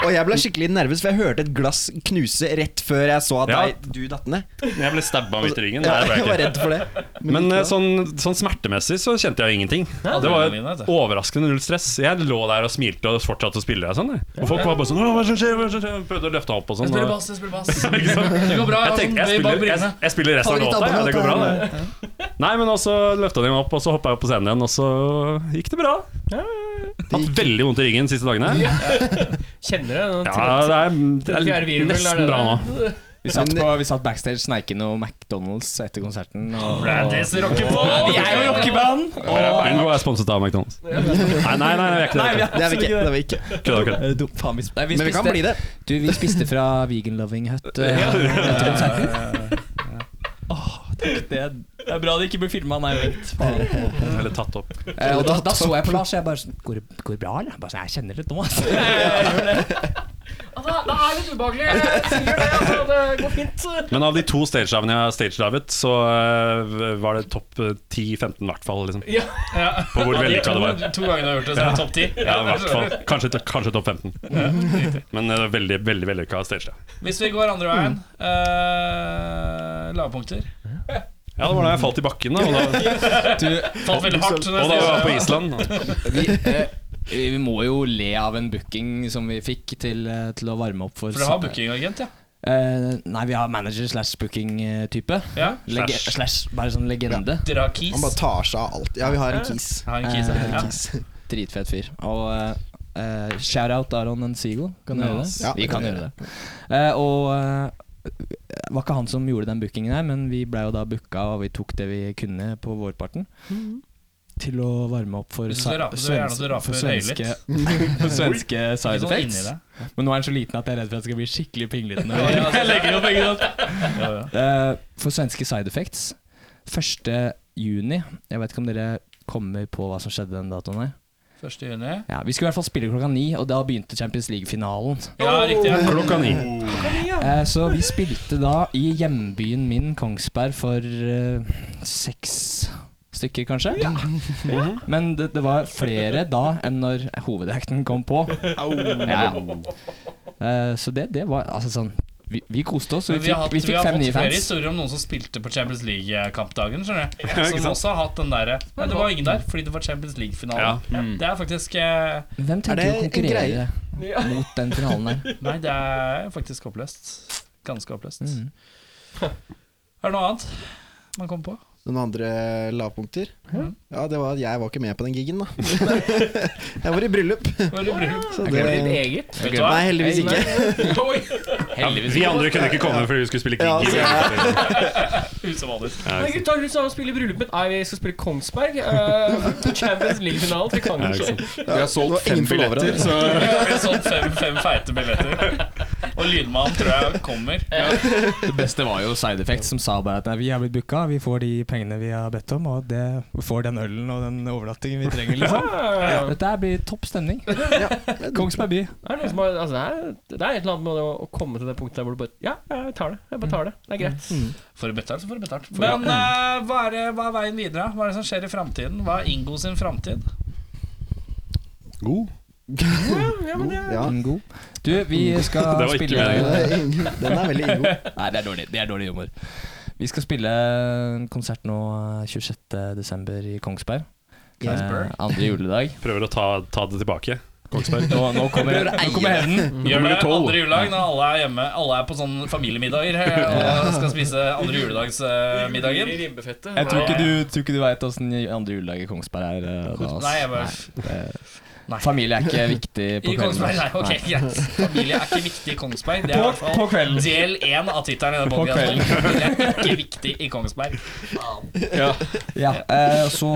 [SPEAKER 9] Og jeg ble skikkelig nervøs, for jeg hørte et glass knuse rett før jeg så at
[SPEAKER 8] Ja.
[SPEAKER 9] nei, du datt ned.
[SPEAKER 8] Jeg ble stabba midt i ryggen. Nei,
[SPEAKER 9] Ja,
[SPEAKER 8] det ble
[SPEAKER 9] jeg
[SPEAKER 8] jeg
[SPEAKER 9] var
[SPEAKER 8] ikke.
[SPEAKER 9] redd for det.
[SPEAKER 8] Men eh, sånn, sånn smertemessig så kjente jeg jo ingenting. Det var overraskende null stress. Jeg lå der og smilte og fortsatte å spille. og Sånn, jeg. og folk var bare sånn «Åh, Hva som skjer? Hva som skjer? Prøvde å løfte meg opp og
[SPEAKER 5] Jeg
[SPEAKER 8] sånn.
[SPEAKER 5] spiller
[SPEAKER 8] og-
[SPEAKER 5] bass, jeg spiller bass. Det går bra.
[SPEAKER 8] Jeg
[SPEAKER 5] Jeg,
[SPEAKER 8] tenkte, jeg spiller, jeg, jeg spiller resten av låta, ja, det går bra det. Nei, men også løfta de meg opp, og så hoppa jeg opp på scenen igjen, og så gikk det bra. Hatt veldig vondt i ryggen de siste dagene. Ja,
[SPEAKER 6] Kjenner det? den
[SPEAKER 8] det er, det
[SPEAKER 6] Fjerde
[SPEAKER 8] er
[SPEAKER 6] virvel, er
[SPEAKER 8] nesten
[SPEAKER 6] det
[SPEAKER 8] bra nå.
[SPEAKER 7] Vi satt, på, vi satt backstage sneikende og McDonald's etter konserten. Og
[SPEAKER 5] Brandies rockeball!
[SPEAKER 7] er jo rockeband!
[SPEAKER 8] Ingo er sponset av McDonald's. Nei, nei, nei, vi er ikke det. vi er ikke det.
[SPEAKER 9] Det er vi ikke. Det er vi ikke.
[SPEAKER 8] Kødda, kødda.
[SPEAKER 7] Eh, dum- Faen, vi, sp- nei, vi
[SPEAKER 9] Men vi kan bli det.
[SPEAKER 7] Du, vi spiste fra Vegan Loving Hut eh, etter konserten. Åh, takk, det, det er bra det ikke blir filma, nei, vent. Faen.
[SPEAKER 8] Eller tatt opp.
[SPEAKER 7] Eh, og da, da så jeg på Lars, og jeg bare sånn Går det går det bra, eller? Han Bare sånn, jeg kjenner det nå, altså.
[SPEAKER 6] Det, det er litt ubehagelig. Jeg sier det, altså. Det går fint.
[SPEAKER 8] Men av de to stagedivene jeg har stagedivet, så eh, var det topp eh, 10-15 i hvert fall. Liksom.
[SPEAKER 6] Ja.
[SPEAKER 8] På hvor
[SPEAKER 5] De
[SPEAKER 8] vellykka
[SPEAKER 5] to,
[SPEAKER 8] det var.
[SPEAKER 5] to ganger du har gjort det, så er det topp ti.
[SPEAKER 8] Ja, i hvert fall. Kanskje, kanskje topp 15. Men eh, veldig, veldig vellykka stagedive.
[SPEAKER 5] Hvis vi går andre veien eh, Lavpunkter.
[SPEAKER 8] Ja, det var da jeg falt i bakken, da. Og da
[SPEAKER 5] Falt veldig hardt.
[SPEAKER 8] Og da var jeg på Island.
[SPEAKER 7] vi, eh, vi vi må jo le av en booking som vi fikk til, eh, til å varme opp for
[SPEAKER 5] For dere har bookingagent, ja.
[SPEAKER 7] Eh, nei, vi har manager slash booking-type.
[SPEAKER 5] ja.
[SPEAKER 7] Lege slash bare sånn legende.
[SPEAKER 5] Dere har keys.
[SPEAKER 9] Han bare tar seg av alt. Ja, vi har en kis.
[SPEAKER 5] Jeg har en keys,
[SPEAKER 7] Eh,
[SPEAKER 5] ja.
[SPEAKER 7] Dritfett fyr. Og eh, eh, shout-out Aron Nsigo. Kan du gjøre det?
[SPEAKER 9] Ja,
[SPEAKER 7] vi kan gjøre det. Eh, og eh, var ikke han som gjorde den bookingen her, men vi blei jo da booka, og vi tok det vi kunne på vårparten. Til å varme opp for,
[SPEAKER 5] Mhm. Hvis du skal
[SPEAKER 7] sa-
[SPEAKER 5] rape, så er det gjerne at du
[SPEAKER 7] svensk-
[SPEAKER 5] raper
[SPEAKER 7] for svenske, for svenske side
[SPEAKER 5] Ikke sånn inni
[SPEAKER 7] effects.
[SPEAKER 5] deg.
[SPEAKER 7] Men nå er han så liten at jeg er redd for at jeg skal bli skikkelig pinglete. når jeg-
[SPEAKER 5] Jeg legger opp, ikke sant?
[SPEAKER 7] Eh, for svenske side effects 1. juni Jeg vet ikke om dere kommer på hva som skjedde den datoen her.
[SPEAKER 5] 1. juni.
[SPEAKER 7] Ja, vi skulle i hvert fall spille klokka ni, og da begynte Champions League-finalen.
[SPEAKER 5] Ja, riktig. Ja.
[SPEAKER 8] Klokka ni.
[SPEAKER 7] Eh, så vi spilte da i hjembyen min, Kongsberg, for eh, seks stykker, kanskje. Men det, det var flere da enn når hovedakten kom på. Ja, ja. Eh, så det, det var altså sånn Vi, vi koste oss, og vi
[SPEAKER 5] vi har,
[SPEAKER 7] fikk,
[SPEAKER 5] hatt,
[SPEAKER 7] vi
[SPEAKER 5] vi
[SPEAKER 7] fikk
[SPEAKER 5] har
[SPEAKER 7] fem
[SPEAKER 5] fått
[SPEAKER 7] nye
[SPEAKER 5] flere
[SPEAKER 7] fans.
[SPEAKER 5] historier om noen som spilte på Champions League-kampdagen. skjønner du?
[SPEAKER 8] ikke
[SPEAKER 5] Som
[SPEAKER 8] sant?
[SPEAKER 5] også har hatt den derre Nei, det var ingen der fordi det var Champions
[SPEAKER 8] Ja.
[SPEAKER 5] League-finalen. Det er faktisk eh,
[SPEAKER 7] Hvem tenker
[SPEAKER 9] det
[SPEAKER 7] å
[SPEAKER 9] en
[SPEAKER 7] konkurrere mot den finalen der?
[SPEAKER 5] Nei, det er faktisk oppløst. Ganske oppløst.
[SPEAKER 7] Mm.
[SPEAKER 5] Er det noe annet man kommer på?
[SPEAKER 9] Noen andre lavpunkter? Ja, det var at jeg var ikke med på den gigen, da. jeg var i bryllup.
[SPEAKER 5] Hva er det du-
[SPEAKER 9] Så
[SPEAKER 6] Det
[SPEAKER 9] det
[SPEAKER 6] er ditt eget.
[SPEAKER 5] Vet du hva?
[SPEAKER 9] Nei, heldigvis
[SPEAKER 6] Nei,
[SPEAKER 9] ikke.
[SPEAKER 8] Ja, vi andre kunne ikke komme fordi vi skulle spille gig.
[SPEAKER 9] Ja,
[SPEAKER 8] Ja,
[SPEAKER 5] Usedvanlig.
[SPEAKER 8] ja,
[SPEAKER 6] Nei, gutta, hun sa hun spiller i bryllupet. Nei, vi skal spille Kongsberg. Uh,
[SPEAKER 2] Eh,
[SPEAKER 6] Champions League-finalen. Det kan
[SPEAKER 8] ikke
[SPEAKER 6] ikke skje.
[SPEAKER 8] sant.
[SPEAKER 1] Vi har
[SPEAKER 9] det var
[SPEAKER 1] solgt fem
[SPEAKER 9] ingen forlovere,
[SPEAKER 1] billetter, så
[SPEAKER 5] Vi har solgt sånn fem, fem feite billetter. Og Lydmannen tror jeg kommer.
[SPEAKER 7] Det beste var jo Side Effect, som sa bare at vi er blitt booka, vi får de pengene vi har bedt om, og vi får den ølen og den overnattingen vi trenger, liksom. Dette her blir topp stemning. Kongsberg by.
[SPEAKER 6] Det er, noe som har, altså, det, er, det er et eller annet med det å, å komme til det punktet der hvor du bare Ja, jeg tar det. Jeg bare tar det. Det er greit.
[SPEAKER 5] Får du betalt, så får du betalt. Men eh, hva, er, det- hva er veien videre? Hva er det som skjer i framtiden? Hva er Ingo sin framtid?
[SPEAKER 8] God.
[SPEAKER 9] Ja.
[SPEAKER 7] God. Du, vi skal
[SPEAKER 8] Mm. Det var ikke
[SPEAKER 7] spille
[SPEAKER 8] meningen.
[SPEAKER 9] Den er veldig inngod.
[SPEAKER 7] Nei, det er dårlig. Det er dårlig humor. Vi skal spille en konsert nå eh, 26. desember i Kongsberg.
[SPEAKER 9] Kongsberg.
[SPEAKER 7] Eh, andre juledag.
[SPEAKER 8] Prøver å ta, ta det tilbake.
[SPEAKER 7] Nå, nå kommer, nå kommer hevnen.
[SPEAKER 5] Gjør det andre juledag når alle er hjemme. Alle er på sånn familiemiddager eh, og skal spise andre juledagsmiddagen.
[SPEAKER 6] Ribbefettet.
[SPEAKER 7] Jeg tror ikke du, tror ikke du veit åssen andre juledag i Kongsberg er. eh, Da, ass.
[SPEAKER 5] Nei, jeg bare
[SPEAKER 7] Nei. Familie er ikke viktig på
[SPEAKER 5] I Kongsberg, nei, ok,
[SPEAKER 7] Nei.
[SPEAKER 5] greit. Familie er ikke viktig i Kongsberg. Det er i
[SPEAKER 7] På-
[SPEAKER 5] hvert fall
[SPEAKER 7] på kvelden.
[SPEAKER 5] del én av tittelen i denne
[SPEAKER 7] På
[SPEAKER 5] podcasten.
[SPEAKER 7] kvelden.
[SPEAKER 5] Familie er ikke viktig i Kongsberg.
[SPEAKER 7] Ja, eh, så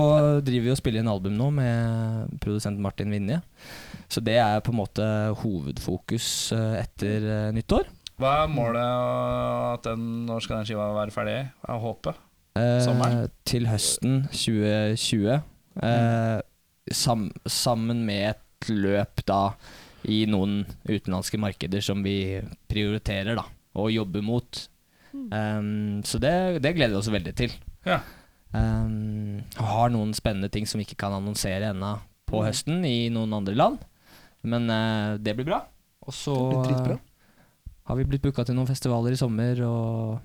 [SPEAKER 7] driver vi og spiller inn album nå med produsent Martin Vinje. Så det er på en måte hovedfokus eh, etter eh, nyttår.
[SPEAKER 5] Hva er målet og at den, når skal den skiva være ferdig? Hva er håpet?
[SPEAKER 7] Eh,
[SPEAKER 5] Sommeren?
[SPEAKER 7] til høsten 2020. Eh, sam, sammen med et løp da i noen utenlandske markeder som vi prioriterer da og jobber mot.
[SPEAKER 9] Mm.
[SPEAKER 7] Um, så det, det gleder vi oss veldig til.
[SPEAKER 5] Ja.
[SPEAKER 7] Um, og har noen spennende ting som vi ikke kan annonsere ennå
[SPEAKER 9] Mm.
[SPEAKER 7] på høsten i noen andre land. Men eh, det blir bra. Og så
[SPEAKER 9] Det blir dritbra.
[SPEAKER 7] eh, har vi blitt booka til noen festivaler i sommer og,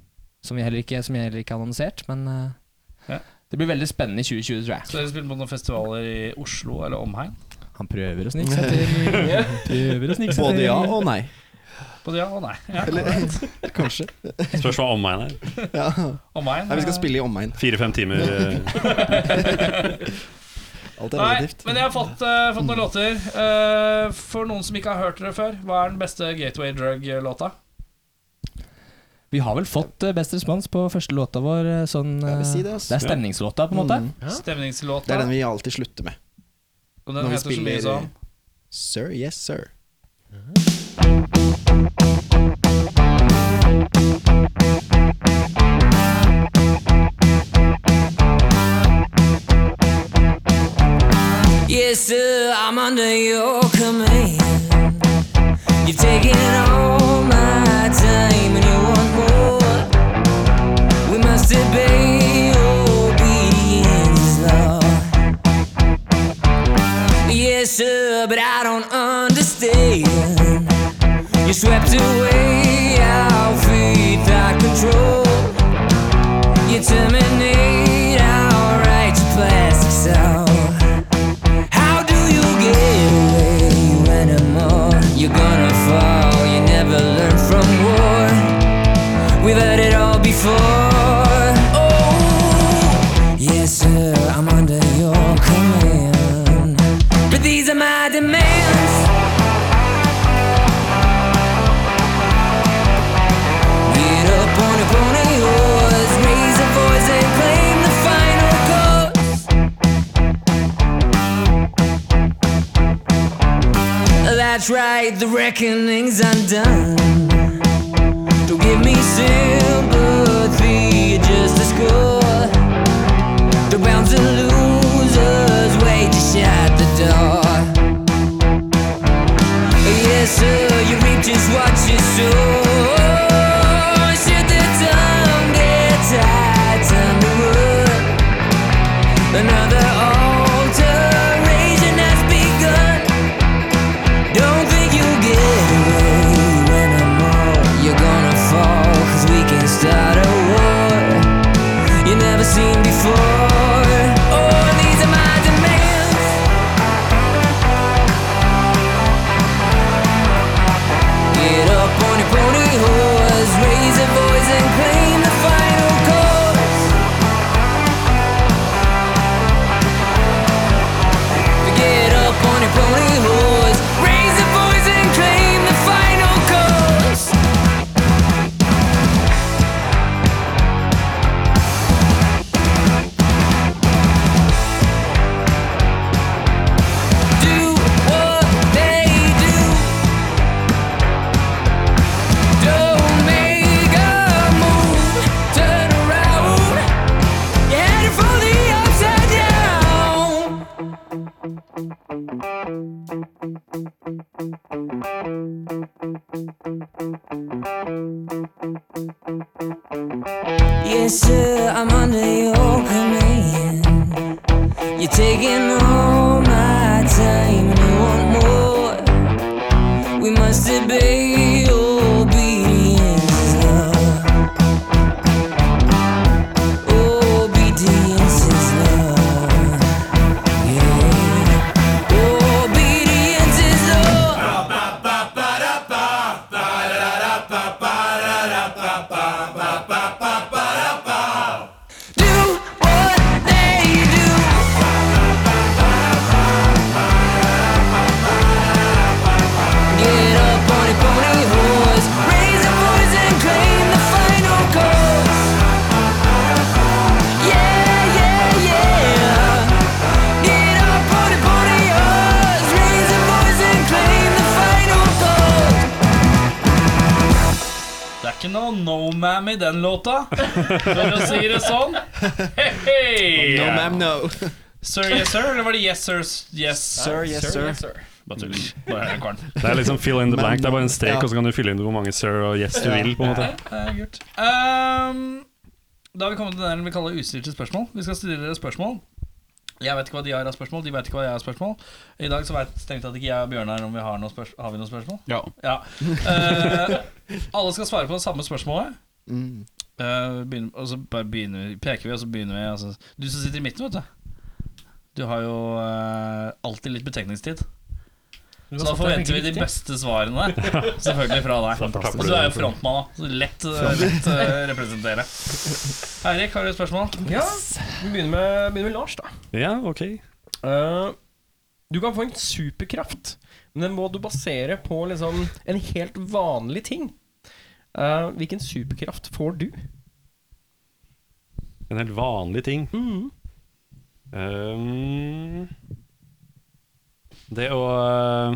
[SPEAKER 7] som, vi heller ikke, som jeg heller ikke har annonsert. Men eh,
[SPEAKER 5] Ja.
[SPEAKER 7] det blir veldig spennende i 2020, tror jeg.
[SPEAKER 5] Så dere spilte på noen festivaler i Oslo eller omhegn?
[SPEAKER 7] Han prøver å snike seg til. prøver å snike seg
[SPEAKER 9] Både
[SPEAKER 7] til.
[SPEAKER 9] ja og nei.
[SPEAKER 5] Både ja og nei. Ja,
[SPEAKER 9] Kanskje.
[SPEAKER 8] Spørs hva omegn er.
[SPEAKER 9] Ja.
[SPEAKER 5] omegn.
[SPEAKER 9] Nei, vi skal spille i omegn.
[SPEAKER 8] Fire-fem timer. eh,
[SPEAKER 9] Alt er
[SPEAKER 5] Nei,
[SPEAKER 9] relativt.
[SPEAKER 5] men jeg har fått, eh, fått noen låter. Eh, for noen som ikke har hørt dere før, hva er den beste Gateway Drug-låta?
[SPEAKER 7] Vi har vel fått eh, best respons på første låta vår. eh, Sånn,
[SPEAKER 9] Jeg vil
[SPEAKER 7] eh,
[SPEAKER 9] si det, ass.
[SPEAKER 7] det er stemningslåta, på en måte.
[SPEAKER 9] Mm.
[SPEAKER 5] Stemningslåta.
[SPEAKER 9] Det er den vi alltid slutter med.
[SPEAKER 5] og
[SPEAKER 9] når
[SPEAKER 5] den
[SPEAKER 9] vi
[SPEAKER 5] heter så mye
[SPEAKER 9] spiller-
[SPEAKER 5] sånn
[SPEAKER 9] Sir, yes sir.
[SPEAKER 10] Yes, sir, I'm under your command. You've taken all my time and you want more. We must obey obedience, Lord. Yes, sir, but I don't understand. You swept away our faith, our control. You terminate our right to plastic sound. How do you get away anymore? You're gonna fall, you never learn from war. We've had it all before. Oh, yes, sir, I'm under your command. But these are my demands. Get up on a pony horse, raise a voice and claim the final cause. That's right, the reckoning's undone. Don't give me sympathy, you're just a score. The rounds and losers wait to shut the door. Yes, sir, you reap just what you sow. Should the tongue get tied, time to run. Another alteration has begun. Don't think you get away anymore. You're gonna Yes, sir, I'm under your command. You're taking all my time and you want more. We must obey obedience, love. Obedience is love. Yeah. Obedience is love. Do what they do. Get up on your pony horse, raise your voice and claim the final cause. Yeah, yeah, yeah. Get up on your pony horse, raise your voice and claim the final cause.
[SPEAKER 5] Det er ikke noe No Mam i den låta, for å si det sånn. Hei, hei.
[SPEAKER 9] No, ma'am, no.
[SPEAKER 5] Sir Yes Sir, eller var det Yes Sir Yes
[SPEAKER 9] Sir, yes, sir.
[SPEAKER 5] Bare tull. Bare er det karen.
[SPEAKER 8] Det er liksom fill in the
[SPEAKER 9] Men-
[SPEAKER 8] blank. Det er bare en strek,
[SPEAKER 9] ja.
[SPEAKER 8] og så kan du fylle inn hvor mange sir og yes du
[SPEAKER 9] Ja.
[SPEAKER 8] vil. på en måte
[SPEAKER 5] Det er Eh, kult. Ehm, da har vi kommet til den vi kaller ustilte spørsmål. Vi skal stille dere spørsmål. Jeg vet ikke hva de har av spørsmål, de vet ikke hva jeg har av spørsmål. I dag så vet strengt tatt ikke jeg og Bjørnar om vi har noen spørsmål. Har vi noen spørsmål?
[SPEAKER 1] Ja.
[SPEAKER 5] Ja. Eh, alle skal svare på det samme spørsmålet.
[SPEAKER 9] Mm.
[SPEAKER 5] Eh, begynner, og så bare begynner vi, peker vi, og så begynner vi. Altså. Du som sitter i midten, vet du. Du har jo eh, alltid litt betenkningstid. Så da forventer vi de beste svarene selvfølgelig fra deg. Og så er jo frontmann, da. Så lett, eh, lett eh, representere. Eirik, har du et spørsmål?
[SPEAKER 6] Ja, vi begynner med, begynner med Lars, da.
[SPEAKER 8] Ja, ok
[SPEAKER 6] Eh, du kan få en superkraft, men den må du basere på liksom en helt vanlig ting. Eh, hvilken superkraft får du?
[SPEAKER 8] En helt vanlig ting.
[SPEAKER 9] Mm.
[SPEAKER 8] Um, det å eh,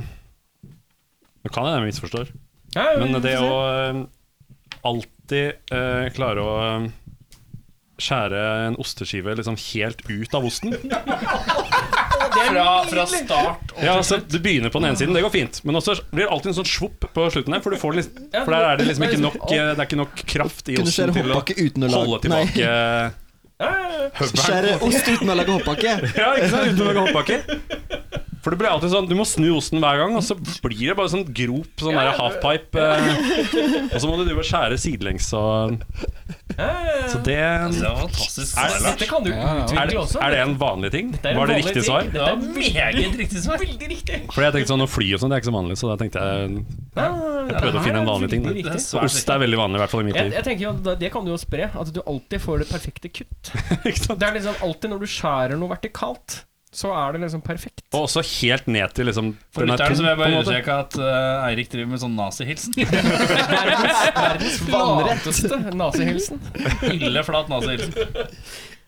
[SPEAKER 8] Nå kan jeg det jeg misforstår, men det å eh, alltid eh, klare å eh, skjære en osteskive liksom helt ut av osten
[SPEAKER 5] Fra, fra start.
[SPEAKER 8] Ja, altså Du begynner på den ene siden, det går fint, men også blir det alltid en sånn svopp på slutten her. For, du får den liksom, for der er det liksom ikke nok, eh, det er ikke nok kraft i
[SPEAKER 9] Kunne
[SPEAKER 8] osten
[SPEAKER 9] skjære
[SPEAKER 8] til å
[SPEAKER 9] hoppbakke uten å lage
[SPEAKER 8] holde tilbake eh,
[SPEAKER 9] Nei, skjære ost uten å lage hoppbakke.
[SPEAKER 8] Ja, ikke sant? Uten å lage hoppbakker. For det blir alltid sånn, Du må snu osten hver gang, og så blir det bare sånn grop. Sånn der halfpipe. eh, Og så må du drive og skjære sidelengs og Så det
[SPEAKER 5] Det
[SPEAKER 8] er,
[SPEAKER 5] var fantastisk.
[SPEAKER 8] Er det-
[SPEAKER 5] svar,
[SPEAKER 6] Dette kan du
[SPEAKER 8] er det,
[SPEAKER 6] utvikle også.
[SPEAKER 8] er det en vanlig ting?
[SPEAKER 6] er en
[SPEAKER 8] Var
[SPEAKER 6] vanlig
[SPEAKER 8] det riktig
[SPEAKER 6] ting.
[SPEAKER 8] svar?
[SPEAKER 5] Det var meget riktig svar. Veldig riktig.
[SPEAKER 8] Fordi jeg tenkte sånn, Å fly og sånn, det er ikke så vanlig, så da tenkte jeg Jeg prøvde å finne en vanlig ting.
[SPEAKER 6] Veldig
[SPEAKER 8] Da.
[SPEAKER 6] riktig.
[SPEAKER 8] Så ost er veldig vanlig, i hvert fall i mitt
[SPEAKER 6] Jeg,
[SPEAKER 8] liv.
[SPEAKER 6] jeg tenker jo at Det det kan du jo spre. At du alltid får det perfekte kutt.
[SPEAKER 8] Ikke sant?
[SPEAKER 6] Det er liksom alltid når du skjærer noe vertikalt, så er det liksom perfekt.
[SPEAKER 8] Og også helt ned til liksom
[SPEAKER 5] For
[SPEAKER 8] den er
[SPEAKER 5] lytteren så vil jeg
[SPEAKER 8] tom, på en
[SPEAKER 5] bare
[SPEAKER 8] måte.
[SPEAKER 5] understreke at eh, Eirik driver med sånn nazihilsen.
[SPEAKER 6] Verdens flateste nazihilsen.
[SPEAKER 5] Illeflat nazihilsen.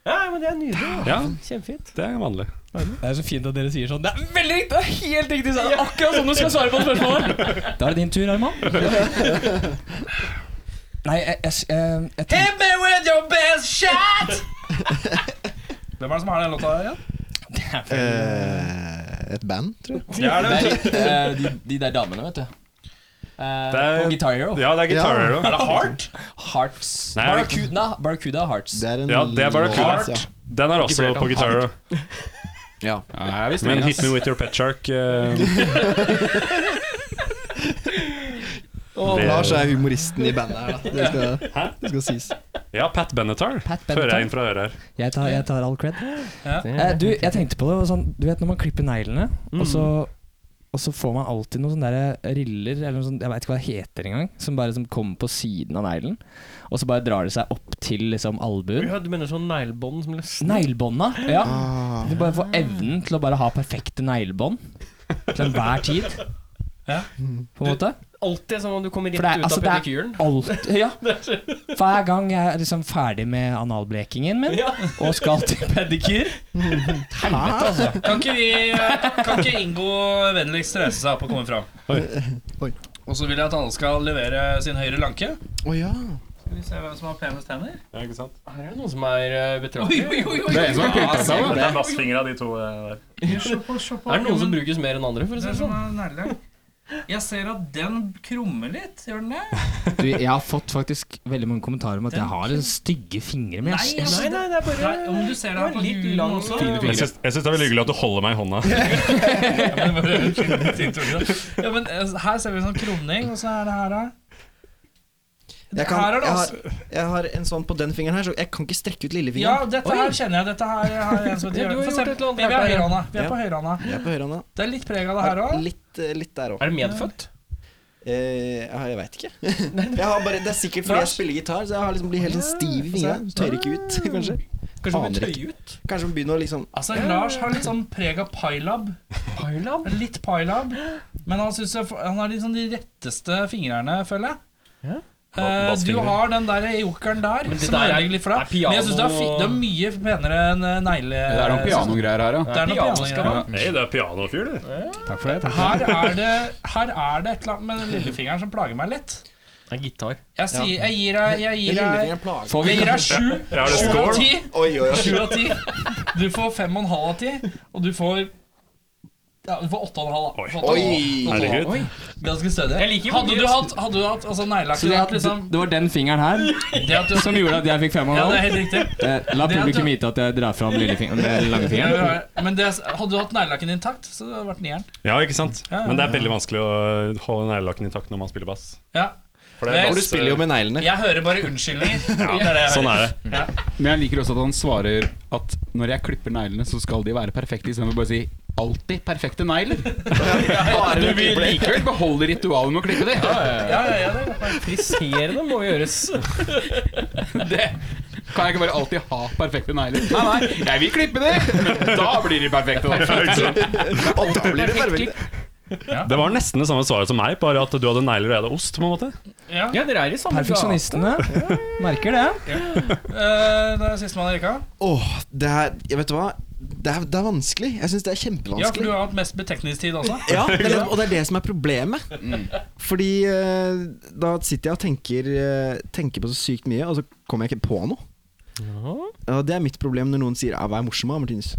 [SPEAKER 6] Ja, men det er nydelig. da.
[SPEAKER 8] Ja,
[SPEAKER 6] Kjempefint.
[SPEAKER 8] det er vanlig.
[SPEAKER 7] Det er så fint at dere sier sånn. Da
[SPEAKER 6] Veldig riktig! Det er helt riktig! Så er det akkurat sånn du skal svare på spørsmålet.
[SPEAKER 7] er det din tur, Herman. Nei, jeg, jeg, jeg, jeg tenker,
[SPEAKER 5] Hit me with your best shot! Hvem er det som har den låta der igjen?
[SPEAKER 9] Eh, et band, tror jeg.
[SPEAKER 7] det er litt, eh, de, de der damene, vet du. Eh,
[SPEAKER 8] Det er-
[SPEAKER 7] på Guitar Hero.
[SPEAKER 8] Ja, det er Guitar
[SPEAKER 9] Ja.
[SPEAKER 8] Hero.
[SPEAKER 5] Er det Heart?
[SPEAKER 7] Hearts.
[SPEAKER 8] Nei, er det
[SPEAKER 7] Barracuda, Barracuda Hearts.
[SPEAKER 9] Det er en
[SPEAKER 8] Ja, det er bare
[SPEAKER 9] låt, altså.
[SPEAKER 8] kult.
[SPEAKER 9] ja.
[SPEAKER 8] Den er også på Guitar Hero.
[SPEAKER 9] Ja.
[SPEAKER 1] Ja, jeg visste
[SPEAKER 8] Men
[SPEAKER 1] det,
[SPEAKER 8] Hit Me With Your Pet Shark eh,
[SPEAKER 9] Og Lars er humoristen i bandet her, da. Det skal,
[SPEAKER 8] Hæ?
[SPEAKER 9] det skal sies.
[SPEAKER 8] Ja, Pat Benatar.
[SPEAKER 7] Pat
[SPEAKER 8] Fører
[SPEAKER 7] Benatar.
[SPEAKER 8] jeg inn fra øret her.
[SPEAKER 7] Jeg tar, jeg tar all cred.
[SPEAKER 5] Ja.
[SPEAKER 7] Eh, du, jeg tenkte på det, det var sånn, du vet når man klipper neglene,
[SPEAKER 6] Mm.
[SPEAKER 7] og, så, og så får man alltid noen sånne der eh, riller, eller noe sånt, jeg veit ikke hva det heter engang, som bare som kommer på siden av neglen, og så bare drar det seg opp til liksom albuen.
[SPEAKER 6] Du mener sånn neglebånd som løsner?
[SPEAKER 7] Neglebånda, ja.
[SPEAKER 6] Ah.
[SPEAKER 7] Du bare får evnen til å bare ha perfekte neglebånd til enhver tid.
[SPEAKER 5] Ja.
[SPEAKER 7] På en måte.
[SPEAKER 6] Alltid som om du kommer rett
[SPEAKER 7] For det er,
[SPEAKER 6] ut
[SPEAKER 7] altså,
[SPEAKER 6] av
[SPEAKER 7] det
[SPEAKER 6] pedikyren.
[SPEAKER 7] er alt Ja. Hver gang jeg er liksom ferdig med analblekingen min
[SPEAKER 6] Ja.
[SPEAKER 7] og skal til pedikyr Helvete, altså.
[SPEAKER 5] Kan ikke, vi, eh, kan ikke Ingo vennligst reise seg opp og komme fram?
[SPEAKER 9] Oi.
[SPEAKER 5] Og så vil jeg at alle skal levere sin høyre lanke.
[SPEAKER 9] Å ja.
[SPEAKER 5] Skal vi se hvem som har penest hender?
[SPEAKER 8] Ja, ikke sant?
[SPEAKER 6] Her er det noen som er eh,
[SPEAKER 5] Oi,
[SPEAKER 6] betraktelig.
[SPEAKER 5] oi, oi, oi.
[SPEAKER 1] Det er en som har pynta seg, da.
[SPEAKER 8] Det er vassfinger av de to eh, der.
[SPEAKER 5] Se på- se på-
[SPEAKER 6] Er det noen som brukes mer enn andre, for å
[SPEAKER 5] Det
[SPEAKER 6] si
[SPEAKER 5] er
[SPEAKER 6] det
[SPEAKER 5] som
[SPEAKER 6] sånn?
[SPEAKER 5] er nærlang. Jeg ser at den krummer litt, gjør den det?
[SPEAKER 7] Du, jeg har fått faktisk veldig mange kommentarer om at jeg har en stygge fingre. Men jeg,
[SPEAKER 5] altså,
[SPEAKER 6] Nei, nei, det er bare
[SPEAKER 5] Nei, om du ser det her på
[SPEAKER 6] litt
[SPEAKER 5] huden
[SPEAKER 6] lang
[SPEAKER 5] også
[SPEAKER 1] Fine
[SPEAKER 8] Jeg
[SPEAKER 1] fingre.
[SPEAKER 8] syns, jeg syns det er veldig hyggelig at du holder meg i hånda.
[SPEAKER 5] Ja, men eh, Her ser vi en sånn krumning, og så er det her, da.
[SPEAKER 9] Jeg, kan,
[SPEAKER 5] her er det
[SPEAKER 9] jeg,
[SPEAKER 5] altså
[SPEAKER 9] har, jeg har en sånn på den fingeren her, så jeg kan ikke strekke ut
[SPEAKER 5] Ja,
[SPEAKER 9] lillefingeren.
[SPEAKER 5] dette her kjenner jeg. Dette her har en som heter
[SPEAKER 6] Ja, du har
[SPEAKER 5] Jørgen. Få se.
[SPEAKER 6] gjort et eller annet
[SPEAKER 5] Vi
[SPEAKER 6] rart
[SPEAKER 5] er på
[SPEAKER 6] her, ja.
[SPEAKER 5] høyrehånda. Vi
[SPEAKER 9] Ja.
[SPEAKER 5] er på høyrehånda.
[SPEAKER 9] Jeg er på høyrehånda.
[SPEAKER 5] Det er litt preg av det her òg.
[SPEAKER 9] Litt, eh, litt der òg.
[SPEAKER 6] Er det medfødt?
[SPEAKER 9] Eh, ja, jeg veit ikke. Jeg har bare, det er sikkert fordi jeg spiller gitar, så jeg har liksom blir helt sånn stiv i fingrene. Tør ikke ut, kanskje.
[SPEAKER 6] Kanskje man
[SPEAKER 9] Aner
[SPEAKER 6] tøyer ut?
[SPEAKER 9] Kanskje man begynner å liksom
[SPEAKER 5] Altså, Lars har litt sånn preg av Pylab.
[SPEAKER 6] Pylab?
[SPEAKER 5] Litt Pylab. Men han, synes jeg, han har litt sånn de retteste fingrene, føler jeg. Eh, du
[SPEAKER 8] Bassfingre.
[SPEAKER 5] har den der jokeren der,
[SPEAKER 6] Men det
[SPEAKER 5] som
[SPEAKER 6] der
[SPEAKER 5] er
[SPEAKER 6] er-
[SPEAKER 5] egentlig for
[SPEAKER 6] er
[SPEAKER 5] deg.
[SPEAKER 6] piano-
[SPEAKER 5] Men jeg synes det er, fi- det er mye penere enn eh, negle...
[SPEAKER 1] Det er noen pianogreier her, ja.
[SPEAKER 5] Det er noe
[SPEAKER 6] Piano
[SPEAKER 5] piano
[SPEAKER 6] skal
[SPEAKER 5] ja.
[SPEAKER 8] Hei, det er pianofyr, du.
[SPEAKER 7] takk for det. Takk.
[SPEAKER 6] sånn.
[SPEAKER 5] Her er det Her er det et eller annet med den lillefingeren som plager meg litt.
[SPEAKER 6] Det er gitar.
[SPEAKER 5] Jeg, sier, jeg gir deg Jeg
[SPEAKER 9] Den
[SPEAKER 5] gir deg
[SPEAKER 9] lillefingeren plager.
[SPEAKER 1] Får vi,
[SPEAKER 5] Jeg gir deg sju
[SPEAKER 8] Ja, er det
[SPEAKER 5] sju av
[SPEAKER 8] score?
[SPEAKER 5] ti.
[SPEAKER 9] Oi, oi, oi.
[SPEAKER 5] Sju av ti. Du får fem og en halv av ti, og du får ja, du får åtte og en halv. da.
[SPEAKER 8] Oi.
[SPEAKER 5] Åtte og en halv.
[SPEAKER 9] Oi.
[SPEAKER 8] Herregud.
[SPEAKER 5] Oi, ganske stødig.
[SPEAKER 6] Jeg liker hvor
[SPEAKER 5] hadde,
[SPEAKER 6] mye-
[SPEAKER 5] du hatt, hadde du hatt altså neglelakk
[SPEAKER 7] Så det,
[SPEAKER 5] hadde vært liksom,
[SPEAKER 7] det var den fingeren her
[SPEAKER 5] det at du,
[SPEAKER 7] som gjorde at jeg fikk fem og
[SPEAKER 5] Ja,
[SPEAKER 7] en
[SPEAKER 5] det er
[SPEAKER 7] halv.
[SPEAKER 5] helt riktig.
[SPEAKER 7] Eh, La
[SPEAKER 5] Det at
[SPEAKER 7] publikum
[SPEAKER 5] du-
[SPEAKER 7] vite at jeg drar fram lillefingeren, den
[SPEAKER 5] Ja,
[SPEAKER 7] lange
[SPEAKER 5] ja,
[SPEAKER 7] fingeren.
[SPEAKER 5] ja. Men det, hadde du hatt neglelakken intakt, så hadde det vært nieren.
[SPEAKER 8] Ja, ikke sant? Men det er veldig vanskelig å holde neglelakken intakt når man spiller bass.
[SPEAKER 5] Ja.
[SPEAKER 8] For
[SPEAKER 5] Men-
[SPEAKER 8] bass-
[SPEAKER 9] For du spiller jo med neglene.
[SPEAKER 5] Jeg hører bare unnskyldninger. Det er det jeg hører.
[SPEAKER 8] Sånn er det.
[SPEAKER 1] men jeg liker også at han svarer at når jeg klipper neglene, så skal de være perfekte, istedenfor bare å si alltid perfekte negler. Du vil likevel beholde ritualet med å klippe dem.
[SPEAKER 5] Ja, ja, ja, det er godt.
[SPEAKER 6] Friserende må gjøres.
[SPEAKER 1] Det kan jeg ikke bare alltid ha perfekte negler. Nei, nei, jeg vil klippe dem, men da blir de perfekte. Da.
[SPEAKER 9] Og da blir det perfekt.
[SPEAKER 8] Det var nesten det samme svaret som meg, bare at du hadde negler og jeg hadde ost. på en måte
[SPEAKER 5] ja.
[SPEAKER 6] Ja, dere er i samme
[SPEAKER 7] Perfeksjonistene merker det.
[SPEAKER 5] Eh, Det er sistemann i rekka.
[SPEAKER 9] Åh, det her jeg Vet du hva? Det er, det er vanskelig. Jeg syns det
[SPEAKER 5] Ja,
[SPEAKER 9] er
[SPEAKER 5] for du
[SPEAKER 9] kjempevanskelig.
[SPEAKER 5] har hatt mest betekningstid også.
[SPEAKER 9] Ja, det er, det- og det er det som er problemet. Fordi eh, da sitter jeg og tenker, eh, tenker på så sykt mye, og så kommer jeg ikke på noe. Og det er mitt problem når noen sier ah, 'vær morsom', da, Martinus.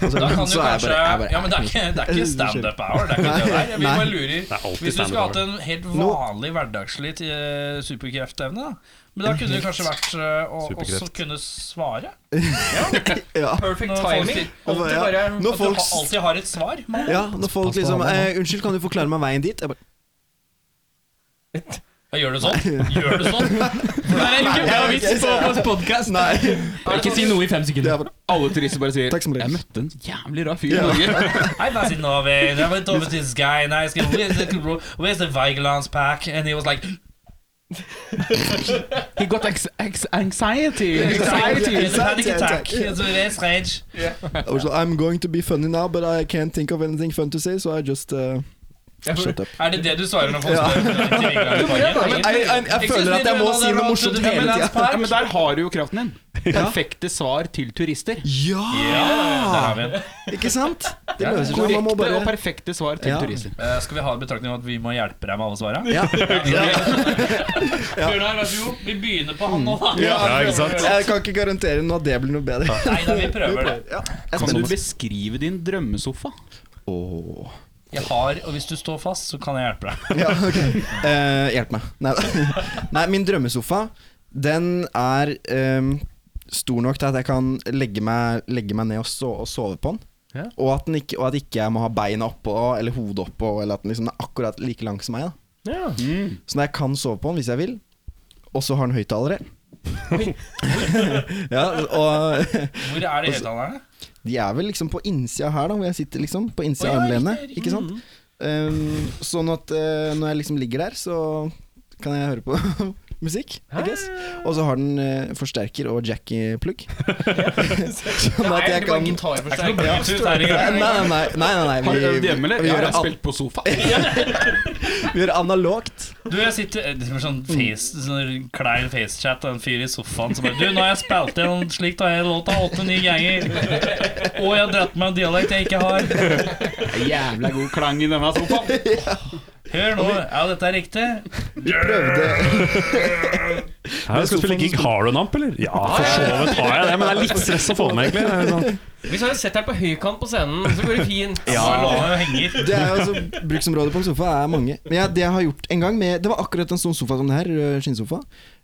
[SPEAKER 9] Og så,
[SPEAKER 5] Da kan du
[SPEAKER 9] så er jeg
[SPEAKER 5] kanskje
[SPEAKER 9] bare- jeg er bare-
[SPEAKER 5] Ja, men det er ikke, det er ikke standup hour. Det er ikke det der. Vi
[SPEAKER 9] Nei.
[SPEAKER 5] bare lurer.
[SPEAKER 8] alltid
[SPEAKER 5] Hvis du skulle
[SPEAKER 8] stand-up
[SPEAKER 5] hatt en helt vanlig hverdagslig til, eh, superkreftevne, da. Men da kunne det kanskje vært eh, å
[SPEAKER 8] Superkreft.
[SPEAKER 5] også kunne svare.
[SPEAKER 9] ja.
[SPEAKER 6] Perfect
[SPEAKER 5] Når folk
[SPEAKER 6] timing.
[SPEAKER 5] sier-
[SPEAKER 9] Og bare,
[SPEAKER 6] Alltid
[SPEAKER 9] ja.
[SPEAKER 6] bare
[SPEAKER 9] Når
[SPEAKER 5] At du
[SPEAKER 9] folk,
[SPEAKER 5] ha- alltid har et svar. Man.
[SPEAKER 9] ja, når folk liksom eh, 'Unnskyld, kan du forklare meg veien dit?' Jeg bare,
[SPEAKER 5] Ja, Gjør du sånn? Gjør du sånn? For det er ikke bra vits.
[SPEAKER 7] Ikke si noe i fem
[SPEAKER 9] det
[SPEAKER 7] sekunder.
[SPEAKER 9] er bare
[SPEAKER 1] Alle turister bare sier
[SPEAKER 9] Takk som
[SPEAKER 1] 'jeg møtte en jævlig rar fyr i Norge'.
[SPEAKER 5] I visited Norway, and I went over to this guy, and I asked him, where's the, where's the Vigelands pack? And he was like,
[SPEAKER 1] He got ex ex anxiety.
[SPEAKER 5] it's a
[SPEAKER 1] anxiety.
[SPEAKER 5] panic attack. It's a very strange.
[SPEAKER 9] Also, sånn, I'm going to be funny now, but I can't think of anything fun to say, so I just uh, shut up.
[SPEAKER 5] Er det det du svarer når folk spør? til Vigelandsparken?
[SPEAKER 9] Jeg, jeg, jeg føler at jeg må si noe morsomt hele tida.
[SPEAKER 1] Ja, men der har du jo kraften din. Perfekte svar til turister.
[SPEAKER 9] Ja,
[SPEAKER 5] Der har vi den.
[SPEAKER 9] ikke sant? Det løser seg. Man må
[SPEAKER 1] Korrekte og
[SPEAKER 9] bare
[SPEAKER 1] perfekte svar til
[SPEAKER 9] Ja.
[SPEAKER 1] turister.
[SPEAKER 5] Eh, skal vi ha en betraktning om at vi må hjelpe deg med alle svara?
[SPEAKER 9] ja.
[SPEAKER 5] Bjørnar, vær så god. Vi begynner på han nå, da.
[SPEAKER 8] Ja, ikke sant?
[SPEAKER 9] Jeg kan ikke garantere noe at det blir noe bedre.
[SPEAKER 5] Nei da, vi prøver det.
[SPEAKER 9] Ja. Jeg er
[SPEAKER 1] Kan du
[SPEAKER 9] spent.
[SPEAKER 1] beskrive din drømmesofa?
[SPEAKER 9] Åh.
[SPEAKER 5] Jeg har, og hvis du står fast, så kan jeg hjelpe deg.
[SPEAKER 9] Ja, ok. Eh, hjelp meg. Nei, Nei, min drømmesofa, den er ehm, stor nok til at jeg kan legge meg, legge meg ned og, so og sove på den. Og, at den ikke, og at ikke jeg må ha beina oppå eller hodet oppå, eller at den liksom er akkurat like lang som meg. Da.
[SPEAKER 8] Mm.
[SPEAKER 9] Så når jeg kan sove på den hvis jeg vil, og så har den høyttalere ja, og
[SPEAKER 5] Hvor er det høyttalerne?
[SPEAKER 9] de er vel liksom på innsida her, da, hvor jeg sitter, liksom. På innsida
[SPEAKER 5] Å,
[SPEAKER 9] av
[SPEAKER 5] ja,
[SPEAKER 9] armlenet.
[SPEAKER 5] riktig, riktig.
[SPEAKER 9] Ikke sant?
[SPEAKER 1] Mm.
[SPEAKER 9] Um, sånn at eh, når jeg liksom ligger der, så kan jeg høre på musikk, I guess. Og så har den eh, forsterker og jack-plugg. sånn
[SPEAKER 5] Det
[SPEAKER 9] at jeg kan
[SPEAKER 5] er ikke noe Bluetooth her i
[SPEAKER 9] Nei,
[SPEAKER 5] gang.
[SPEAKER 9] nei, nei. nei, nei,
[SPEAKER 1] Har du
[SPEAKER 9] nei.
[SPEAKER 1] øvd hjemme, eller?
[SPEAKER 9] vi,
[SPEAKER 1] Jeg
[SPEAKER 9] gjør
[SPEAKER 1] har
[SPEAKER 9] an,
[SPEAKER 1] spilt på sofa.
[SPEAKER 9] vi gjør analogt.
[SPEAKER 5] Du, jeg sitter eh, det var sånn face sånn klein facechat av en fyr i sofaen som bare Du, nå har jeg spilt inn slikt og jeg låta åtte-ni ganger. Og jeg har dratt med en dialekt jeg ikke har.
[SPEAKER 1] Jævla god klang i denne sofaen.
[SPEAKER 5] Hør nå. Ja, dette er riktig.
[SPEAKER 9] Prøvde
[SPEAKER 8] Her skal du spille gig. Har du en amp, eller? Ja, for så vidt har jeg det, men det er litt stress å få den, egentlig. Det er sånn-
[SPEAKER 6] Hvis jeg hadde sett deg på høykant på scenen, så går det fint.
[SPEAKER 9] Det er jo altså, Bruksområdet på en sofa er mange. Men ja, det jeg har gjort en gang med Det var akkurat en sånn sofa som det her. rød Skinnsofa.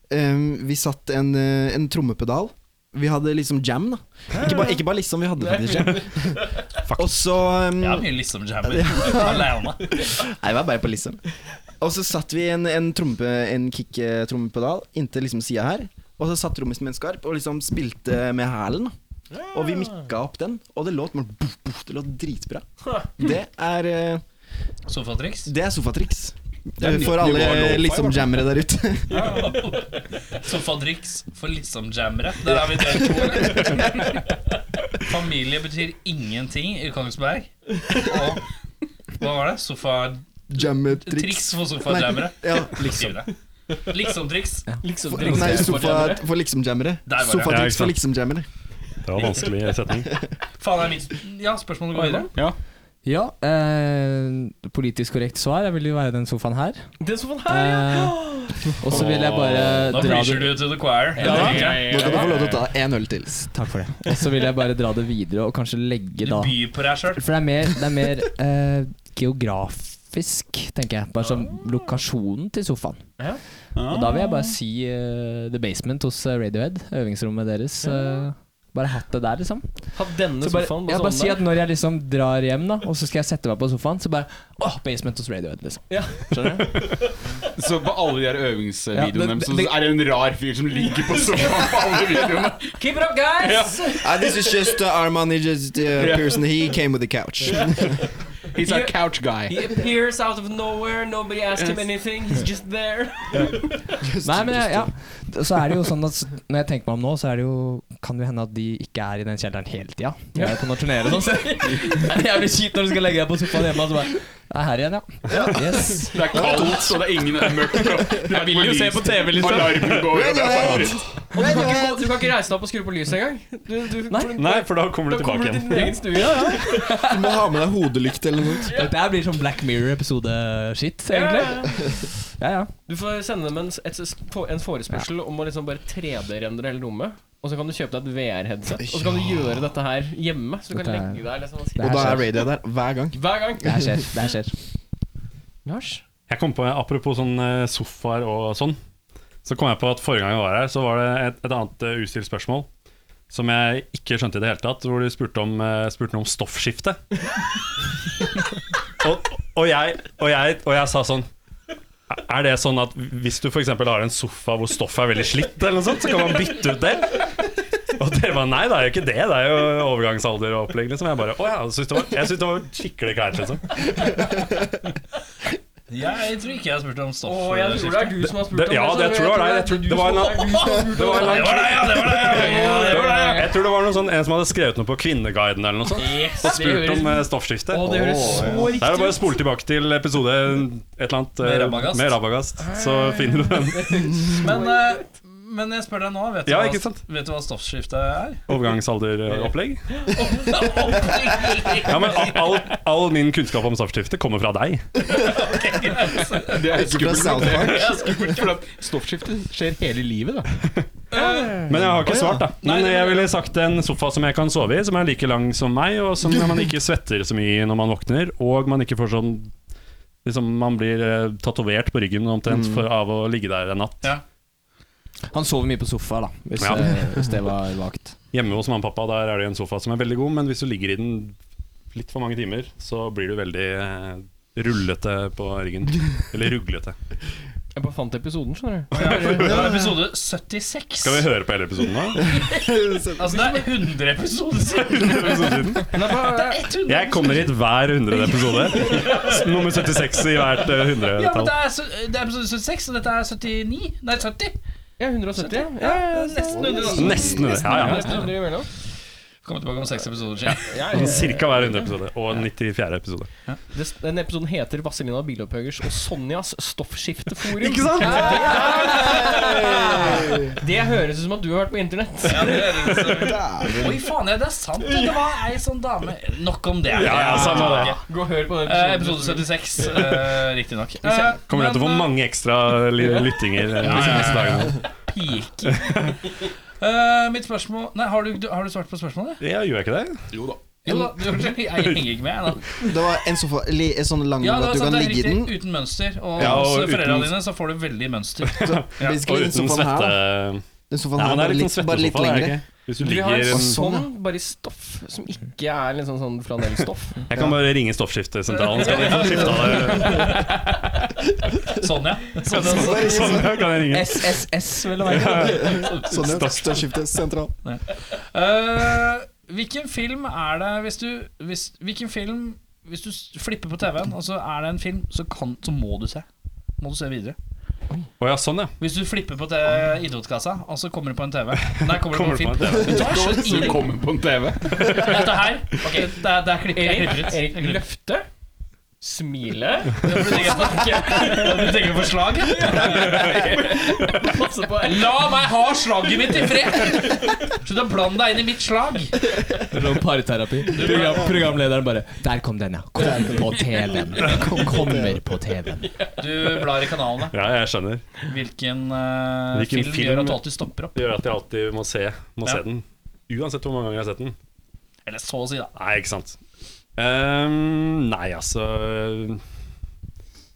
[SPEAKER 9] Ehm, vi satt en, eh, en trommepedal. Vi hadde liksom jam, da. Ikke bare, ikke bare liksom, vi hadde faktisk jam. Og så ehm,
[SPEAKER 5] Jeg har mye liksom liksom-jammer alene.
[SPEAKER 9] Nei, det var bare på liksom. Og så satt vi en, en, trompe, en kick-trommepedal inntil liksom sida her. Og så satt trommisen min skarp og liksom spilte med hælen. da. Og vi mikka opp den, og det låt bare boff, boff, Det låt dritbra. Det er, eh,
[SPEAKER 5] Sofatriks.
[SPEAKER 9] det er sofatriks. Eh,
[SPEAKER 1] er nytt
[SPEAKER 9] For
[SPEAKER 1] nivå av
[SPEAKER 9] alle
[SPEAKER 1] lo-fi,
[SPEAKER 9] liksom-jammere der ute.
[SPEAKER 5] Sofatriks for liksom-jammere. Der har vi delt to. eller? Familie betyr ingenting i Kongsberg. Og hva var det? Sofatriks
[SPEAKER 9] Jammetriks.
[SPEAKER 5] for sofa-jammere.
[SPEAKER 9] Ja,
[SPEAKER 7] liksom.
[SPEAKER 5] Skriv det. Liksom Liksom-triks.
[SPEAKER 9] for, nei, sofa for liksom-jammere.
[SPEAKER 5] Der var det.
[SPEAKER 8] Ja, ikke
[SPEAKER 9] Sofatriks
[SPEAKER 8] sant.
[SPEAKER 9] for liksom-jammere.
[SPEAKER 8] Det var en vanskelig setning.
[SPEAKER 5] Faen, er mitt Ja, spørsmålet går videre.
[SPEAKER 1] Ja.
[SPEAKER 7] Ja, eh, politisk korrekt svar Jeg vil jo være den sofaen her.
[SPEAKER 6] Den sofaen her, ja.
[SPEAKER 7] Eh, og så vil jeg bare
[SPEAKER 5] Da
[SPEAKER 7] dra
[SPEAKER 5] preacher
[SPEAKER 7] det
[SPEAKER 5] du to the choir.
[SPEAKER 7] Ja.
[SPEAKER 5] Jeg tenker
[SPEAKER 9] Nå kan du få lov til å ta en øl til.
[SPEAKER 7] Takk for det. Og så vil jeg bare dra det videre og kanskje legge
[SPEAKER 5] det. Du
[SPEAKER 7] da
[SPEAKER 5] byr på deg sjøl.
[SPEAKER 7] For det er mer, det er mer eh, geografisk, tenker jeg. Bare som
[SPEAKER 6] Ah.
[SPEAKER 7] lokasjonen til sofaen. Og da vil jeg bare si eh, The Basement hos eh, Radiohead. Øvingsrommet deres. eh, bare hatt det der, liksom.
[SPEAKER 6] Ha denne
[SPEAKER 7] Så bare,
[SPEAKER 6] sofaen
[SPEAKER 7] jeg
[SPEAKER 6] på
[SPEAKER 7] bare si
[SPEAKER 6] sånn
[SPEAKER 7] at når jeg liksom drar hjem, da og så skal jeg sette meg på sofaen, så bare Åh, Basement hos Radiohead, liksom.
[SPEAKER 1] Så på alle de der
[SPEAKER 7] Ja, det-
[SPEAKER 1] øvingsvideoene deres så
[SPEAKER 7] det-
[SPEAKER 1] er det en rar fyr som ligger på sofaen på alle videoene.
[SPEAKER 6] Keep it up, guys!
[SPEAKER 9] Uh, this is just uh, our manager, uh, Pearson. He came with the couch.
[SPEAKER 1] He's a couch guy.
[SPEAKER 6] He appears out of nowhere, nobody asks him anything, he's just there.
[SPEAKER 7] Nei, men jeg, ja. Så er det jo sånn at s- når jeg tenker meg om nå, så er det jo kan det jo hende at de ikke er i den kjelleren hele tida. De er jo på noen turneer og sånn. så Det er jævlig kjipt når du skal legge deg på sofaen hjemme og så bare Jeg er her igjen, ja. Yes.
[SPEAKER 1] Det er kaldt, og det er ingen det er mørkt. og- Jeg vil jo se på TV, liksom. Alarmen går, og det er farlig.
[SPEAKER 6] Og du kan, ikke, du kan ikke reise deg opp og skru på lyset engang. Du, du,
[SPEAKER 7] Nei.
[SPEAKER 6] for-
[SPEAKER 8] Nei, for da kommer
[SPEAKER 6] Da
[SPEAKER 8] du
[SPEAKER 6] kommer du
[SPEAKER 8] tilbake
[SPEAKER 6] til
[SPEAKER 8] igjen.
[SPEAKER 6] din egen stue. Ja, ja.
[SPEAKER 9] Du må ha med deg hodelykt eller noe. sånt.
[SPEAKER 7] Dette her blir sånn Black Mirror-episode-shit, egentlig.
[SPEAKER 6] Ja, ja.
[SPEAKER 7] Ja, ja.
[SPEAKER 6] Du får sende dem en, s- et, s- på- en forespørsel om å liksom bare 3D-rendre hele rommet. Og så kan du kjøpe deg et VR-headset, og så kan du gjøre dette her hjemme. Så du kan
[SPEAKER 7] Dette er-
[SPEAKER 6] legge deg liksom, og
[SPEAKER 7] Det
[SPEAKER 9] Og
[SPEAKER 7] her
[SPEAKER 9] da er
[SPEAKER 7] skjer.
[SPEAKER 9] radio der hver gang.
[SPEAKER 6] si hver gang.
[SPEAKER 7] Det her skjer. Det her skjer.
[SPEAKER 6] Lars?
[SPEAKER 8] Jeg kom på, Apropos sånn eh, sofaer og sånn, så kom jeg på at forrige gang jeg var her, så var det et, et annet eh, ustilt spørsmål som jeg ikke skjønte i det hele tatt, hvor de spurte om, eh, spurte om stoffskifte. og, og, jeg, og, jeg, og jeg sa sånn er det sånn at hvis du f.eks. har en sofa hvor stoffet er veldig slitt, eller noe sånt, så kan man bytte ut det? Og dere bare nei, det er jo ikke det, det er jo overgangsalder og opplegg. Liksom. Jeg bare å ja, jeg syntes det var, jeg syntes det var skikkelig kleint, liksom.
[SPEAKER 5] Jeg tror ikke jeg spurte om stoff. eh,
[SPEAKER 6] Å, jeg tror det er du som har spurt
[SPEAKER 8] Det-
[SPEAKER 6] om
[SPEAKER 8] ja, det tror jeg det er. Jeg tror- det var en
[SPEAKER 6] det er du som har spurt om
[SPEAKER 8] Det var en lang-
[SPEAKER 5] det var det.
[SPEAKER 8] Jeg tror det var noen sånn, en som hadde skrevet noe på Kvinneguiden eller noe sånt.
[SPEAKER 6] Yes,
[SPEAKER 8] Og
[SPEAKER 6] det
[SPEAKER 8] spurt
[SPEAKER 6] høres-
[SPEAKER 8] om eh, stoffskifte.
[SPEAKER 6] Å, det høres så
[SPEAKER 8] Det er jo
[SPEAKER 6] riktig
[SPEAKER 8] bare å spole tilbake til episode et eller annet eh,
[SPEAKER 5] Med Rabagast.
[SPEAKER 8] med Rabagast, så finner du den
[SPEAKER 5] Men, eh, men jeg spør deg nå, vet du,
[SPEAKER 8] Ja, ikke
[SPEAKER 5] hva,
[SPEAKER 8] sant?
[SPEAKER 5] vet du hva stoffskifte er?
[SPEAKER 8] overgangsalderopplegg. Ja, men a- all, all min kunnskap om stoffskifte kommer fra deg.
[SPEAKER 1] Det er
[SPEAKER 9] Ikke fra
[SPEAKER 1] skummelt.
[SPEAKER 9] South Park.
[SPEAKER 1] Det er skummelt, for at Stoffskifte skjer hele livet, da.
[SPEAKER 8] Men jeg har ikke svart, da. Men jeg ville sagt en sofa som jeg kan sove i, som er like lang som meg, og som man ikke svetter så mye i når man våkner, og man ikke får sånn Liksom Man blir eh, tatovert på ryggen omtrent for, av å ligge der en natt.
[SPEAKER 7] Han sover mye på sofa, da, hvis,
[SPEAKER 8] Ja.
[SPEAKER 7] eh, hvis det var vagt.
[SPEAKER 8] Hjemme hos mamma og pappa der er det en sofa som er veldig god, men hvis du ligger i den litt for mange timer, så blir du veldig eh, rullete på ryggen. Eller ruglete.
[SPEAKER 6] Jeg bare fant episoden, skjønner du.
[SPEAKER 5] Det var episode 76.
[SPEAKER 8] Skal vi høre på hele episoden nå?
[SPEAKER 5] Altså, det er 100 episoder siden.
[SPEAKER 8] Jeg kommer hit hver hundrede episode. Nummer 76 i hvert eh,
[SPEAKER 5] Ja, men det
[SPEAKER 8] hundretall.
[SPEAKER 5] er, så- det er episode 76, og dette er 79. Nei, 70.
[SPEAKER 6] Ja, 170. Ja, ja, ja.
[SPEAKER 5] Nesten 100. altså.
[SPEAKER 8] Nesten det. Ja, ja. Sånn
[SPEAKER 6] Nesten 100 imellom.
[SPEAKER 5] Kommer tilbake om seks episoder siden.
[SPEAKER 8] Cirka hver 100 episode. Og 94. episode.
[SPEAKER 6] Det, den episoden heter 'Vazelina Bilopphøggers og Sonjas stoffskifteforum'.
[SPEAKER 8] Ikke sant?
[SPEAKER 6] Det høres ut som at du har vært på internett.
[SPEAKER 5] Ja, det er det som- Oi, faen, ja, det er sant. Det var ei sånn dame Nok om det.
[SPEAKER 8] Ja, ja, samme det.
[SPEAKER 6] Gå og hør på den
[SPEAKER 5] Eh, episode 76, uh, riktig nok. Eh,
[SPEAKER 8] Kommer jeg til å få
[SPEAKER 5] men, eh,
[SPEAKER 8] mange ekstra li- lyttinger eh, disse neste dagene?
[SPEAKER 5] piker. Eh, mitt spørsmål Nei, har du, du, har du svart på spørsmålet?
[SPEAKER 8] Ja, gjør jeg ikke det?
[SPEAKER 5] Jo da, du, jeg henger ikke med. Jeg, da.
[SPEAKER 9] Det var en sånn, li, en sånn lang
[SPEAKER 5] Ja, det, er
[SPEAKER 9] at du
[SPEAKER 5] sant,
[SPEAKER 9] kan
[SPEAKER 5] det er
[SPEAKER 9] ligge i den.
[SPEAKER 5] riktig. Uten mønster. Og
[SPEAKER 8] Ja, og
[SPEAKER 5] hos eh, foreldrene
[SPEAKER 8] uten-
[SPEAKER 5] dine så får du veldig mønster. Ja.
[SPEAKER 9] Basically,
[SPEAKER 8] Og
[SPEAKER 9] den
[SPEAKER 8] uten
[SPEAKER 9] sofaen her,
[SPEAKER 8] svette...
[SPEAKER 9] da. Den sofaen
[SPEAKER 8] Nei,
[SPEAKER 9] her
[SPEAKER 8] men det
[SPEAKER 9] bare
[SPEAKER 8] er litt
[SPEAKER 9] litt,
[SPEAKER 8] sånn
[SPEAKER 9] bare litt
[SPEAKER 8] svettesofa, det er
[SPEAKER 9] lengre.
[SPEAKER 8] det ikke? Hvis du
[SPEAKER 2] Vi har
[SPEAKER 8] ligger
[SPEAKER 2] en
[SPEAKER 9] sånn,
[SPEAKER 2] sånn, bare i stoff, som ikke er liksom sånn flanellstoff.
[SPEAKER 8] Jeg kan bare ringe stoffskiftesentralen, skal de få skifta det?
[SPEAKER 5] Sånn, ja. Sånn, ja.
[SPEAKER 9] Bare litt
[SPEAKER 8] Sånn,
[SPEAKER 9] sånn-
[SPEAKER 8] ja, kan jeg ringe.
[SPEAKER 7] SSS, vil det være.
[SPEAKER 9] Sånn, ja. Størskifte sentral.
[SPEAKER 5] Eh, hvilken film er det Hvis du hvis, Hvilken film Hvis du s- flipper på TV-en, og så er det en film, så, kan, så må du se. Må du se videre.
[SPEAKER 8] Å ja, sånn, ja.
[SPEAKER 5] Hvis du flipper på te- idiotkassa, og så kommer du på en TV Nei, kommer du på
[SPEAKER 8] Kommer
[SPEAKER 5] en
[SPEAKER 8] det
[SPEAKER 5] film.
[SPEAKER 8] på en TV?
[SPEAKER 5] Da
[SPEAKER 1] Så
[SPEAKER 5] skjønner
[SPEAKER 1] du
[SPEAKER 5] jeg
[SPEAKER 1] kommer på en TV.
[SPEAKER 5] Dette her Ok, det er, det er klipp, jeg klipper ut. Jeg
[SPEAKER 6] Erik
[SPEAKER 5] klipper ut.
[SPEAKER 6] løfte, smile,
[SPEAKER 5] Du tenker- Du tenker på slag?
[SPEAKER 6] passe på
[SPEAKER 5] La meg ha slaget mitt i fred! Slutt å blande deg inn i mitt slag.
[SPEAKER 7] Sånn parterapi. Program, programlederen bare Der kom den, ja. Kom på TV-en. Kom, kommer på TV-en.
[SPEAKER 5] Du blar i kanalene.
[SPEAKER 8] Ja, jeg skjønner.
[SPEAKER 5] Hvilken, eh,
[SPEAKER 8] Hvilken
[SPEAKER 5] film,
[SPEAKER 8] film-
[SPEAKER 5] gjør at du alltid stopper opp?
[SPEAKER 8] Det gjør at jeg alltid må se, må
[SPEAKER 5] Ja.
[SPEAKER 8] se den. Uansett hvor mange ganger jeg har sett den.
[SPEAKER 5] Eller så å si, da.
[SPEAKER 8] Nei, ikke sant. Ehm, nei, altså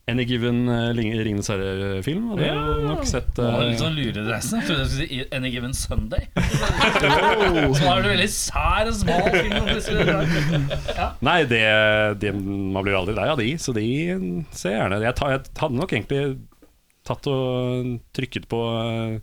[SPEAKER 8] Any given uh, Ringenes herre-film hadde jeg nok sett.
[SPEAKER 5] Det var
[SPEAKER 8] eh,
[SPEAKER 5] litt sånn luredressen. Jeg trodde jeg skulle si Any Given Sunday.
[SPEAKER 1] Oh.
[SPEAKER 5] Så da er det veldig sær og smal film. og plutselig er det-
[SPEAKER 8] Nei, det, det Man blir jo aldri lei av de, så de ser jeg gjerne. Jeg, ta, jeg hadde nok egentlig tatt og trykket på eh,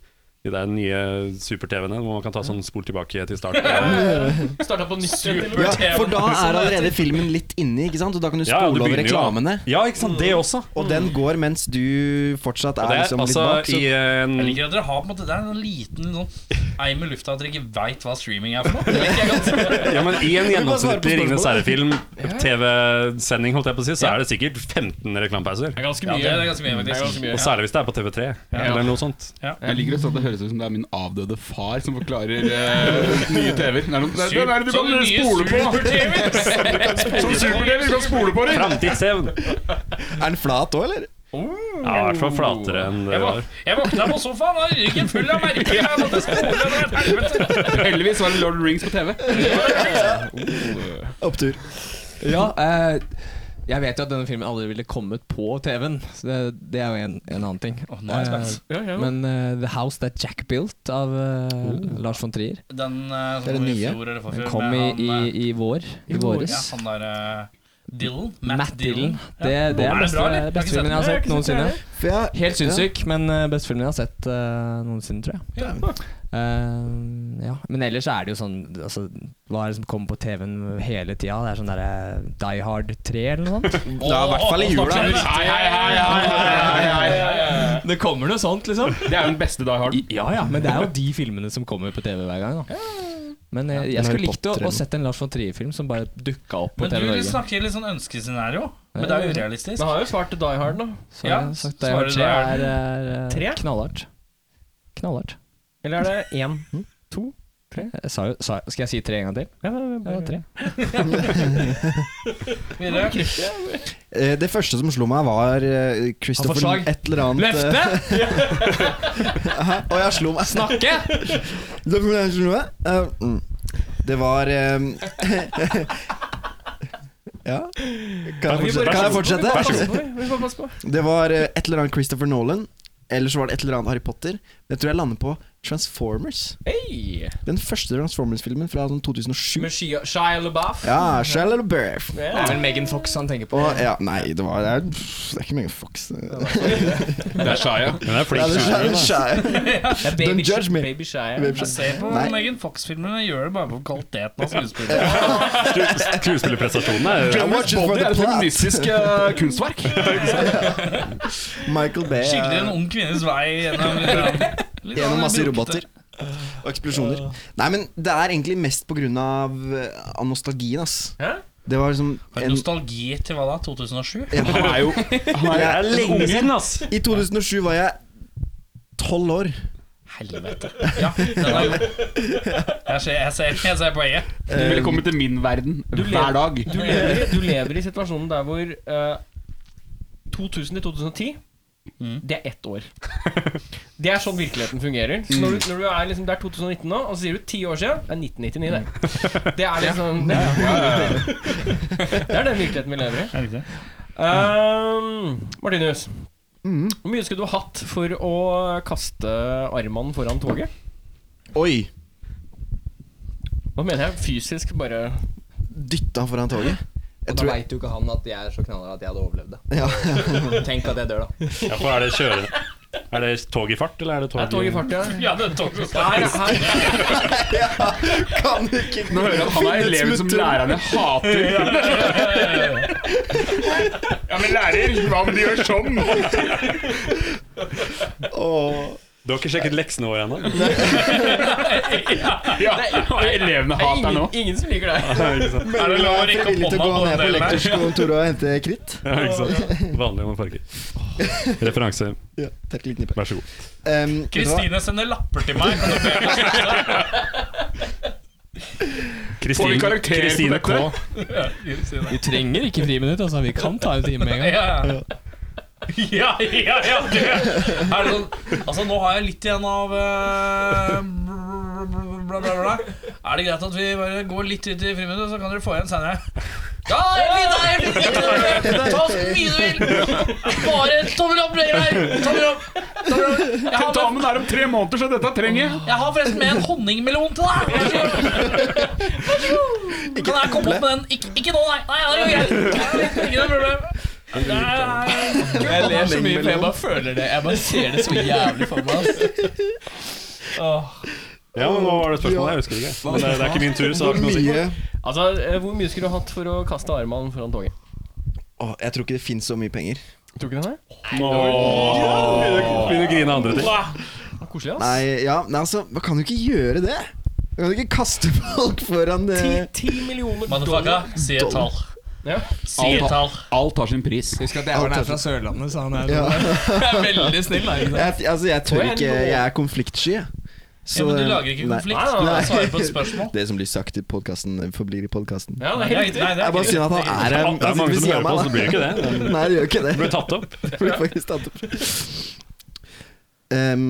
[SPEAKER 8] de der nye super-TV-ene hvor man kan ta sånn spol tilbake til start. Ja,
[SPEAKER 6] Starta på nytt.
[SPEAKER 9] Ja, for
[SPEAKER 5] Sånn
[SPEAKER 9] da er allerede filmen litt inni, ikke sant? Og da kan du
[SPEAKER 8] ja, du
[SPEAKER 9] spole over
[SPEAKER 8] begynner jo-
[SPEAKER 9] reklamene.
[SPEAKER 8] Ja, ikke sant. Det også.
[SPEAKER 9] Og den går mens du fortsatt
[SPEAKER 8] Og det
[SPEAKER 9] er
[SPEAKER 8] er
[SPEAKER 9] liksom litt
[SPEAKER 8] altså
[SPEAKER 9] bak. Så
[SPEAKER 8] i en
[SPEAKER 5] Jeg liker at dere har på en måte Det er en liten sånn eim i lufta at dere ikke veit hva streaming er for noe. Det liker jeg godt.
[SPEAKER 8] Ja, men I en gjennomsnittlig
[SPEAKER 9] spørsmålet.
[SPEAKER 8] Ringenes herre-film, TV-sending, holdt jeg på å si, så er det sikkert 15 reklamepauser.
[SPEAKER 6] Det er ganske
[SPEAKER 5] Ja,
[SPEAKER 6] mye.
[SPEAKER 5] det er ganske mye, faktisk.
[SPEAKER 6] Det er ganske mye.
[SPEAKER 8] Og særlig hvis det er på TV3 eller noe sånt.
[SPEAKER 1] Jeg liker også at det høres ut som det er min avdøde far som forklarer eh, nye TV-er. Det er noen- det er- det er det du kan spole på! Som super-TV-er, du kan spole på det!
[SPEAKER 8] Framtidssevn!
[SPEAKER 9] er den flat òg, eller?
[SPEAKER 8] Ja, i hvert fall flatere enn det
[SPEAKER 5] Jeg
[SPEAKER 8] var.
[SPEAKER 5] våk- Jeg våkna på sofaen og ryggen full av merker. Jeg måtte spole, det var et helvete.
[SPEAKER 1] Heldigvis var det Lord of the Rings på TV.
[SPEAKER 9] Opptur.
[SPEAKER 7] Ja, eh, jeg vet jo at denne filmen aldri ville kommet på TV-en. Så det, det er jo en, en annen ting.
[SPEAKER 5] nå er jeg spent.
[SPEAKER 7] Eh, men eh, The House That Jack Built av eh, Lars von Trier,
[SPEAKER 5] Den eh,
[SPEAKER 9] Det er
[SPEAKER 5] som kom
[SPEAKER 9] det
[SPEAKER 5] i
[SPEAKER 9] nye.
[SPEAKER 5] fjor eller
[SPEAKER 7] den
[SPEAKER 5] forfjor
[SPEAKER 7] kom i,
[SPEAKER 5] med
[SPEAKER 7] i,
[SPEAKER 5] han,
[SPEAKER 7] i vår. I
[SPEAKER 5] eh,
[SPEAKER 7] våres.
[SPEAKER 5] Ja, han der eh, Dylan. Matt,
[SPEAKER 7] Matt
[SPEAKER 5] Dylan.
[SPEAKER 7] Dylan. Det, det
[SPEAKER 5] Er
[SPEAKER 7] er
[SPEAKER 5] det bra, eller? Jeg har
[SPEAKER 7] beste,
[SPEAKER 5] ikke
[SPEAKER 7] beste
[SPEAKER 5] sett den.
[SPEAKER 7] filmen jeg
[SPEAKER 6] Jeg har ikke sett den
[SPEAKER 7] har sett noensinne.
[SPEAKER 9] For jeg,
[SPEAKER 7] Helt sinnssyk, men eh, beste filmen jeg har sett eh, noensinne, tror jeg.
[SPEAKER 5] Ja.
[SPEAKER 7] Eh, ja. Men ellers er det jo sånn altså, Hva er det som kommer på TV-en hele tida? Det er sånn derre Die Hard 3 eller noe sånt?
[SPEAKER 9] det er i hvert fall i jula.
[SPEAKER 1] Hei, hei, hei, hei, hei, hei, hei.
[SPEAKER 7] det kommer noe sånt, liksom.
[SPEAKER 1] Det er jo den beste Die Hard.
[SPEAKER 7] I- Ja ja, men det er jo de filmene som kommer på TV hver gang. Da. Men eh, jeg
[SPEAKER 9] Harry
[SPEAKER 7] skulle likt å,
[SPEAKER 9] Potter
[SPEAKER 7] å
[SPEAKER 9] eller
[SPEAKER 7] sett en Lars von Trier-film som bare dukka opp på
[SPEAKER 5] Men
[SPEAKER 7] TV
[SPEAKER 5] du
[SPEAKER 7] Norge.
[SPEAKER 5] snakker litt sånn ønskescenario, men det er jo urealistisk.
[SPEAKER 6] Men han har jo svart til Die Hard, da.
[SPEAKER 7] Så
[SPEAKER 5] ja,
[SPEAKER 7] jeg har sagt Die Hard
[SPEAKER 5] svarer Die Hard.
[SPEAKER 7] 3 er, er,
[SPEAKER 6] Tre?
[SPEAKER 7] eh, knallhardt. Knallhardt.
[SPEAKER 6] Eller er det én?
[SPEAKER 7] Jeg sa jo, sa, skal jeg si tre en gang til?
[SPEAKER 6] Ja, det er
[SPEAKER 7] Ja,
[SPEAKER 6] bare-
[SPEAKER 7] tre.
[SPEAKER 5] Videre.
[SPEAKER 9] Eh, Det første som slo meg, var eh, Christopher
[SPEAKER 7] slag.
[SPEAKER 9] et eller annet eh,
[SPEAKER 7] Løfte!
[SPEAKER 9] Hæ? Og jeg slo meg.
[SPEAKER 7] Snakke!
[SPEAKER 9] Det var- jeg slo meg. Eh, mm. Det var eh, Ja? Kan jeg fortsette? Kan jeg fortsette?
[SPEAKER 6] Vi får passe på.
[SPEAKER 9] Det var eh, et eller annet Christopher Nolan. Eller så var det et eller annet Harry Potter. Men jeg tror jeg lander på Transformers.
[SPEAKER 6] Hey.
[SPEAKER 9] Den første Transformers-filmen fra sånn 2007.
[SPEAKER 6] Med Shia, Shia LaBeouf.
[SPEAKER 9] Ja, Shia LaBeouf.
[SPEAKER 7] Det er vel Megan Fox han tenker på.
[SPEAKER 9] Og ja, nei, det var Det er, det er ikke mange fox Det er
[SPEAKER 1] Det er Shia.
[SPEAKER 8] Men det er flink
[SPEAKER 9] det
[SPEAKER 8] skuespiller.
[SPEAKER 9] Shia-
[SPEAKER 6] Det
[SPEAKER 9] Shia.
[SPEAKER 6] er baby,
[SPEAKER 9] Don't judge me.
[SPEAKER 6] baby Shia.
[SPEAKER 9] Baby
[SPEAKER 5] Jeg
[SPEAKER 9] Shia.
[SPEAKER 5] ser på
[SPEAKER 9] Nei.
[SPEAKER 5] Megan Fox-filmene, jeg gjør det bare for kvaliteten av skuespillet.
[SPEAKER 8] Skru- Skuespillerprestasjonene er
[SPEAKER 9] I'm watching for
[SPEAKER 1] Body er
[SPEAKER 9] the
[SPEAKER 1] et
[SPEAKER 9] plot.
[SPEAKER 1] feministisk eh, kunstverk.
[SPEAKER 9] Michael Bay
[SPEAKER 5] Skildrer en
[SPEAKER 9] er
[SPEAKER 5] ung kvinnes vei gjennom litt
[SPEAKER 9] gjennom
[SPEAKER 5] sånn
[SPEAKER 9] masse
[SPEAKER 5] brukte-
[SPEAKER 9] roboter. Og eksplosjoner. Nei, men det er egentlig mest på grunn av, eh, av nostalgien, ass.
[SPEAKER 6] Hæ?
[SPEAKER 9] Det var liksom en,
[SPEAKER 5] Nostalgi til hva da? 2007?
[SPEAKER 9] ja,
[SPEAKER 1] Han er jo han
[SPEAKER 9] Det
[SPEAKER 1] er,
[SPEAKER 9] er
[SPEAKER 8] lenge siden, ass!
[SPEAKER 9] I 2007 var jeg tolv år.
[SPEAKER 5] Helvete. Ja, den er god. Jeg ser, jeg ser, jeg ser E. poenget.
[SPEAKER 1] Du ville kommet til min verden hver dag.
[SPEAKER 6] eh, Du lever, i- du lever i situasjonen der hvor eh, 2000 til 2010
[SPEAKER 7] Mm.
[SPEAKER 6] Det er ett år. Det er sånn virkeligheten fungerer. Så når
[SPEAKER 7] Mm.
[SPEAKER 6] du, når du er liksom, det er 2019 nå, og så sier du ti år siden. Det er 1999, det. Det er liksom Det, det er den virkeligheten vi lever i.
[SPEAKER 11] Er det ikke det?
[SPEAKER 6] Um, Martinus, hvor mye skulle du hatt for å kaste armene foran toget?
[SPEAKER 9] Oi!
[SPEAKER 6] Hva mener jeg? Fysisk bare
[SPEAKER 9] Dytta foran toget. Jeg
[SPEAKER 12] Og da
[SPEAKER 9] tror jeg,
[SPEAKER 12] veit jo ikke han at jeg er så knallhard at jeg hadde overlevd det.
[SPEAKER 9] ja,
[SPEAKER 12] Tenk at jeg dør, da.
[SPEAKER 8] Ja, for er det kjørende Er det tog i fart, eller er det tog,
[SPEAKER 6] Er tog i fart, ja?
[SPEAKER 5] Ja, det er tog som står
[SPEAKER 6] Her, her.
[SPEAKER 9] kan ikke
[SPEAKER 1] Nå hører jeg at han er eleven som lærerne hater. ja, men lærer, hva om de gjør sånn?
[SPEAKER 8] Du har ikke sjekket leksene våre ennå?
[SPEAKER 1] Ja, elevene hater nå.
[SPEAKER 6] Ingen som liker deg.
[SPEAKER 5] Er det
[SPEAKER 9] Jeg
[SPEAKER 5] lov å
[SPEAKER 9] er
[SPEAKER 5] rekke
[SPEAKER 9] frivillig
[SPEAKER 5] opp
[SPEAKER 9] til å gå
[SPEAKER 5] hånda på
[SPEAKER 9] ned på
[SPEAKER 5] den der?
[SPEAKER 9] lektorskontoret og hente kritt.
[SPEAKER 8] Ja, ikke sant? Vanlig om farger. Referanse.
[SPEAKER 9] Ja, takk, liten nippe.
[SPEAKER 8] Vær så god.
[SPEAKER 9] Um, vet du hva?
[SPEAKER 5] Kristine sender lapper til meg. Kan du be-
[SPEAKER 1] Får vi
[SPEAKER 8] Kristine
[SPEAKER 1] karakterer på
[SPEAKER 8] Kristine K.
[SPEAKER 1] dette?
[SPEAKER 5] Ja, Kristine.
[SPEAKER 7] Vi trenger ikke friminutt, altså. Vi kan ta en time med en gang.
[SPEAKER 5] Ja, ja, ja, ja det. Er det sånn, Altså, nå har jeg litt igjen av eh, bla, bla, bla, bla. Er det greit at vi bare går litt ut i friminuttet, så kan dere få igjen senere? Ja, det er fint, det er fint, ikke noe problem. Ta så mye du vil. Bare tommel opp lenger her. Tommel opp. Tommel opp. Jeg, har med,
[SPEAKER 1] Tentamen er om tre måneder, så dette trenger jeg.
[SPEAKER 5] jeg har forresten med en honningmelon til deg. Vær så god. Vær så god. Kan jeg komme opp med den? Ikke, ikke nå, nei. Nei, det er jo greit. Ikke noe problem. Nei, nei, nei.
[SPEAKER 7] Jeg ler så mye, for jeg bare føler det. Jeg bare ser det så jævlig for meg. Altså.
[SPEAKER 8] Ja, men hva var det spørsmålet? Jeg husker ikke. Men det, det er ikke min tur, så det har ikke noe å si.
[SPEAKER 9] Mye
[SPEAKER 6] Altså, eh, Hvor mye skulle du hatt for å kaste armene foran toget?
[SPEAKER 9] Åh, Jeg tror ikke det fins så mye penger.
[SPEAKER 6] Tror ikke det?
[SPEAKER 8] Begynner å grine andre ting.
[SPEAKER 6] er Koselig, ass.
[SPEAKER 9] Nei, ja, nei, altså, man kan jo ikke gjøre det. Man kan jo ikke kaste folk foran eh,
[SPEAKER 6] Ti millioner
[SPEAKER 5] Motherfucka, si et tall.
[SPEAKER 6] Ja.
[SPEAKER 5] Si et tall.
[SPEAKER 1] Alt har sin pris.
[SPEAKER 12] Husk at jævelen er fra Sørlandet, så han er
[SPEAKER 9] ja.
[SPEAKER 12] veldig snill. Da, ikke sant?
[SPEAKER 9] jeg, altså, jeg tør ikke Jeg er konfliktsky. jeg.
[SPEAKER 5] Ja,
[SPEAKER 9] Så,
[SPEAKER 5] men du
[SPEAKER 9] eh,
[SPEAKER 5] lager ikke
[SPEAKER 9] nei.
[SPEAKER 5] konflikt.
[SPEAKER 6] Nei, nei,
[SPEAKER 5] Du
[SPEAKER 9] nei.
[SPEAKER 5] svarer på et spørsmål.
[SPEAKER 9] Det som blir sagt i podkasten, forblir i podkasten.
[SPEAKER 6] ja, det er helt riktig.
[SPEAKER 5] Nei, det er
[SPEAKER 9] Det er bare
[SPEAKER 5] ikke
[SPEAKER 9] synd at han er altså, her.
[SPEAKER 8] Det er mange som hører på, så det blir jo ikke det.
[SPEAKER 9] Nei, det gjør ikke det.
[SPEAKER 8] Det ble tatt opp.
[SPEAKER 9] Det blir faktisk tatt opp. Um,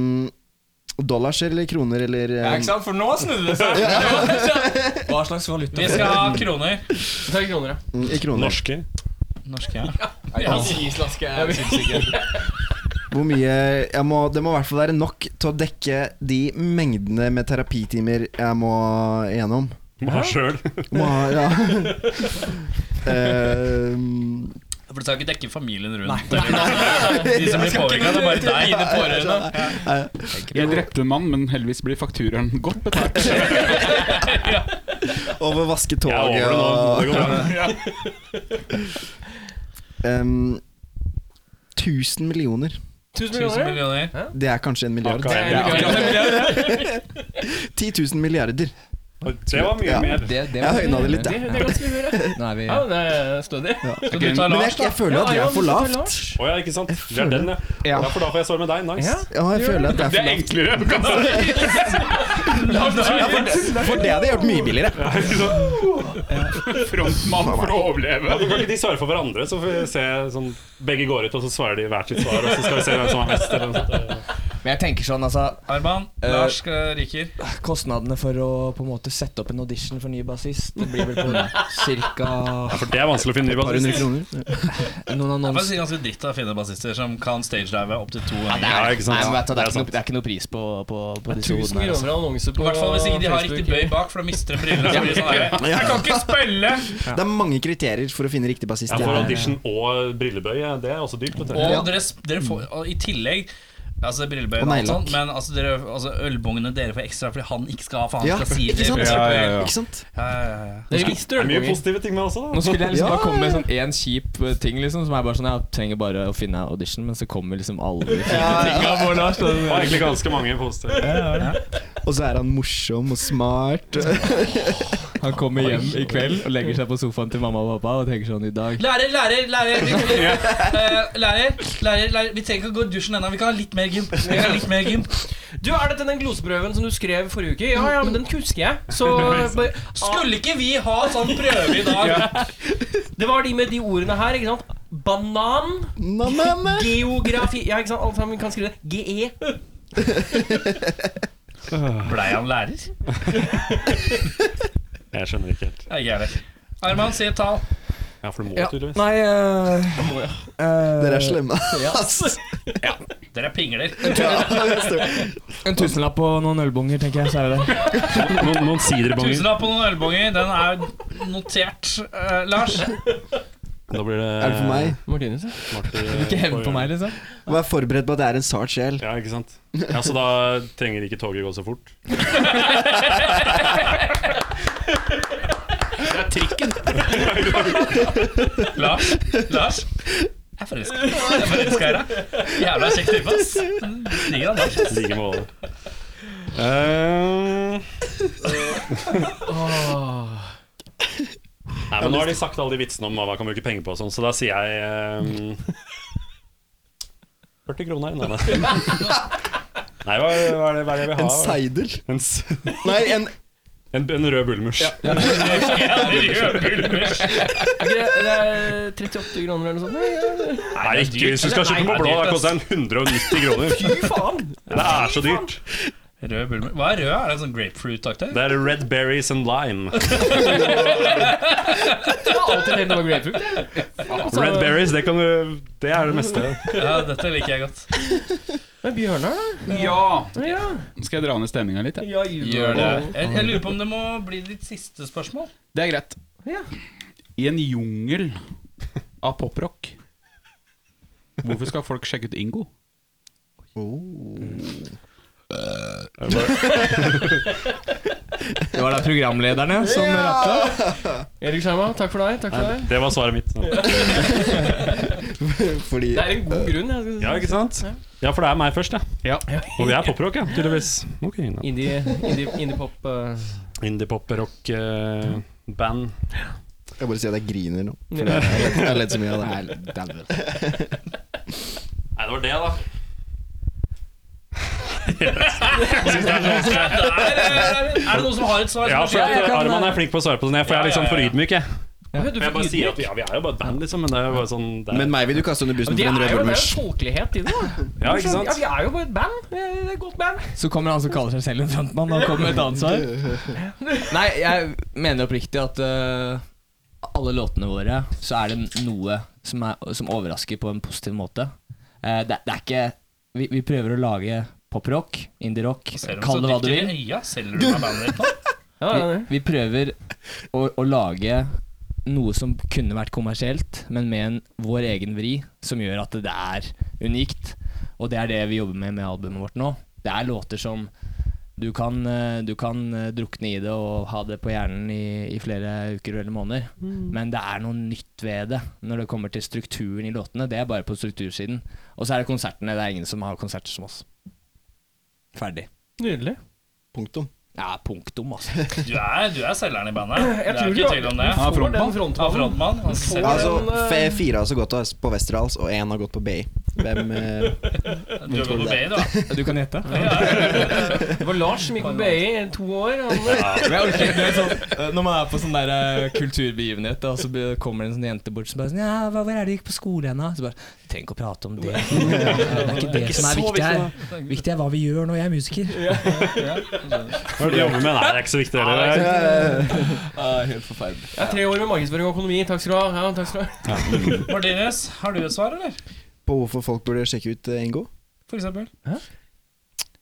[SPEAKER 9] dollars eller kroner eller
[SPEAKER 12] Ja,
[SPEAKER 9] um,
[SPEAKER 12] ikke sant? For nå snudde det seg. Hva slags valuta
[SPEAKER 5] Vi skal ha kroner.
[SPEAKER 6] Ta kroner, ja.
[SPEAKER 9] mm, i kroner.
[SPEAKER 8] Norske.
[SPEAKER 5] Norske, ja.
[SPEAKER 12] Ja, Island skal jeg-
[SPEAKER 9] Hvor mye jeg må, Det må i hvert fall være nok til å dekke de mengdene med terapitimer jeg må gjennom.
[SPEAKER 8] Må ha sjøl.
[SPEAKER 9] Må ha, ja. um,
[SPEAKER 5] For det skal ikke dekke familien rundt. De som blir påvirka, det er bare deg, de pårørende.
[SPEAKER 1] Jeg drepte en mann, men heldigvis blir fakturaen godt betalt.
[SPEAKER 9] over vaske
[SPEAKER 8] Jeg er
[SPEAKER 9] toget
[SPEAKER 8] over det nå. Det går bra.
[SPEAKER 9] um, 1000 millioner.
[SPEAKER 6] 1000
[SPEAKER 5] Tusen
[SPEAKER 6] millioner.
[SPEAKER 5] millioner.
[SPEAKER 9] Det er kanskje en milliard.
[SPEAKER 8] Akkurat.
[SPEAKER 6] Ja.
[SPEAKER 8] Ja.
[SPEAKER 9] 10 000 milliarder.
[SPEAKER 8] Det var mye
[SPEAKER 9] Ja.
[SPEAKER 8] mer.
[SPEAKER 7] Det, det
[SPEAKER 9] Jeg høyna det litt,
[SPEAKER 6] Det,
[SPEAKER 9] jeg.
[SPEAKER 6] det er ganske mye, det.
[SPEAKER 7] Nå er vi
[SPEAKER 6] Ja, det er stødig.
[SPEAKER 5] Skal du ta
[SPEAKER 9] Men jeg,
[SPEAKER 5] Lars, da?
[SPEAKER 9] jeg føler at det er for lavt.
[SPEAKER 8] Å ja, ikke sant. Det er den, ja.
[SPEAKER 9] Ja.
[SPEAKER 8] Ja, for da får jeg svar med deg. Nice.
[SPEAKER 6] Ja.
[SPEAKER 9] Ja, jeg føler at det er for lavt.
[SPEAKER 1] enklere. å kaste.
[SPEAKER 9] Ja, for, det, for det hadde jeg gjort mye billigere.
[SPEAKER 1] Frontmann for å
[SPEAKER 8] Ja,
[SPEAKER 1] overleve.
[SPEAKER 8] men kan ikke de svare for hverandre, så får vi se sånn Begge går ut, og så svarer de hvert sitt svar, og så skal vi se hvem som er mest. Eller noe sånt.
[SPEAKER 12] Men jeg tenker sånn, altså
[SPEAKER 5] Arman, Lars eh, ryker.
[SPEAKER 12] Kostnadene for å på en måte sette opp en audition for ny bassist det blir vel på ca.
[SPEAKER 8] Ja, for det er vanskelig å finne ny bassist.
[SPEAKER 12] noen
[SPEAKER 5] Det er
[SPEAKER 12] annonser.
[SPEAKER 5] faktisk ganske dritt av å finne bassister som kan stagedive opptil to ganger.
[SPEAKER 8] Ja, ikke sant.
[SPEAKER 12] Nei, men vet du, det, er
[SPEAKER 8] Det
[SPEAKER 12] ikke
[SPEAKER 8] er
[SPEAKER 12] noe, det er ikke noe pris på, på, på disse
[SPEAKER 6] 1000
[SPEAKER 12] hodene. her, altså.
[SPEAKER 6] kroner annonse på
[SPEAKER 5] I hvert fall hvis ikke de har riktig
[SPEAKER 6] Facebook.
[SPEAKER 5] bøy bak, for da mister de brillene. Så blir det sånn der, jeg kan ikke spille!
[SPEAKER 9] Det er mange kriterier for å finne riktig
[SPEAKER 8] Ja,
[SPEAKER 9] bassist. Det
[SPEAKER 8] for
[SPEAKER 9] er-
[SPEAKER 8] audition og brillebøy, ja, det er også dyrt. Vet du.
[SPEAKER 5] Og dere, dere får og i tillegg Altså brillebøy
[SPEAKER 9] Mm. Og
[SPEAKER 5] og alt
[SPEAKER 9] neglelakk.
[SPEAKER 5] sånt, men altså, dere, altså, ølbongene dere får ekstra fordi han ikke skal ha, for han
[SPEAKER 9] Ja,
[SPEAKER 5] skal si
[SPEAKER 9] ikke
[SPEAKER 5] det.
[SPEAKER 9] sant?
[SPEAKER 5] Ja, ja, ja.
[SPEAKER 9] Ikke sant?
[SPEAKER 5] ja, ja.
[SPEAKER 7] Det er visst
[SPEAKER 8] Det er mye
[SPEAKER 7] ølbonger.
[SPEAKER 8] positive ting med også. Da.
[SPEAKER 7] Nå skulle jeg liksom
[SPEAKER 9] Ja,
[SPEAKER 7] bare komme med sånn én kjip eh, ting, liksom, som er bare sånn Jeg trenger bare å finne audition, men så kommer liksom alle de fine tinga på Lars. og
[SPEAKER 8] Det
[SPEAKER 7] sånn.
[SPEAKER 8] var egentlig ganske mange positive.
[SPEAKER 9] Og så er han morsom og smart.
[SPEAKER 7] Han kommer hjem i kveld og legger seg på sofaen til mamma og pappa og tenker sånn I dag
[SPEAKER 5] Lærer, lærer, lærer. Vi, Eh, lærer, lærer, lærer. Vi trenger ikke å gå i dusjen ennå. Vi kan ha litt mer gym. Vi kan ha litt mer gym
[SPEAKER 6] Du, er dette den gloseprøven som du skrev forrige uke? Ja, ja, men den husker jeg. Så bare,
[SPEAKER 5] Skulle ikke vi ha sånn prøve i dag?
[SPEAKER 6] Det var de med de ordene her, ikke sant?
[SPEAKER 2] Banan. Geografi Ja, ikke sant? Alle sammen kan skrive E. det. GE.
[SPEAKER 5] Blei han lærer?
[SPEAKER 8] Jeg skjønner ikke helt.
[SPEAKER 5] Jeg er det. Arman, si et tall.
[SPEAKER 8] Ja, for du må
[SPEAKER 7] Ja.
[SPEAKER 8] tydeligvis.
[SPEAKER 7] Nei eh, eh,
[SPEAKER 9] Dere er slemme.
[SPEAKER 5] Dere er pingler.
[SPEAKER 7] En tusenlapp og noen ølbonger, tenker jeg. Så er det det.
[SPEAKER 8] Noen, noen siderbonger.
[SPEAKER 5] Tusenlapp på noen ølbonger. Den er notert. Eh, Lars,
[SPEAKER 8] Da blir det
[SPEAKER 9] Er det for meg?
[SPEAKER 2] Martinus, ja.
[SPEAKER 8] Ikke
[SPEAKER 7] Hevn på meg, liksom.
[SPEAKER 9] Vær forberedt på at jeg er en sart sjel.
[SPEAKER 8] Ja, ikke sant. Ja, Så da trenger ikke toget gå så fort.
[SPEAKER 5] Lars, Lars. Jeg er forelska. Jeg er forelska i deg. Jævla kjekk type, ass. Digger han, Lars.
[SPEAKER 8] I like måte. Eh, Nei, men nå har de sagt alle de vitsene om hva man kan bruke penger på og sånn, så da sier jeg eh, 40 kroner. Nei, nei. nei hva, hva er det hva er det jeg vil ha?
[SPEAKER 9] En seidel?
[SPEAKER 8] En, s-
[SPEAKER 9] Nei, en
[SPEAKER 8] en, en rød bullmurs.
[SPEAKER 2] Er ikke det, det er 38 kroner eller noe sånt? Nei,
[SPEAKER 8] Nei, ikke hvis du skal kjøpe på blå. Da koster den 190 kroner.
[SPEAKER 2] Fy faen!
[SPEAKER 8] Det er så dyrt.
[SPEAKER 5] Rød bulmer. Hva er rød? Er det sånn grapefruit-aktig?
[SPEAKER 8] Det er red berries and lime.
[SPEAKER 2] Jeg har alltid tenkt det var grapefruit.
[SPEAKER 8] Red berries, det, kan du, det er det meste.
[SPEAKER 5] Ja, dette liker jeg godt.
[SPEAKER 2] Men Bjørnar, da?
[SPEAKER 1] Ja!
[SPEAKER 2] Ja,
[SPEAKER 1] Skal jeg dra ned stemninga litt? Jeg?
[SPEAKER 2] ja
[SPEAKER 5] Gjør det. Jeg, jeg lurer på om det må bli ditt siste spørsmål.
[SPEAKER 1] Det er greit.
[SPEAKER 2] Ja.
[SPEAKER 1] I en jungel av poprock, hvorfor skal folk sjekke ut Ingo?
[SPEAKER 7] Det var da programlederne som rappet.
[SPEAKER 2] Erik Skjerma, takk for deg. Takk for deg.
[SPEAKER 8] Det var svaret mitt.
[SPEAKER 9] Fordi
[SPEAKER 2] Det er en god grunn. Jeg skal...
[SPEAKER 8] Ja, ikke sant? Ja, for det er meg først, ja. Og vi er poprock, ja, tydeligvis. Ok, ja.
[SPEAKER 2] Indie, indie, indie pop eh,
[SPEAKER 8] eh, Indie-pop-rock-band.
[SPEAKER 9] Jeg bare sier at jeg griner nå. For jeg har ledd- jeg har ledd så mye av det. Jeg er dauer.
[SPEAKER 8] Nei, det var det, da.
[SPEAKER 5] Er, er det noen som har et svar?
[SPEAKER 8] Ja,
[SPEAKER 5] som
[SPEAKER 8] for
[SPEAKER 5] er
[SPEAKER 8] at
[SPEAKER 5] skyldig?
[SPEAKER 8] Arman er flink på å svare på sånn, for jeg er liksom for ydmyk, jeg.
[SPEAKER 2] Hva heter du
[SPEAKER 8] Men
[SPEAKER 2] for
[SPEAKER 8] jeg bare sier at
[SPEAKER 2] ydmyk?
[SPEAKER 8] ja, vi er jo bare et band, liksom, men det er jo bare sånn det er-
[SPEAKER 9] Men meg vil du kaste under bussen
[SPEAKER 2] Det
[SPEAKER 9] for en
[SPEAKER 2] er jo
[SPEAKER 9] rød
[SPEAKER 2] det er
[SPEAKER 9] bullmurs.
[SPEAKER 2] jo folkelighet i det. da.
[SPEAKER 8] Ja, ikke
[SPEAKER 2] Ja,
[SPEAKER 8] sant?
[SPEAKER 2] vi er jo bare et band. Vi er- Det er et godt band.
[SPEAKER 7] Så kommer han som kaller seg selv en frontmann, og kommer med et annet svar. Nei, jeg mener oppriktig at eh, alle låtene våre, så er det noe som, er, som overrasker på en positiv måte. Eh, det, det er ikke Vi, vi prøver å lage poprock, indie-rock,
[SPEAKER 5] Ser
[SPEAKER 7] kall det hva du vil.
[SPEAKER 5] dykker i øya. Selger du meg bandet ditt nå?
[SPEAKER 2] Ja, ja, ja.
[SPEAKER 7] Vi prøver å, å lage noe som kunne vært kommersielt, men med en vår egen vri, som gjør at det er unikt. Og det er det vi jobber med med albumet vårt nå. Det er låter som du kan, eh, du kan eh, drukne i det og ha det på hjernen i, i flere uker eller måneder.
[SPEAKER 2] Mm.
[SPEAKER 7] Men det er noe nytt ved det når det kommer til strukturen i låtene. Det er bare på struktursiden. Og så er det konsertene. Det er ingen som har konserter som oss. Ferdig.
[SPEAKER 2] Nydelig.
[SPEAKER 9] Punktum.
[SPEAKER 7] Ja, punktum, altså.
[SPEAKER 5] Du er, du er selgeren i bandet. Det er
[SPEAKER 2] tror
[SPEAKER 5] ikke
[SPEAKER 2] du-
[SPEAKER 5] tvil om det.
[SPEAKER 1] Ja,
[SPEAKER 2] Får
[SPEAKER 1] frontmann.
[SPEAKER 2] den
[SPEAKER 5] Ja,
[SPEAKER 2] frontmannen.
[SPEAKER 5] frontmann. Han selger.
[SPEAKER 9] Altså,
[SPEAKER 2] Men,
[SPEAKER 9] fe- fire har så godt av oss på Westerdals, og én har gått på BI. Hvem eh,
[SPEAKER 5] Du er på BI, da.
[SPEAKER 7] Du kan gjette.
[SPEAKER 2] Det var Lars som gikk på BI i to år. Han,
[SPEAKER 7] Men jeg orker ikke, det er sånn, eh, når man er på sånn der eh, kulturbegivenhet, og så be- kommer det en sånn jente bort som bare sånn Ja, hva, hvor er det du gikk på skole hen, da? Så bare Du trenger ikke å prate om det. Det er ikke det som er viktig her. Viktig er hva vi gjør når jeg er musiker.
[SPEAKER 8] Hva er det du jobber med? Nei, det er ikke så viktig. Det er.
[SPEAKER 7] helt forferdelig.
[SPEAKER 2] jeg er tre år med markedsføring og økonomi. Takk skal du ha. Ja, takk skal du ha.
[SPEAKER 5] Martinus, har du et svar, eller?
[SPEAKER 9] På hvorfor folk burde sjekke ut eh, Ingo?
[SPEAKER 5] For eksempel.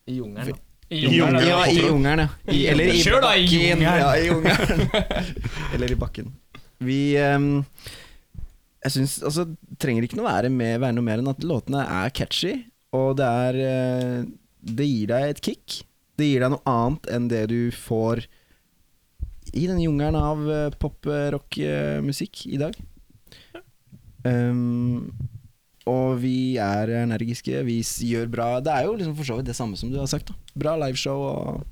[SPEAKER 7] I jungelen.
[SPEAKER 5] I
[SPEAKER 8] Jungelen.
[SPEAKER 5] jungelen.
[SPEAKER 9] Ja, i jungelen, ja. I, eller i
[SPEAKER 7] Kjør da, i
[SPEAKER 9] bakken.
[SPEAKER 7] jungelen.
[SPEAKER 9] Ja, i jungelen. eller i bakken. Vi ehm, Jeg syns Altså, det trenger ikke noe være, med, være noe mer enn at låtene er catchy, og det er eh, Det gir deg et kick. Det gir deg noe annet enn det du får i den jungelen av pop-rock-musikk eh, i dag. Ehm, og vi er energiske, vi s- gjør bra Det er jo liksom for så vidt det samme som du har sagt. da Bra liveshow, og,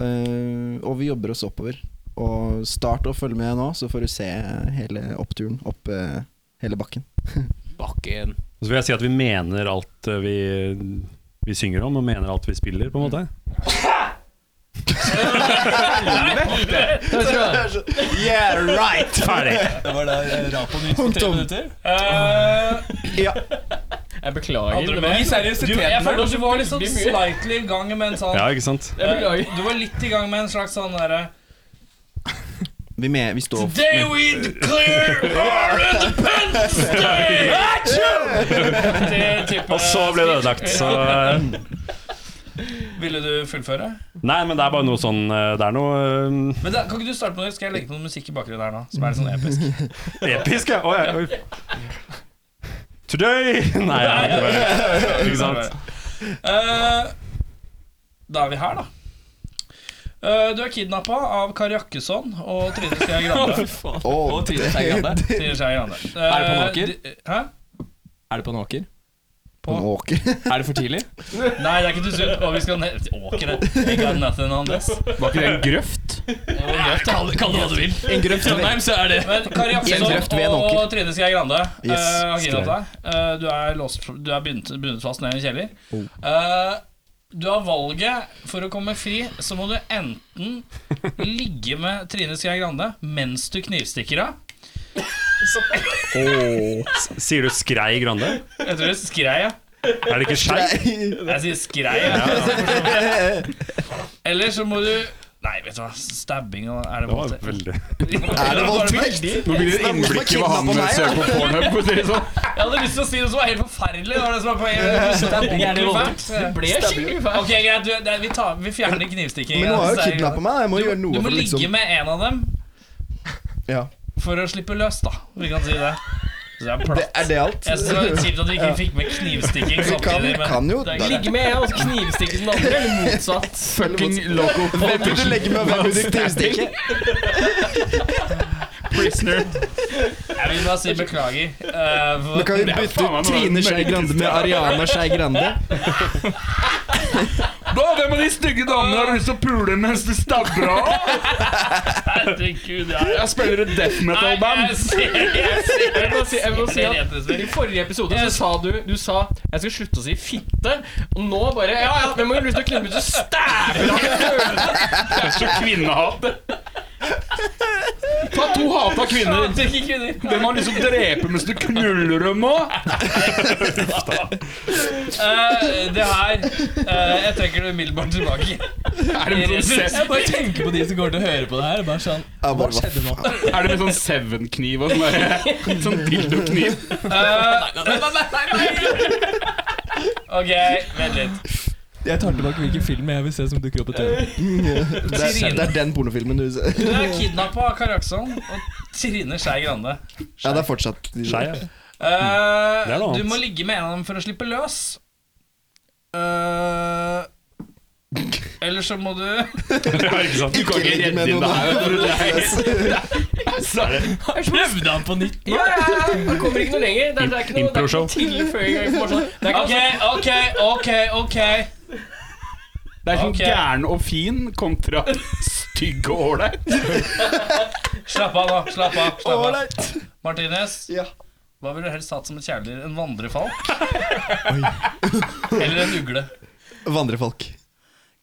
[SPEAKER 9] eh, og vi jobber oss oppover. Og start å følge med nå, så får du se hele oppturen opp eh, hele bakken.
[SPEAKER 7] Bakken.
[SPEAKER 8] Og Så vil jeg si at vi mener alt eh, vi, vi synger om, og mener alt vi spiller, på en måte.
[SPEAKER 2] Takk skal du ha.
[SPEAKER 9] er sånn Yeah, right! Ferdig.
[SPEAKER 5] Det var da eh, rap på nytt
[SPEAKER 9] på tre Punktum.
[SPEAKER 5] minutter. Uh,
[SPEAKER 9] Ja.
[SPEAKER 2] Jeg beklager.
[SPEAKER 5] du,
[SPEAKER 2] Det var
[SPEAKER 5] jeg føler at du var litt sånn
[SPEAKER 2] Veldig mye.
[SPEAKER 5] slightly i gang med en sånn
[SPEAKER 8] Ja, ikke sant?
[SPEAKER 5] eh, Du var litt i gang med en slags sånn derre
[SPEAKER 9] Vi, med, vi står
[SPEAKER 5] Today we declare our independence day! Det type-
[SPEAKER 8] Og så ble det ødelagt, så eh,
[SPEAKER 5] Ville du fullføre?
[SPEAKER 8] Nei, men det er bare noe sånn eh, Det er noe eh,
[SPEAKER 5] Men da, Kan ikke du starte på det? Skal jeg legge på noe musikk i bakgrunnen her nå? Som er litt sånn episk.
[SPEAKER 8] eh, episk, ja. Oi, oi. Today Nei, ja, det var- ikke sant?
[SPEAKER 5] Eh, Da er vi her, da. Eh, du er kidnappa av Kari Jakkesson og Trine Skei Grande.
[SPEAKER 9] Åh,
[SPEAKER 2] Og Trine Skei Grande.
[SPEAKER 5] Trine Skei Grande. Eh,
[SPEAKER 2] Er det på en åker?
[SPEAKER 5] de- Hæ?
[SPEAKER 2] Er det på en åker?
[SPEAKER 9] på en åker.
[SPEAKER 2] Er det for tidlig?
[SPEAKER 5] Nei, det er ikke til slutt. Og vi skal ned til åkeret. I got nothing on this.
[SPEAKER 1] Var ikke det en grøft?
[SPEAKER 5] Kall det hva du vil.
[SPEAKER 2] En grøft i Trondheim, så er det
[SPEAKER 5] Men Kari
[SPEAKER 9] En grøft ved
[SPEAKER 5] Jakkesson
[SPEAKER 9] en
[SPEAKER 5] og,
[SPEAKER 9] åker.
[SPEAKER 5] og Trine Skei Grande eh,
[SPEAKER 9] Yes,
[SPEAKER 5] har kidnappet deg. Eh, du er, låst, du er bundet, bundet fast ned i en kjeller. Eh, du har valget for å komme fri, så må du enten ligge med Trine Skei Grande mens du knivstikker av.
[SPEAKER 8] Sier du Skrei Grande?
[SPEAKER 5] Jeg tror det er skrei, ja.
[SPEAKER 8] Er det ikke Skei?
[SPEAKER 5] Jeg sier skrei. Ja. Eller så må du Nei, vet du hva. Stabbing og Er det
[SPEAKER 8] Det var
[SPEAKER 5] voldtekt?
[SPEAKER 8] veldig
[SPEAKER 9] Er det voldtekt?
[SPEAKER 1] Nå blir det innblikk i hva han søker på Pornhub. for å si det sånn.
[SPEAKER 5] Jeg hadde lyst til å si noe som var helt forferdelig. Det var det som var poenget. Stabbing er det voldtekt. Det ble skikkelig fælt. Ok, greit. Du, det, vi, tar, vi fjerner knivstikking.
[SPEAKER 9] Men nå har
[SPEAKER 5] Så
[SPEAKER 9] jo
[SPEAKER 5] er det
[SPEAKER 9] kidnappa meg. Jeg må gjøre
[SPEAKER 5] greit. Du
[SPEAKER 9] noe
[SPEAKER 5] må
[SPEAKER 9] for å
[SPEAKER 5] ligge
[SPEAKER 9] liksom
[SPEAKER 5] med en av dem
[SPEAKER 9] ja.
[SPEAKER 5] for å slippe løs, da. Vi kan si det. Så det er
[SPEAKER 9] Det
[SPEAKER 5] platt.
[SPEAKER 9] Er det alt?
[SPEAKER 5] Jeg synes det var litt kjipt at vi ikke fikk med knivstikking
[SPEAKER 9] Vi kan,
[SPEAKER 5] samtidig. Men
[SPEAKER 9] kan jo
[SPEAKER 5] det er
[SPEAKER 9] Hvem
[SPEAKER 5] greit.
[SPEAKER 6] Ligge med en, og så knivstikke den andre, eller motsatt.
[SPEAKER 1] Fucking loco
[SPEAKER 9] vil du legge med, hvem vil du knivstikke?
[SPEAKER 1] prisoner.
[SPEAKER 5] jeg vil bare si beklager. eh, for-
[SPEAKER 9] Nå kan vi bytte ut Trine Skei Grande med Ariana Skei Grande.
[SPEAKER 1] Da, hvem av de stygge damene har du lyst til å pule mens du stabber av?
[SPEAKER 5] Herregud, ja.
[SPEAKER 1] Jeg spiller et death
[SPEAKER 5] Nei, jeg
[SPEAKER 1] metal-band.
[SPEAKER 5] ser- jeg ser-
[SPEAKER 6] Jeg må si, jeg må si
[SPEAKER 5] Rett
[SPEAKER 6] at
[SPEAKER 5] og
[SPEAKER 6] I
[SPEAKER 5] slett.
[SPEAKER 6] forrige episode så sa du Du sa jeg skal slutte å si fitte. Og nå bare Ja, ja, hvem har lyst til å knippe ut og stæve?
[SPEAKER 1] Det er så kvinnehat. Ta to hata kvinner.
[SPEAKER 5] Hater ikke kvinner.
[SPEAKER 1] Hvem har lyst til å drepe mens du knuller dem òg?
[SPEAKER 5] Eh, det her eh, Jeg trekker det umiddelbart tilbake.
[SPEAKER 1] Er det med sånn, sev-
[SPEAKER 5] bare tenker
[SPEAKER 2] på de som går til å høre på det her. Bare sånn
[SPEAKER 9] Jeg bare, hva
[SPEAKER 1] er det med sånn Seven-kniv og sånn derre- Sånn dildokniv?
[SPEAKER 5] Ok, vent litt.
[SPEAKER 2] Jeg tar tilbake hvilken film jeg vil se som dukker opp på TV.
[SPEAKER 9] f- det, er, det er den pornofilmen du ser.
[SPEAKER 5] Du er kidnappa av Karakson og Trine Skei Grande.
[SPEAKER 9] Ja, det er fortsatt de
[SPEAKER 8] Skei, ja.
[SPEAKER 5] Eh,
[SPEAKER 8] Det er noe
[SPEAKER 5] du
[SPEAKER 8] annet.
[SPEAKER 5] må ligge med en av dem for å slippe løs. Uh, eller så må du
[SPEAKER 8] Ja, ikke sant?
[SPEAKER 1] Du kan ikke
[SPEAKER 9] ligge
[SPEAKER 1] redde
[SPEAKER 9] med
[SPEAKER 1] inn det her.
[SPEAKER 9] noen.
[SPEAKER 1] Det er-
[SPEAKER 6] Prøvde han på nytt?
[SPEAKER 5] Ja, ja, ja.
[SPEAKER 6] Han kommer ikke noe lenger. Det er, det er ikke noe, det er ikke
[SPEAKER 8] Impro-show.
[SPEAKER 6] noe tilføring av informasjon. Det er ikke
[SPEAKER 5] OK, OK, OK. ok
[SPEAKER 1] Det er sånn
[SPEAKER 5] Ok.
[SPEAKER 1] gæren og fin kontra stygg og ålreit.
[SPEAKER 5] Slapp av, da. Slapp av. Slapp av.
[SPEAKER 9] Ålreit.
[SPEAKER 5] Martinez,
[SPEAKER 9] Ja.
[SPEAKER 5] hva ville du helst hatt som et kjæledyr? En vandrefalk? eller en ugle?
[SPEAKER 9] Vandrefalk.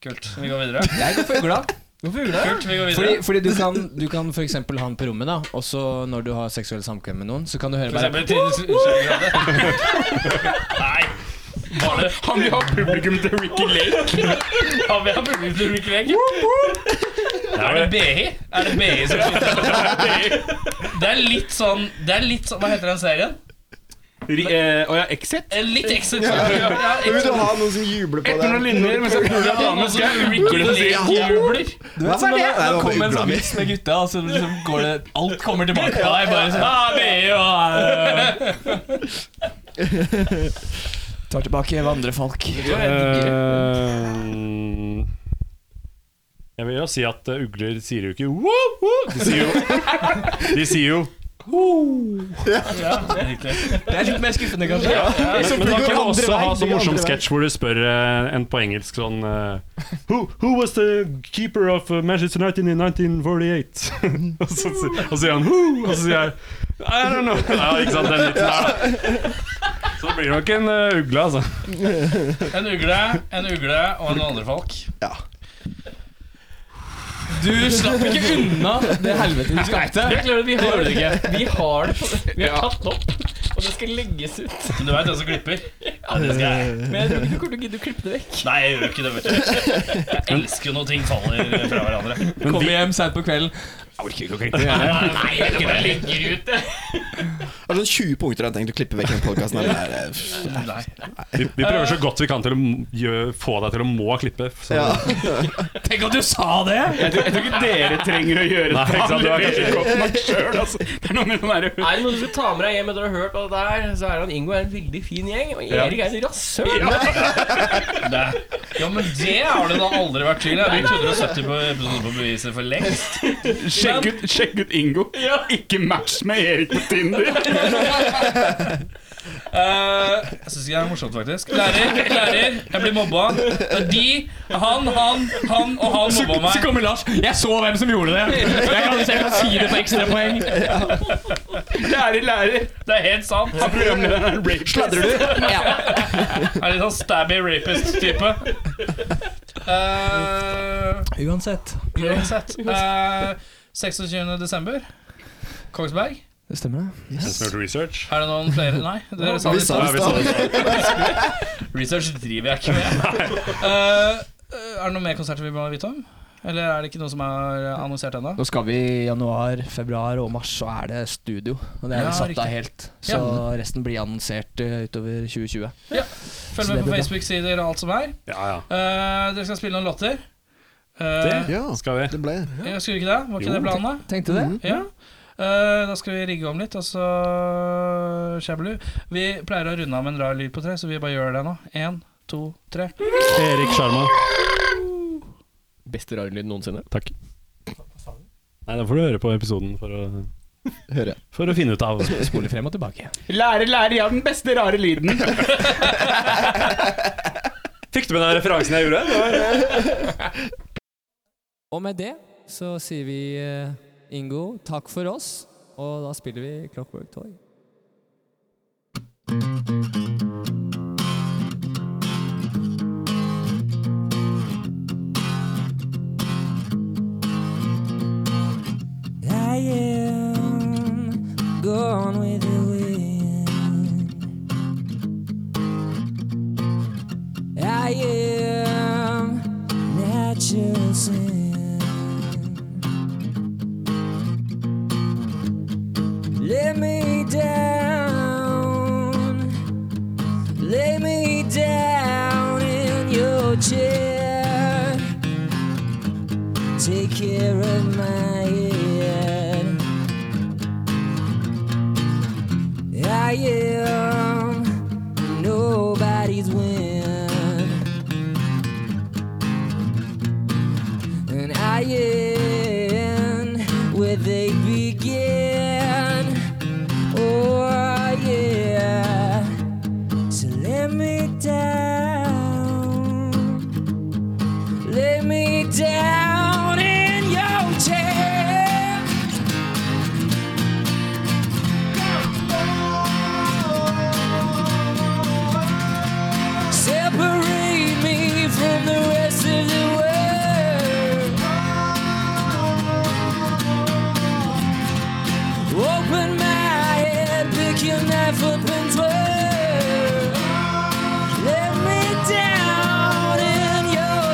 [SPEAKER 5] Kult. Vi går videre.
[SPEAKER 7] Jeg går for ugla.
[SPEAKER 5] Kult, vi går
[SPEAKER 7] Fordi,
[SPEAKER 5] videre.
[SPEAKER 7] fordi du kan, du kan for eksempel ha den på rommet, da. Og så når du har seksuell samkvem med noen, så kan du høre
[SPEAKER 5] For
[SPEAKER 7] bare
[SPEAKER 5] eksempel Trine Skei Grande. Nei. Var det
[SPEAKER 1] Han vil ha publikum til Ricky Lake.
[SPEAKER 5] Har vi hatt publikum til Ulrik Vegg? Er det BI? Er det BI som Det er litt sånn Det er litt sånn Hva heter den serien?
[SPEAKER 1] Ri- eh, Å ja, Exit?
[SPEAKER 5] Eh, Litt Exit. Ja, ja,
[SPEAKER 9] Men vil du
[SPEAKER 5] Exit.
[SPEAKER 9] ha noen som jubler på
[SPEAKER 1] Etter noen
[SPEAKER 9] deg?
[SPEAKER 1] linjer mens jeg knuller en annen, skal jeg ugle og si
[SPEAKER 9] Ja.
[SPEAKER 5] Jubler.
[SPEAKER 9] Hva var det? Nei, det var
[SPEAKER 2] Kom en
[SPEAKER 9] ugla
[SPEAKER 2] sånn
[SPEAKER 9] mi.
[SPEAKER 2] vits med gutta, og
[SPEAKER 5] altså,
[SPEAKER 2] så liksom går det Alt kommer tilbake på deg. Bare sånn ah, BI og, eh,
[SPEAKER 7] Tar tilbake vandrefolk.
[SPEAKER 8] Eh, Jeg vil jo si at eh, ugler sier jo ikke «Woo, woo». De sier jo De sier jo
[SPEAKER 7] Det er litt mer skuffende, kanskje.
[SPEAKER 8] Men, men da
[SPEAKER 9] går
[SPEAKER 8] kan du
[SPEAKER 9] andre
[SPEAKER 8] også ha sånn
[SPEAKER 9] vei, det går
[SPEAKER 8] morsom
[SPEAKER 9] andre vei.
[SPEAKER 8] sketsj hvor du spør eh, en på engelsk sånn eh, who, who was the keeper of eh, Manchester United in 1948? og, så, sier- og så sier han who? Og så sier jeg I don't know. Ja, ikke sant, den vitsen der, da. Så det blir nok en eh, ugle, altså.
[SPEAKER 5] En ugle, en ugle og en vandrefolk.
[SPEAKER 9] Ja.
[SPEAKER 7] Du slapp ikke unna det helvete du skapte.
[SPEAKER 5] Det er klart, vi har det ikke.
[SPEAKER 7] Vi har det på Vi har tatt det opp, og det skal legges ut.
[SPEAKER 5] Men du veit hvem som klipper?
[SPEAKER 7] Men jeg tror ikke du kommer til å gidde å klippe det vekk.
[SPEAKER 5] Nei, jeg gjør ikke det, vet du. Jeg elsker når ting faller fra hverandre.
[SPEAKER 7] Kommer hjem seint på kvelden. Jeg orker ikke å klippe det.
[SPEAKER 5] Nei, nei, jeg gjør ikke det ligger ut det.
[SPEAKER 9] Det er sånn 20 punkter jeg har tenkt å klippe vekk i den podkasten. Ja.
[SPEAKER 5] Nei.
[SPEAKER 8] Vi, vi prøver så godt vi kan til å m- gjø- få deg til å må klippe. Så.
[SPEAKER 9] Ja.
[SPEAKER 7] Tenk at du sa det!
[SPEAKER 13] Jeg tror, jeg tror ikke dere trenger å gjøre
[SPEAKER 8] Nei, ikke sant, du er kanskje ikke
[SPEAKER 13] det sjøl, altså. Det er noe med sånn der-
[SPEAKER 2] Er det noe du skal ta med deg hjem etter å ha hørt alt det her, så er han Ingo er en veldig fin gjeng, og Erik er en rasshøl.
[SPEAKER 5] Nei. Ja, men det har det da aldri vært tvil. Jeg har brukt 170 på episoder på beviset for lengst.
[SPEAKER 13] Sjekk ut, sjekk ut Ingo. Ikke match med Erik på Tinder.
[SPEAKER 5] Eh, jeg syns ikke det er morsomt, faktisk. Lærer, lærer, jeg blir mobba. De, han, han, han og han mobba
[SPEAKER 7] Så
[SPEAKER 5] meg.
[SPEAKER 7] kommer Lars. Jeg så hvem som gjorde det. Jeg kan se på fire på ekstrapoeng.
[SPEAKER 13] Lærer, lærer.
[SPEAKER 5] Det er helt sant. Han
[SPEAKER 13] Programlederen er rapist.
[SPEAKER 9] Sladrer du?
[SPEAKER 5] er litt sånn stabby rapist-type. Eh,
[SPEAKER 10] Uansett.
[SPEAKER 5] uansett. eh, 26. desember. Kongsberg.
[SPEAKER 10] Det stemmer, det.
[SPEAKER 8] Smart research.
[SPEAKER 5] Er det noen flere? Nei, dere sa
[SPEAKER 9] Vi
[SPEAKER 5] det.
[SPEAKER 9] sa det i stad.
[SPEAKER 5] Research driver jeg ikke med. Eh, er det noen mer konserter vi må vite om? Eller er det ikke noe som er annonsert ennå?
[SPEAKER 10] Nå skal vi i januar, februar og mars, så er det studio. Og det er
[SPEAKER 5] Ja,
[SPEAKER 10] vi satt
[SPEAKER 5] riktig.
[SPEAKER 10] av helt. Så resten blir annonsert eh, utover 2020.
[SPEAKER 5] Følg med på Facebook-sider og alt som er.
[SPEAKER 8] Ja, ja.
[SPEAKER 5] Eh, dere skal spille noen låter. Eh,
[SPEAKER 8] Det
[SPEAKER 9] Ja,
[SPEAKER 8] skal vi.
[SPEAKER 9] det ble
[SPEAKER 5] ja, Skulle ikke det? Var ikke
[SPEAKER 8] Jo.
[SPEAKER 5] det planen, da?
[SPEAKER 10] Tenkte det?
[SPEAKER 5] Ja. Eh, da skal vi rigge om litt, og så Shablu. Vi pleier å runde av med en rar lyd på tre, så vi bare gjør det nå. Én, to, tre.
[SPEAKER 8] Erik Sjarma.
[SPEAKER 7] Beste rarlyd noensinne.
[SPEAKER 8] Takk. Nei, den får du høre på episoden for å,
[SPEAKER 9] Høre.
[SPEAKER 8] for å finne ut av.
[SPEAKER 10] Spoler frem og tilbake.
[SPEAKER 13] Lærer, lærer, jeg har den beste rare lyden.
[SPEAKER 8] Fikk du med den referansen jeg gjorde?
[SPEAKER 10] Og med det så sier vi eh, Ingo takk for oss, og da spiller vi Clockwork Toy. I am gone with the wind. I am natural sin. Lay me down, lay me down in your chair. Take care of my head. I am nobody's win, and I am where they begin. Oh yeah, so let me down, let me down in your chair. Separate me from the rest of the world. Open my head, pick your knife up and twirl. Let me down in your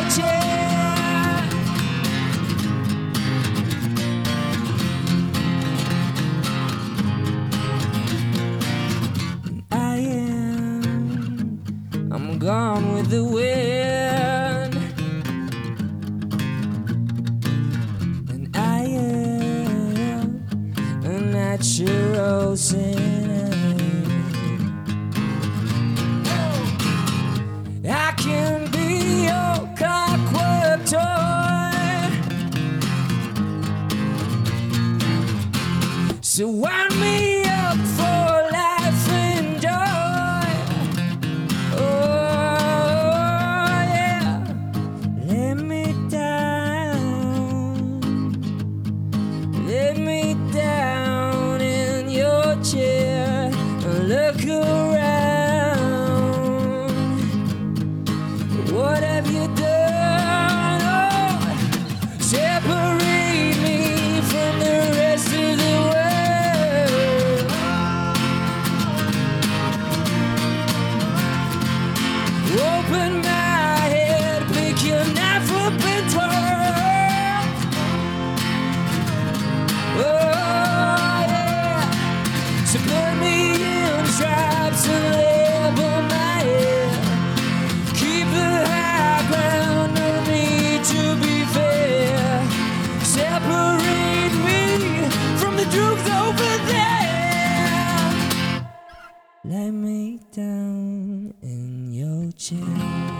[SPEAKER 10] chair. I am. I'm gone with the wind. And I am a natural sinner. I can be your clockwork toy. So wind me up for life and joy. Oh yeah, let me down, let me down in your chair and look around. What have you done? Oh, separate. Oh, Lay me down in your chair.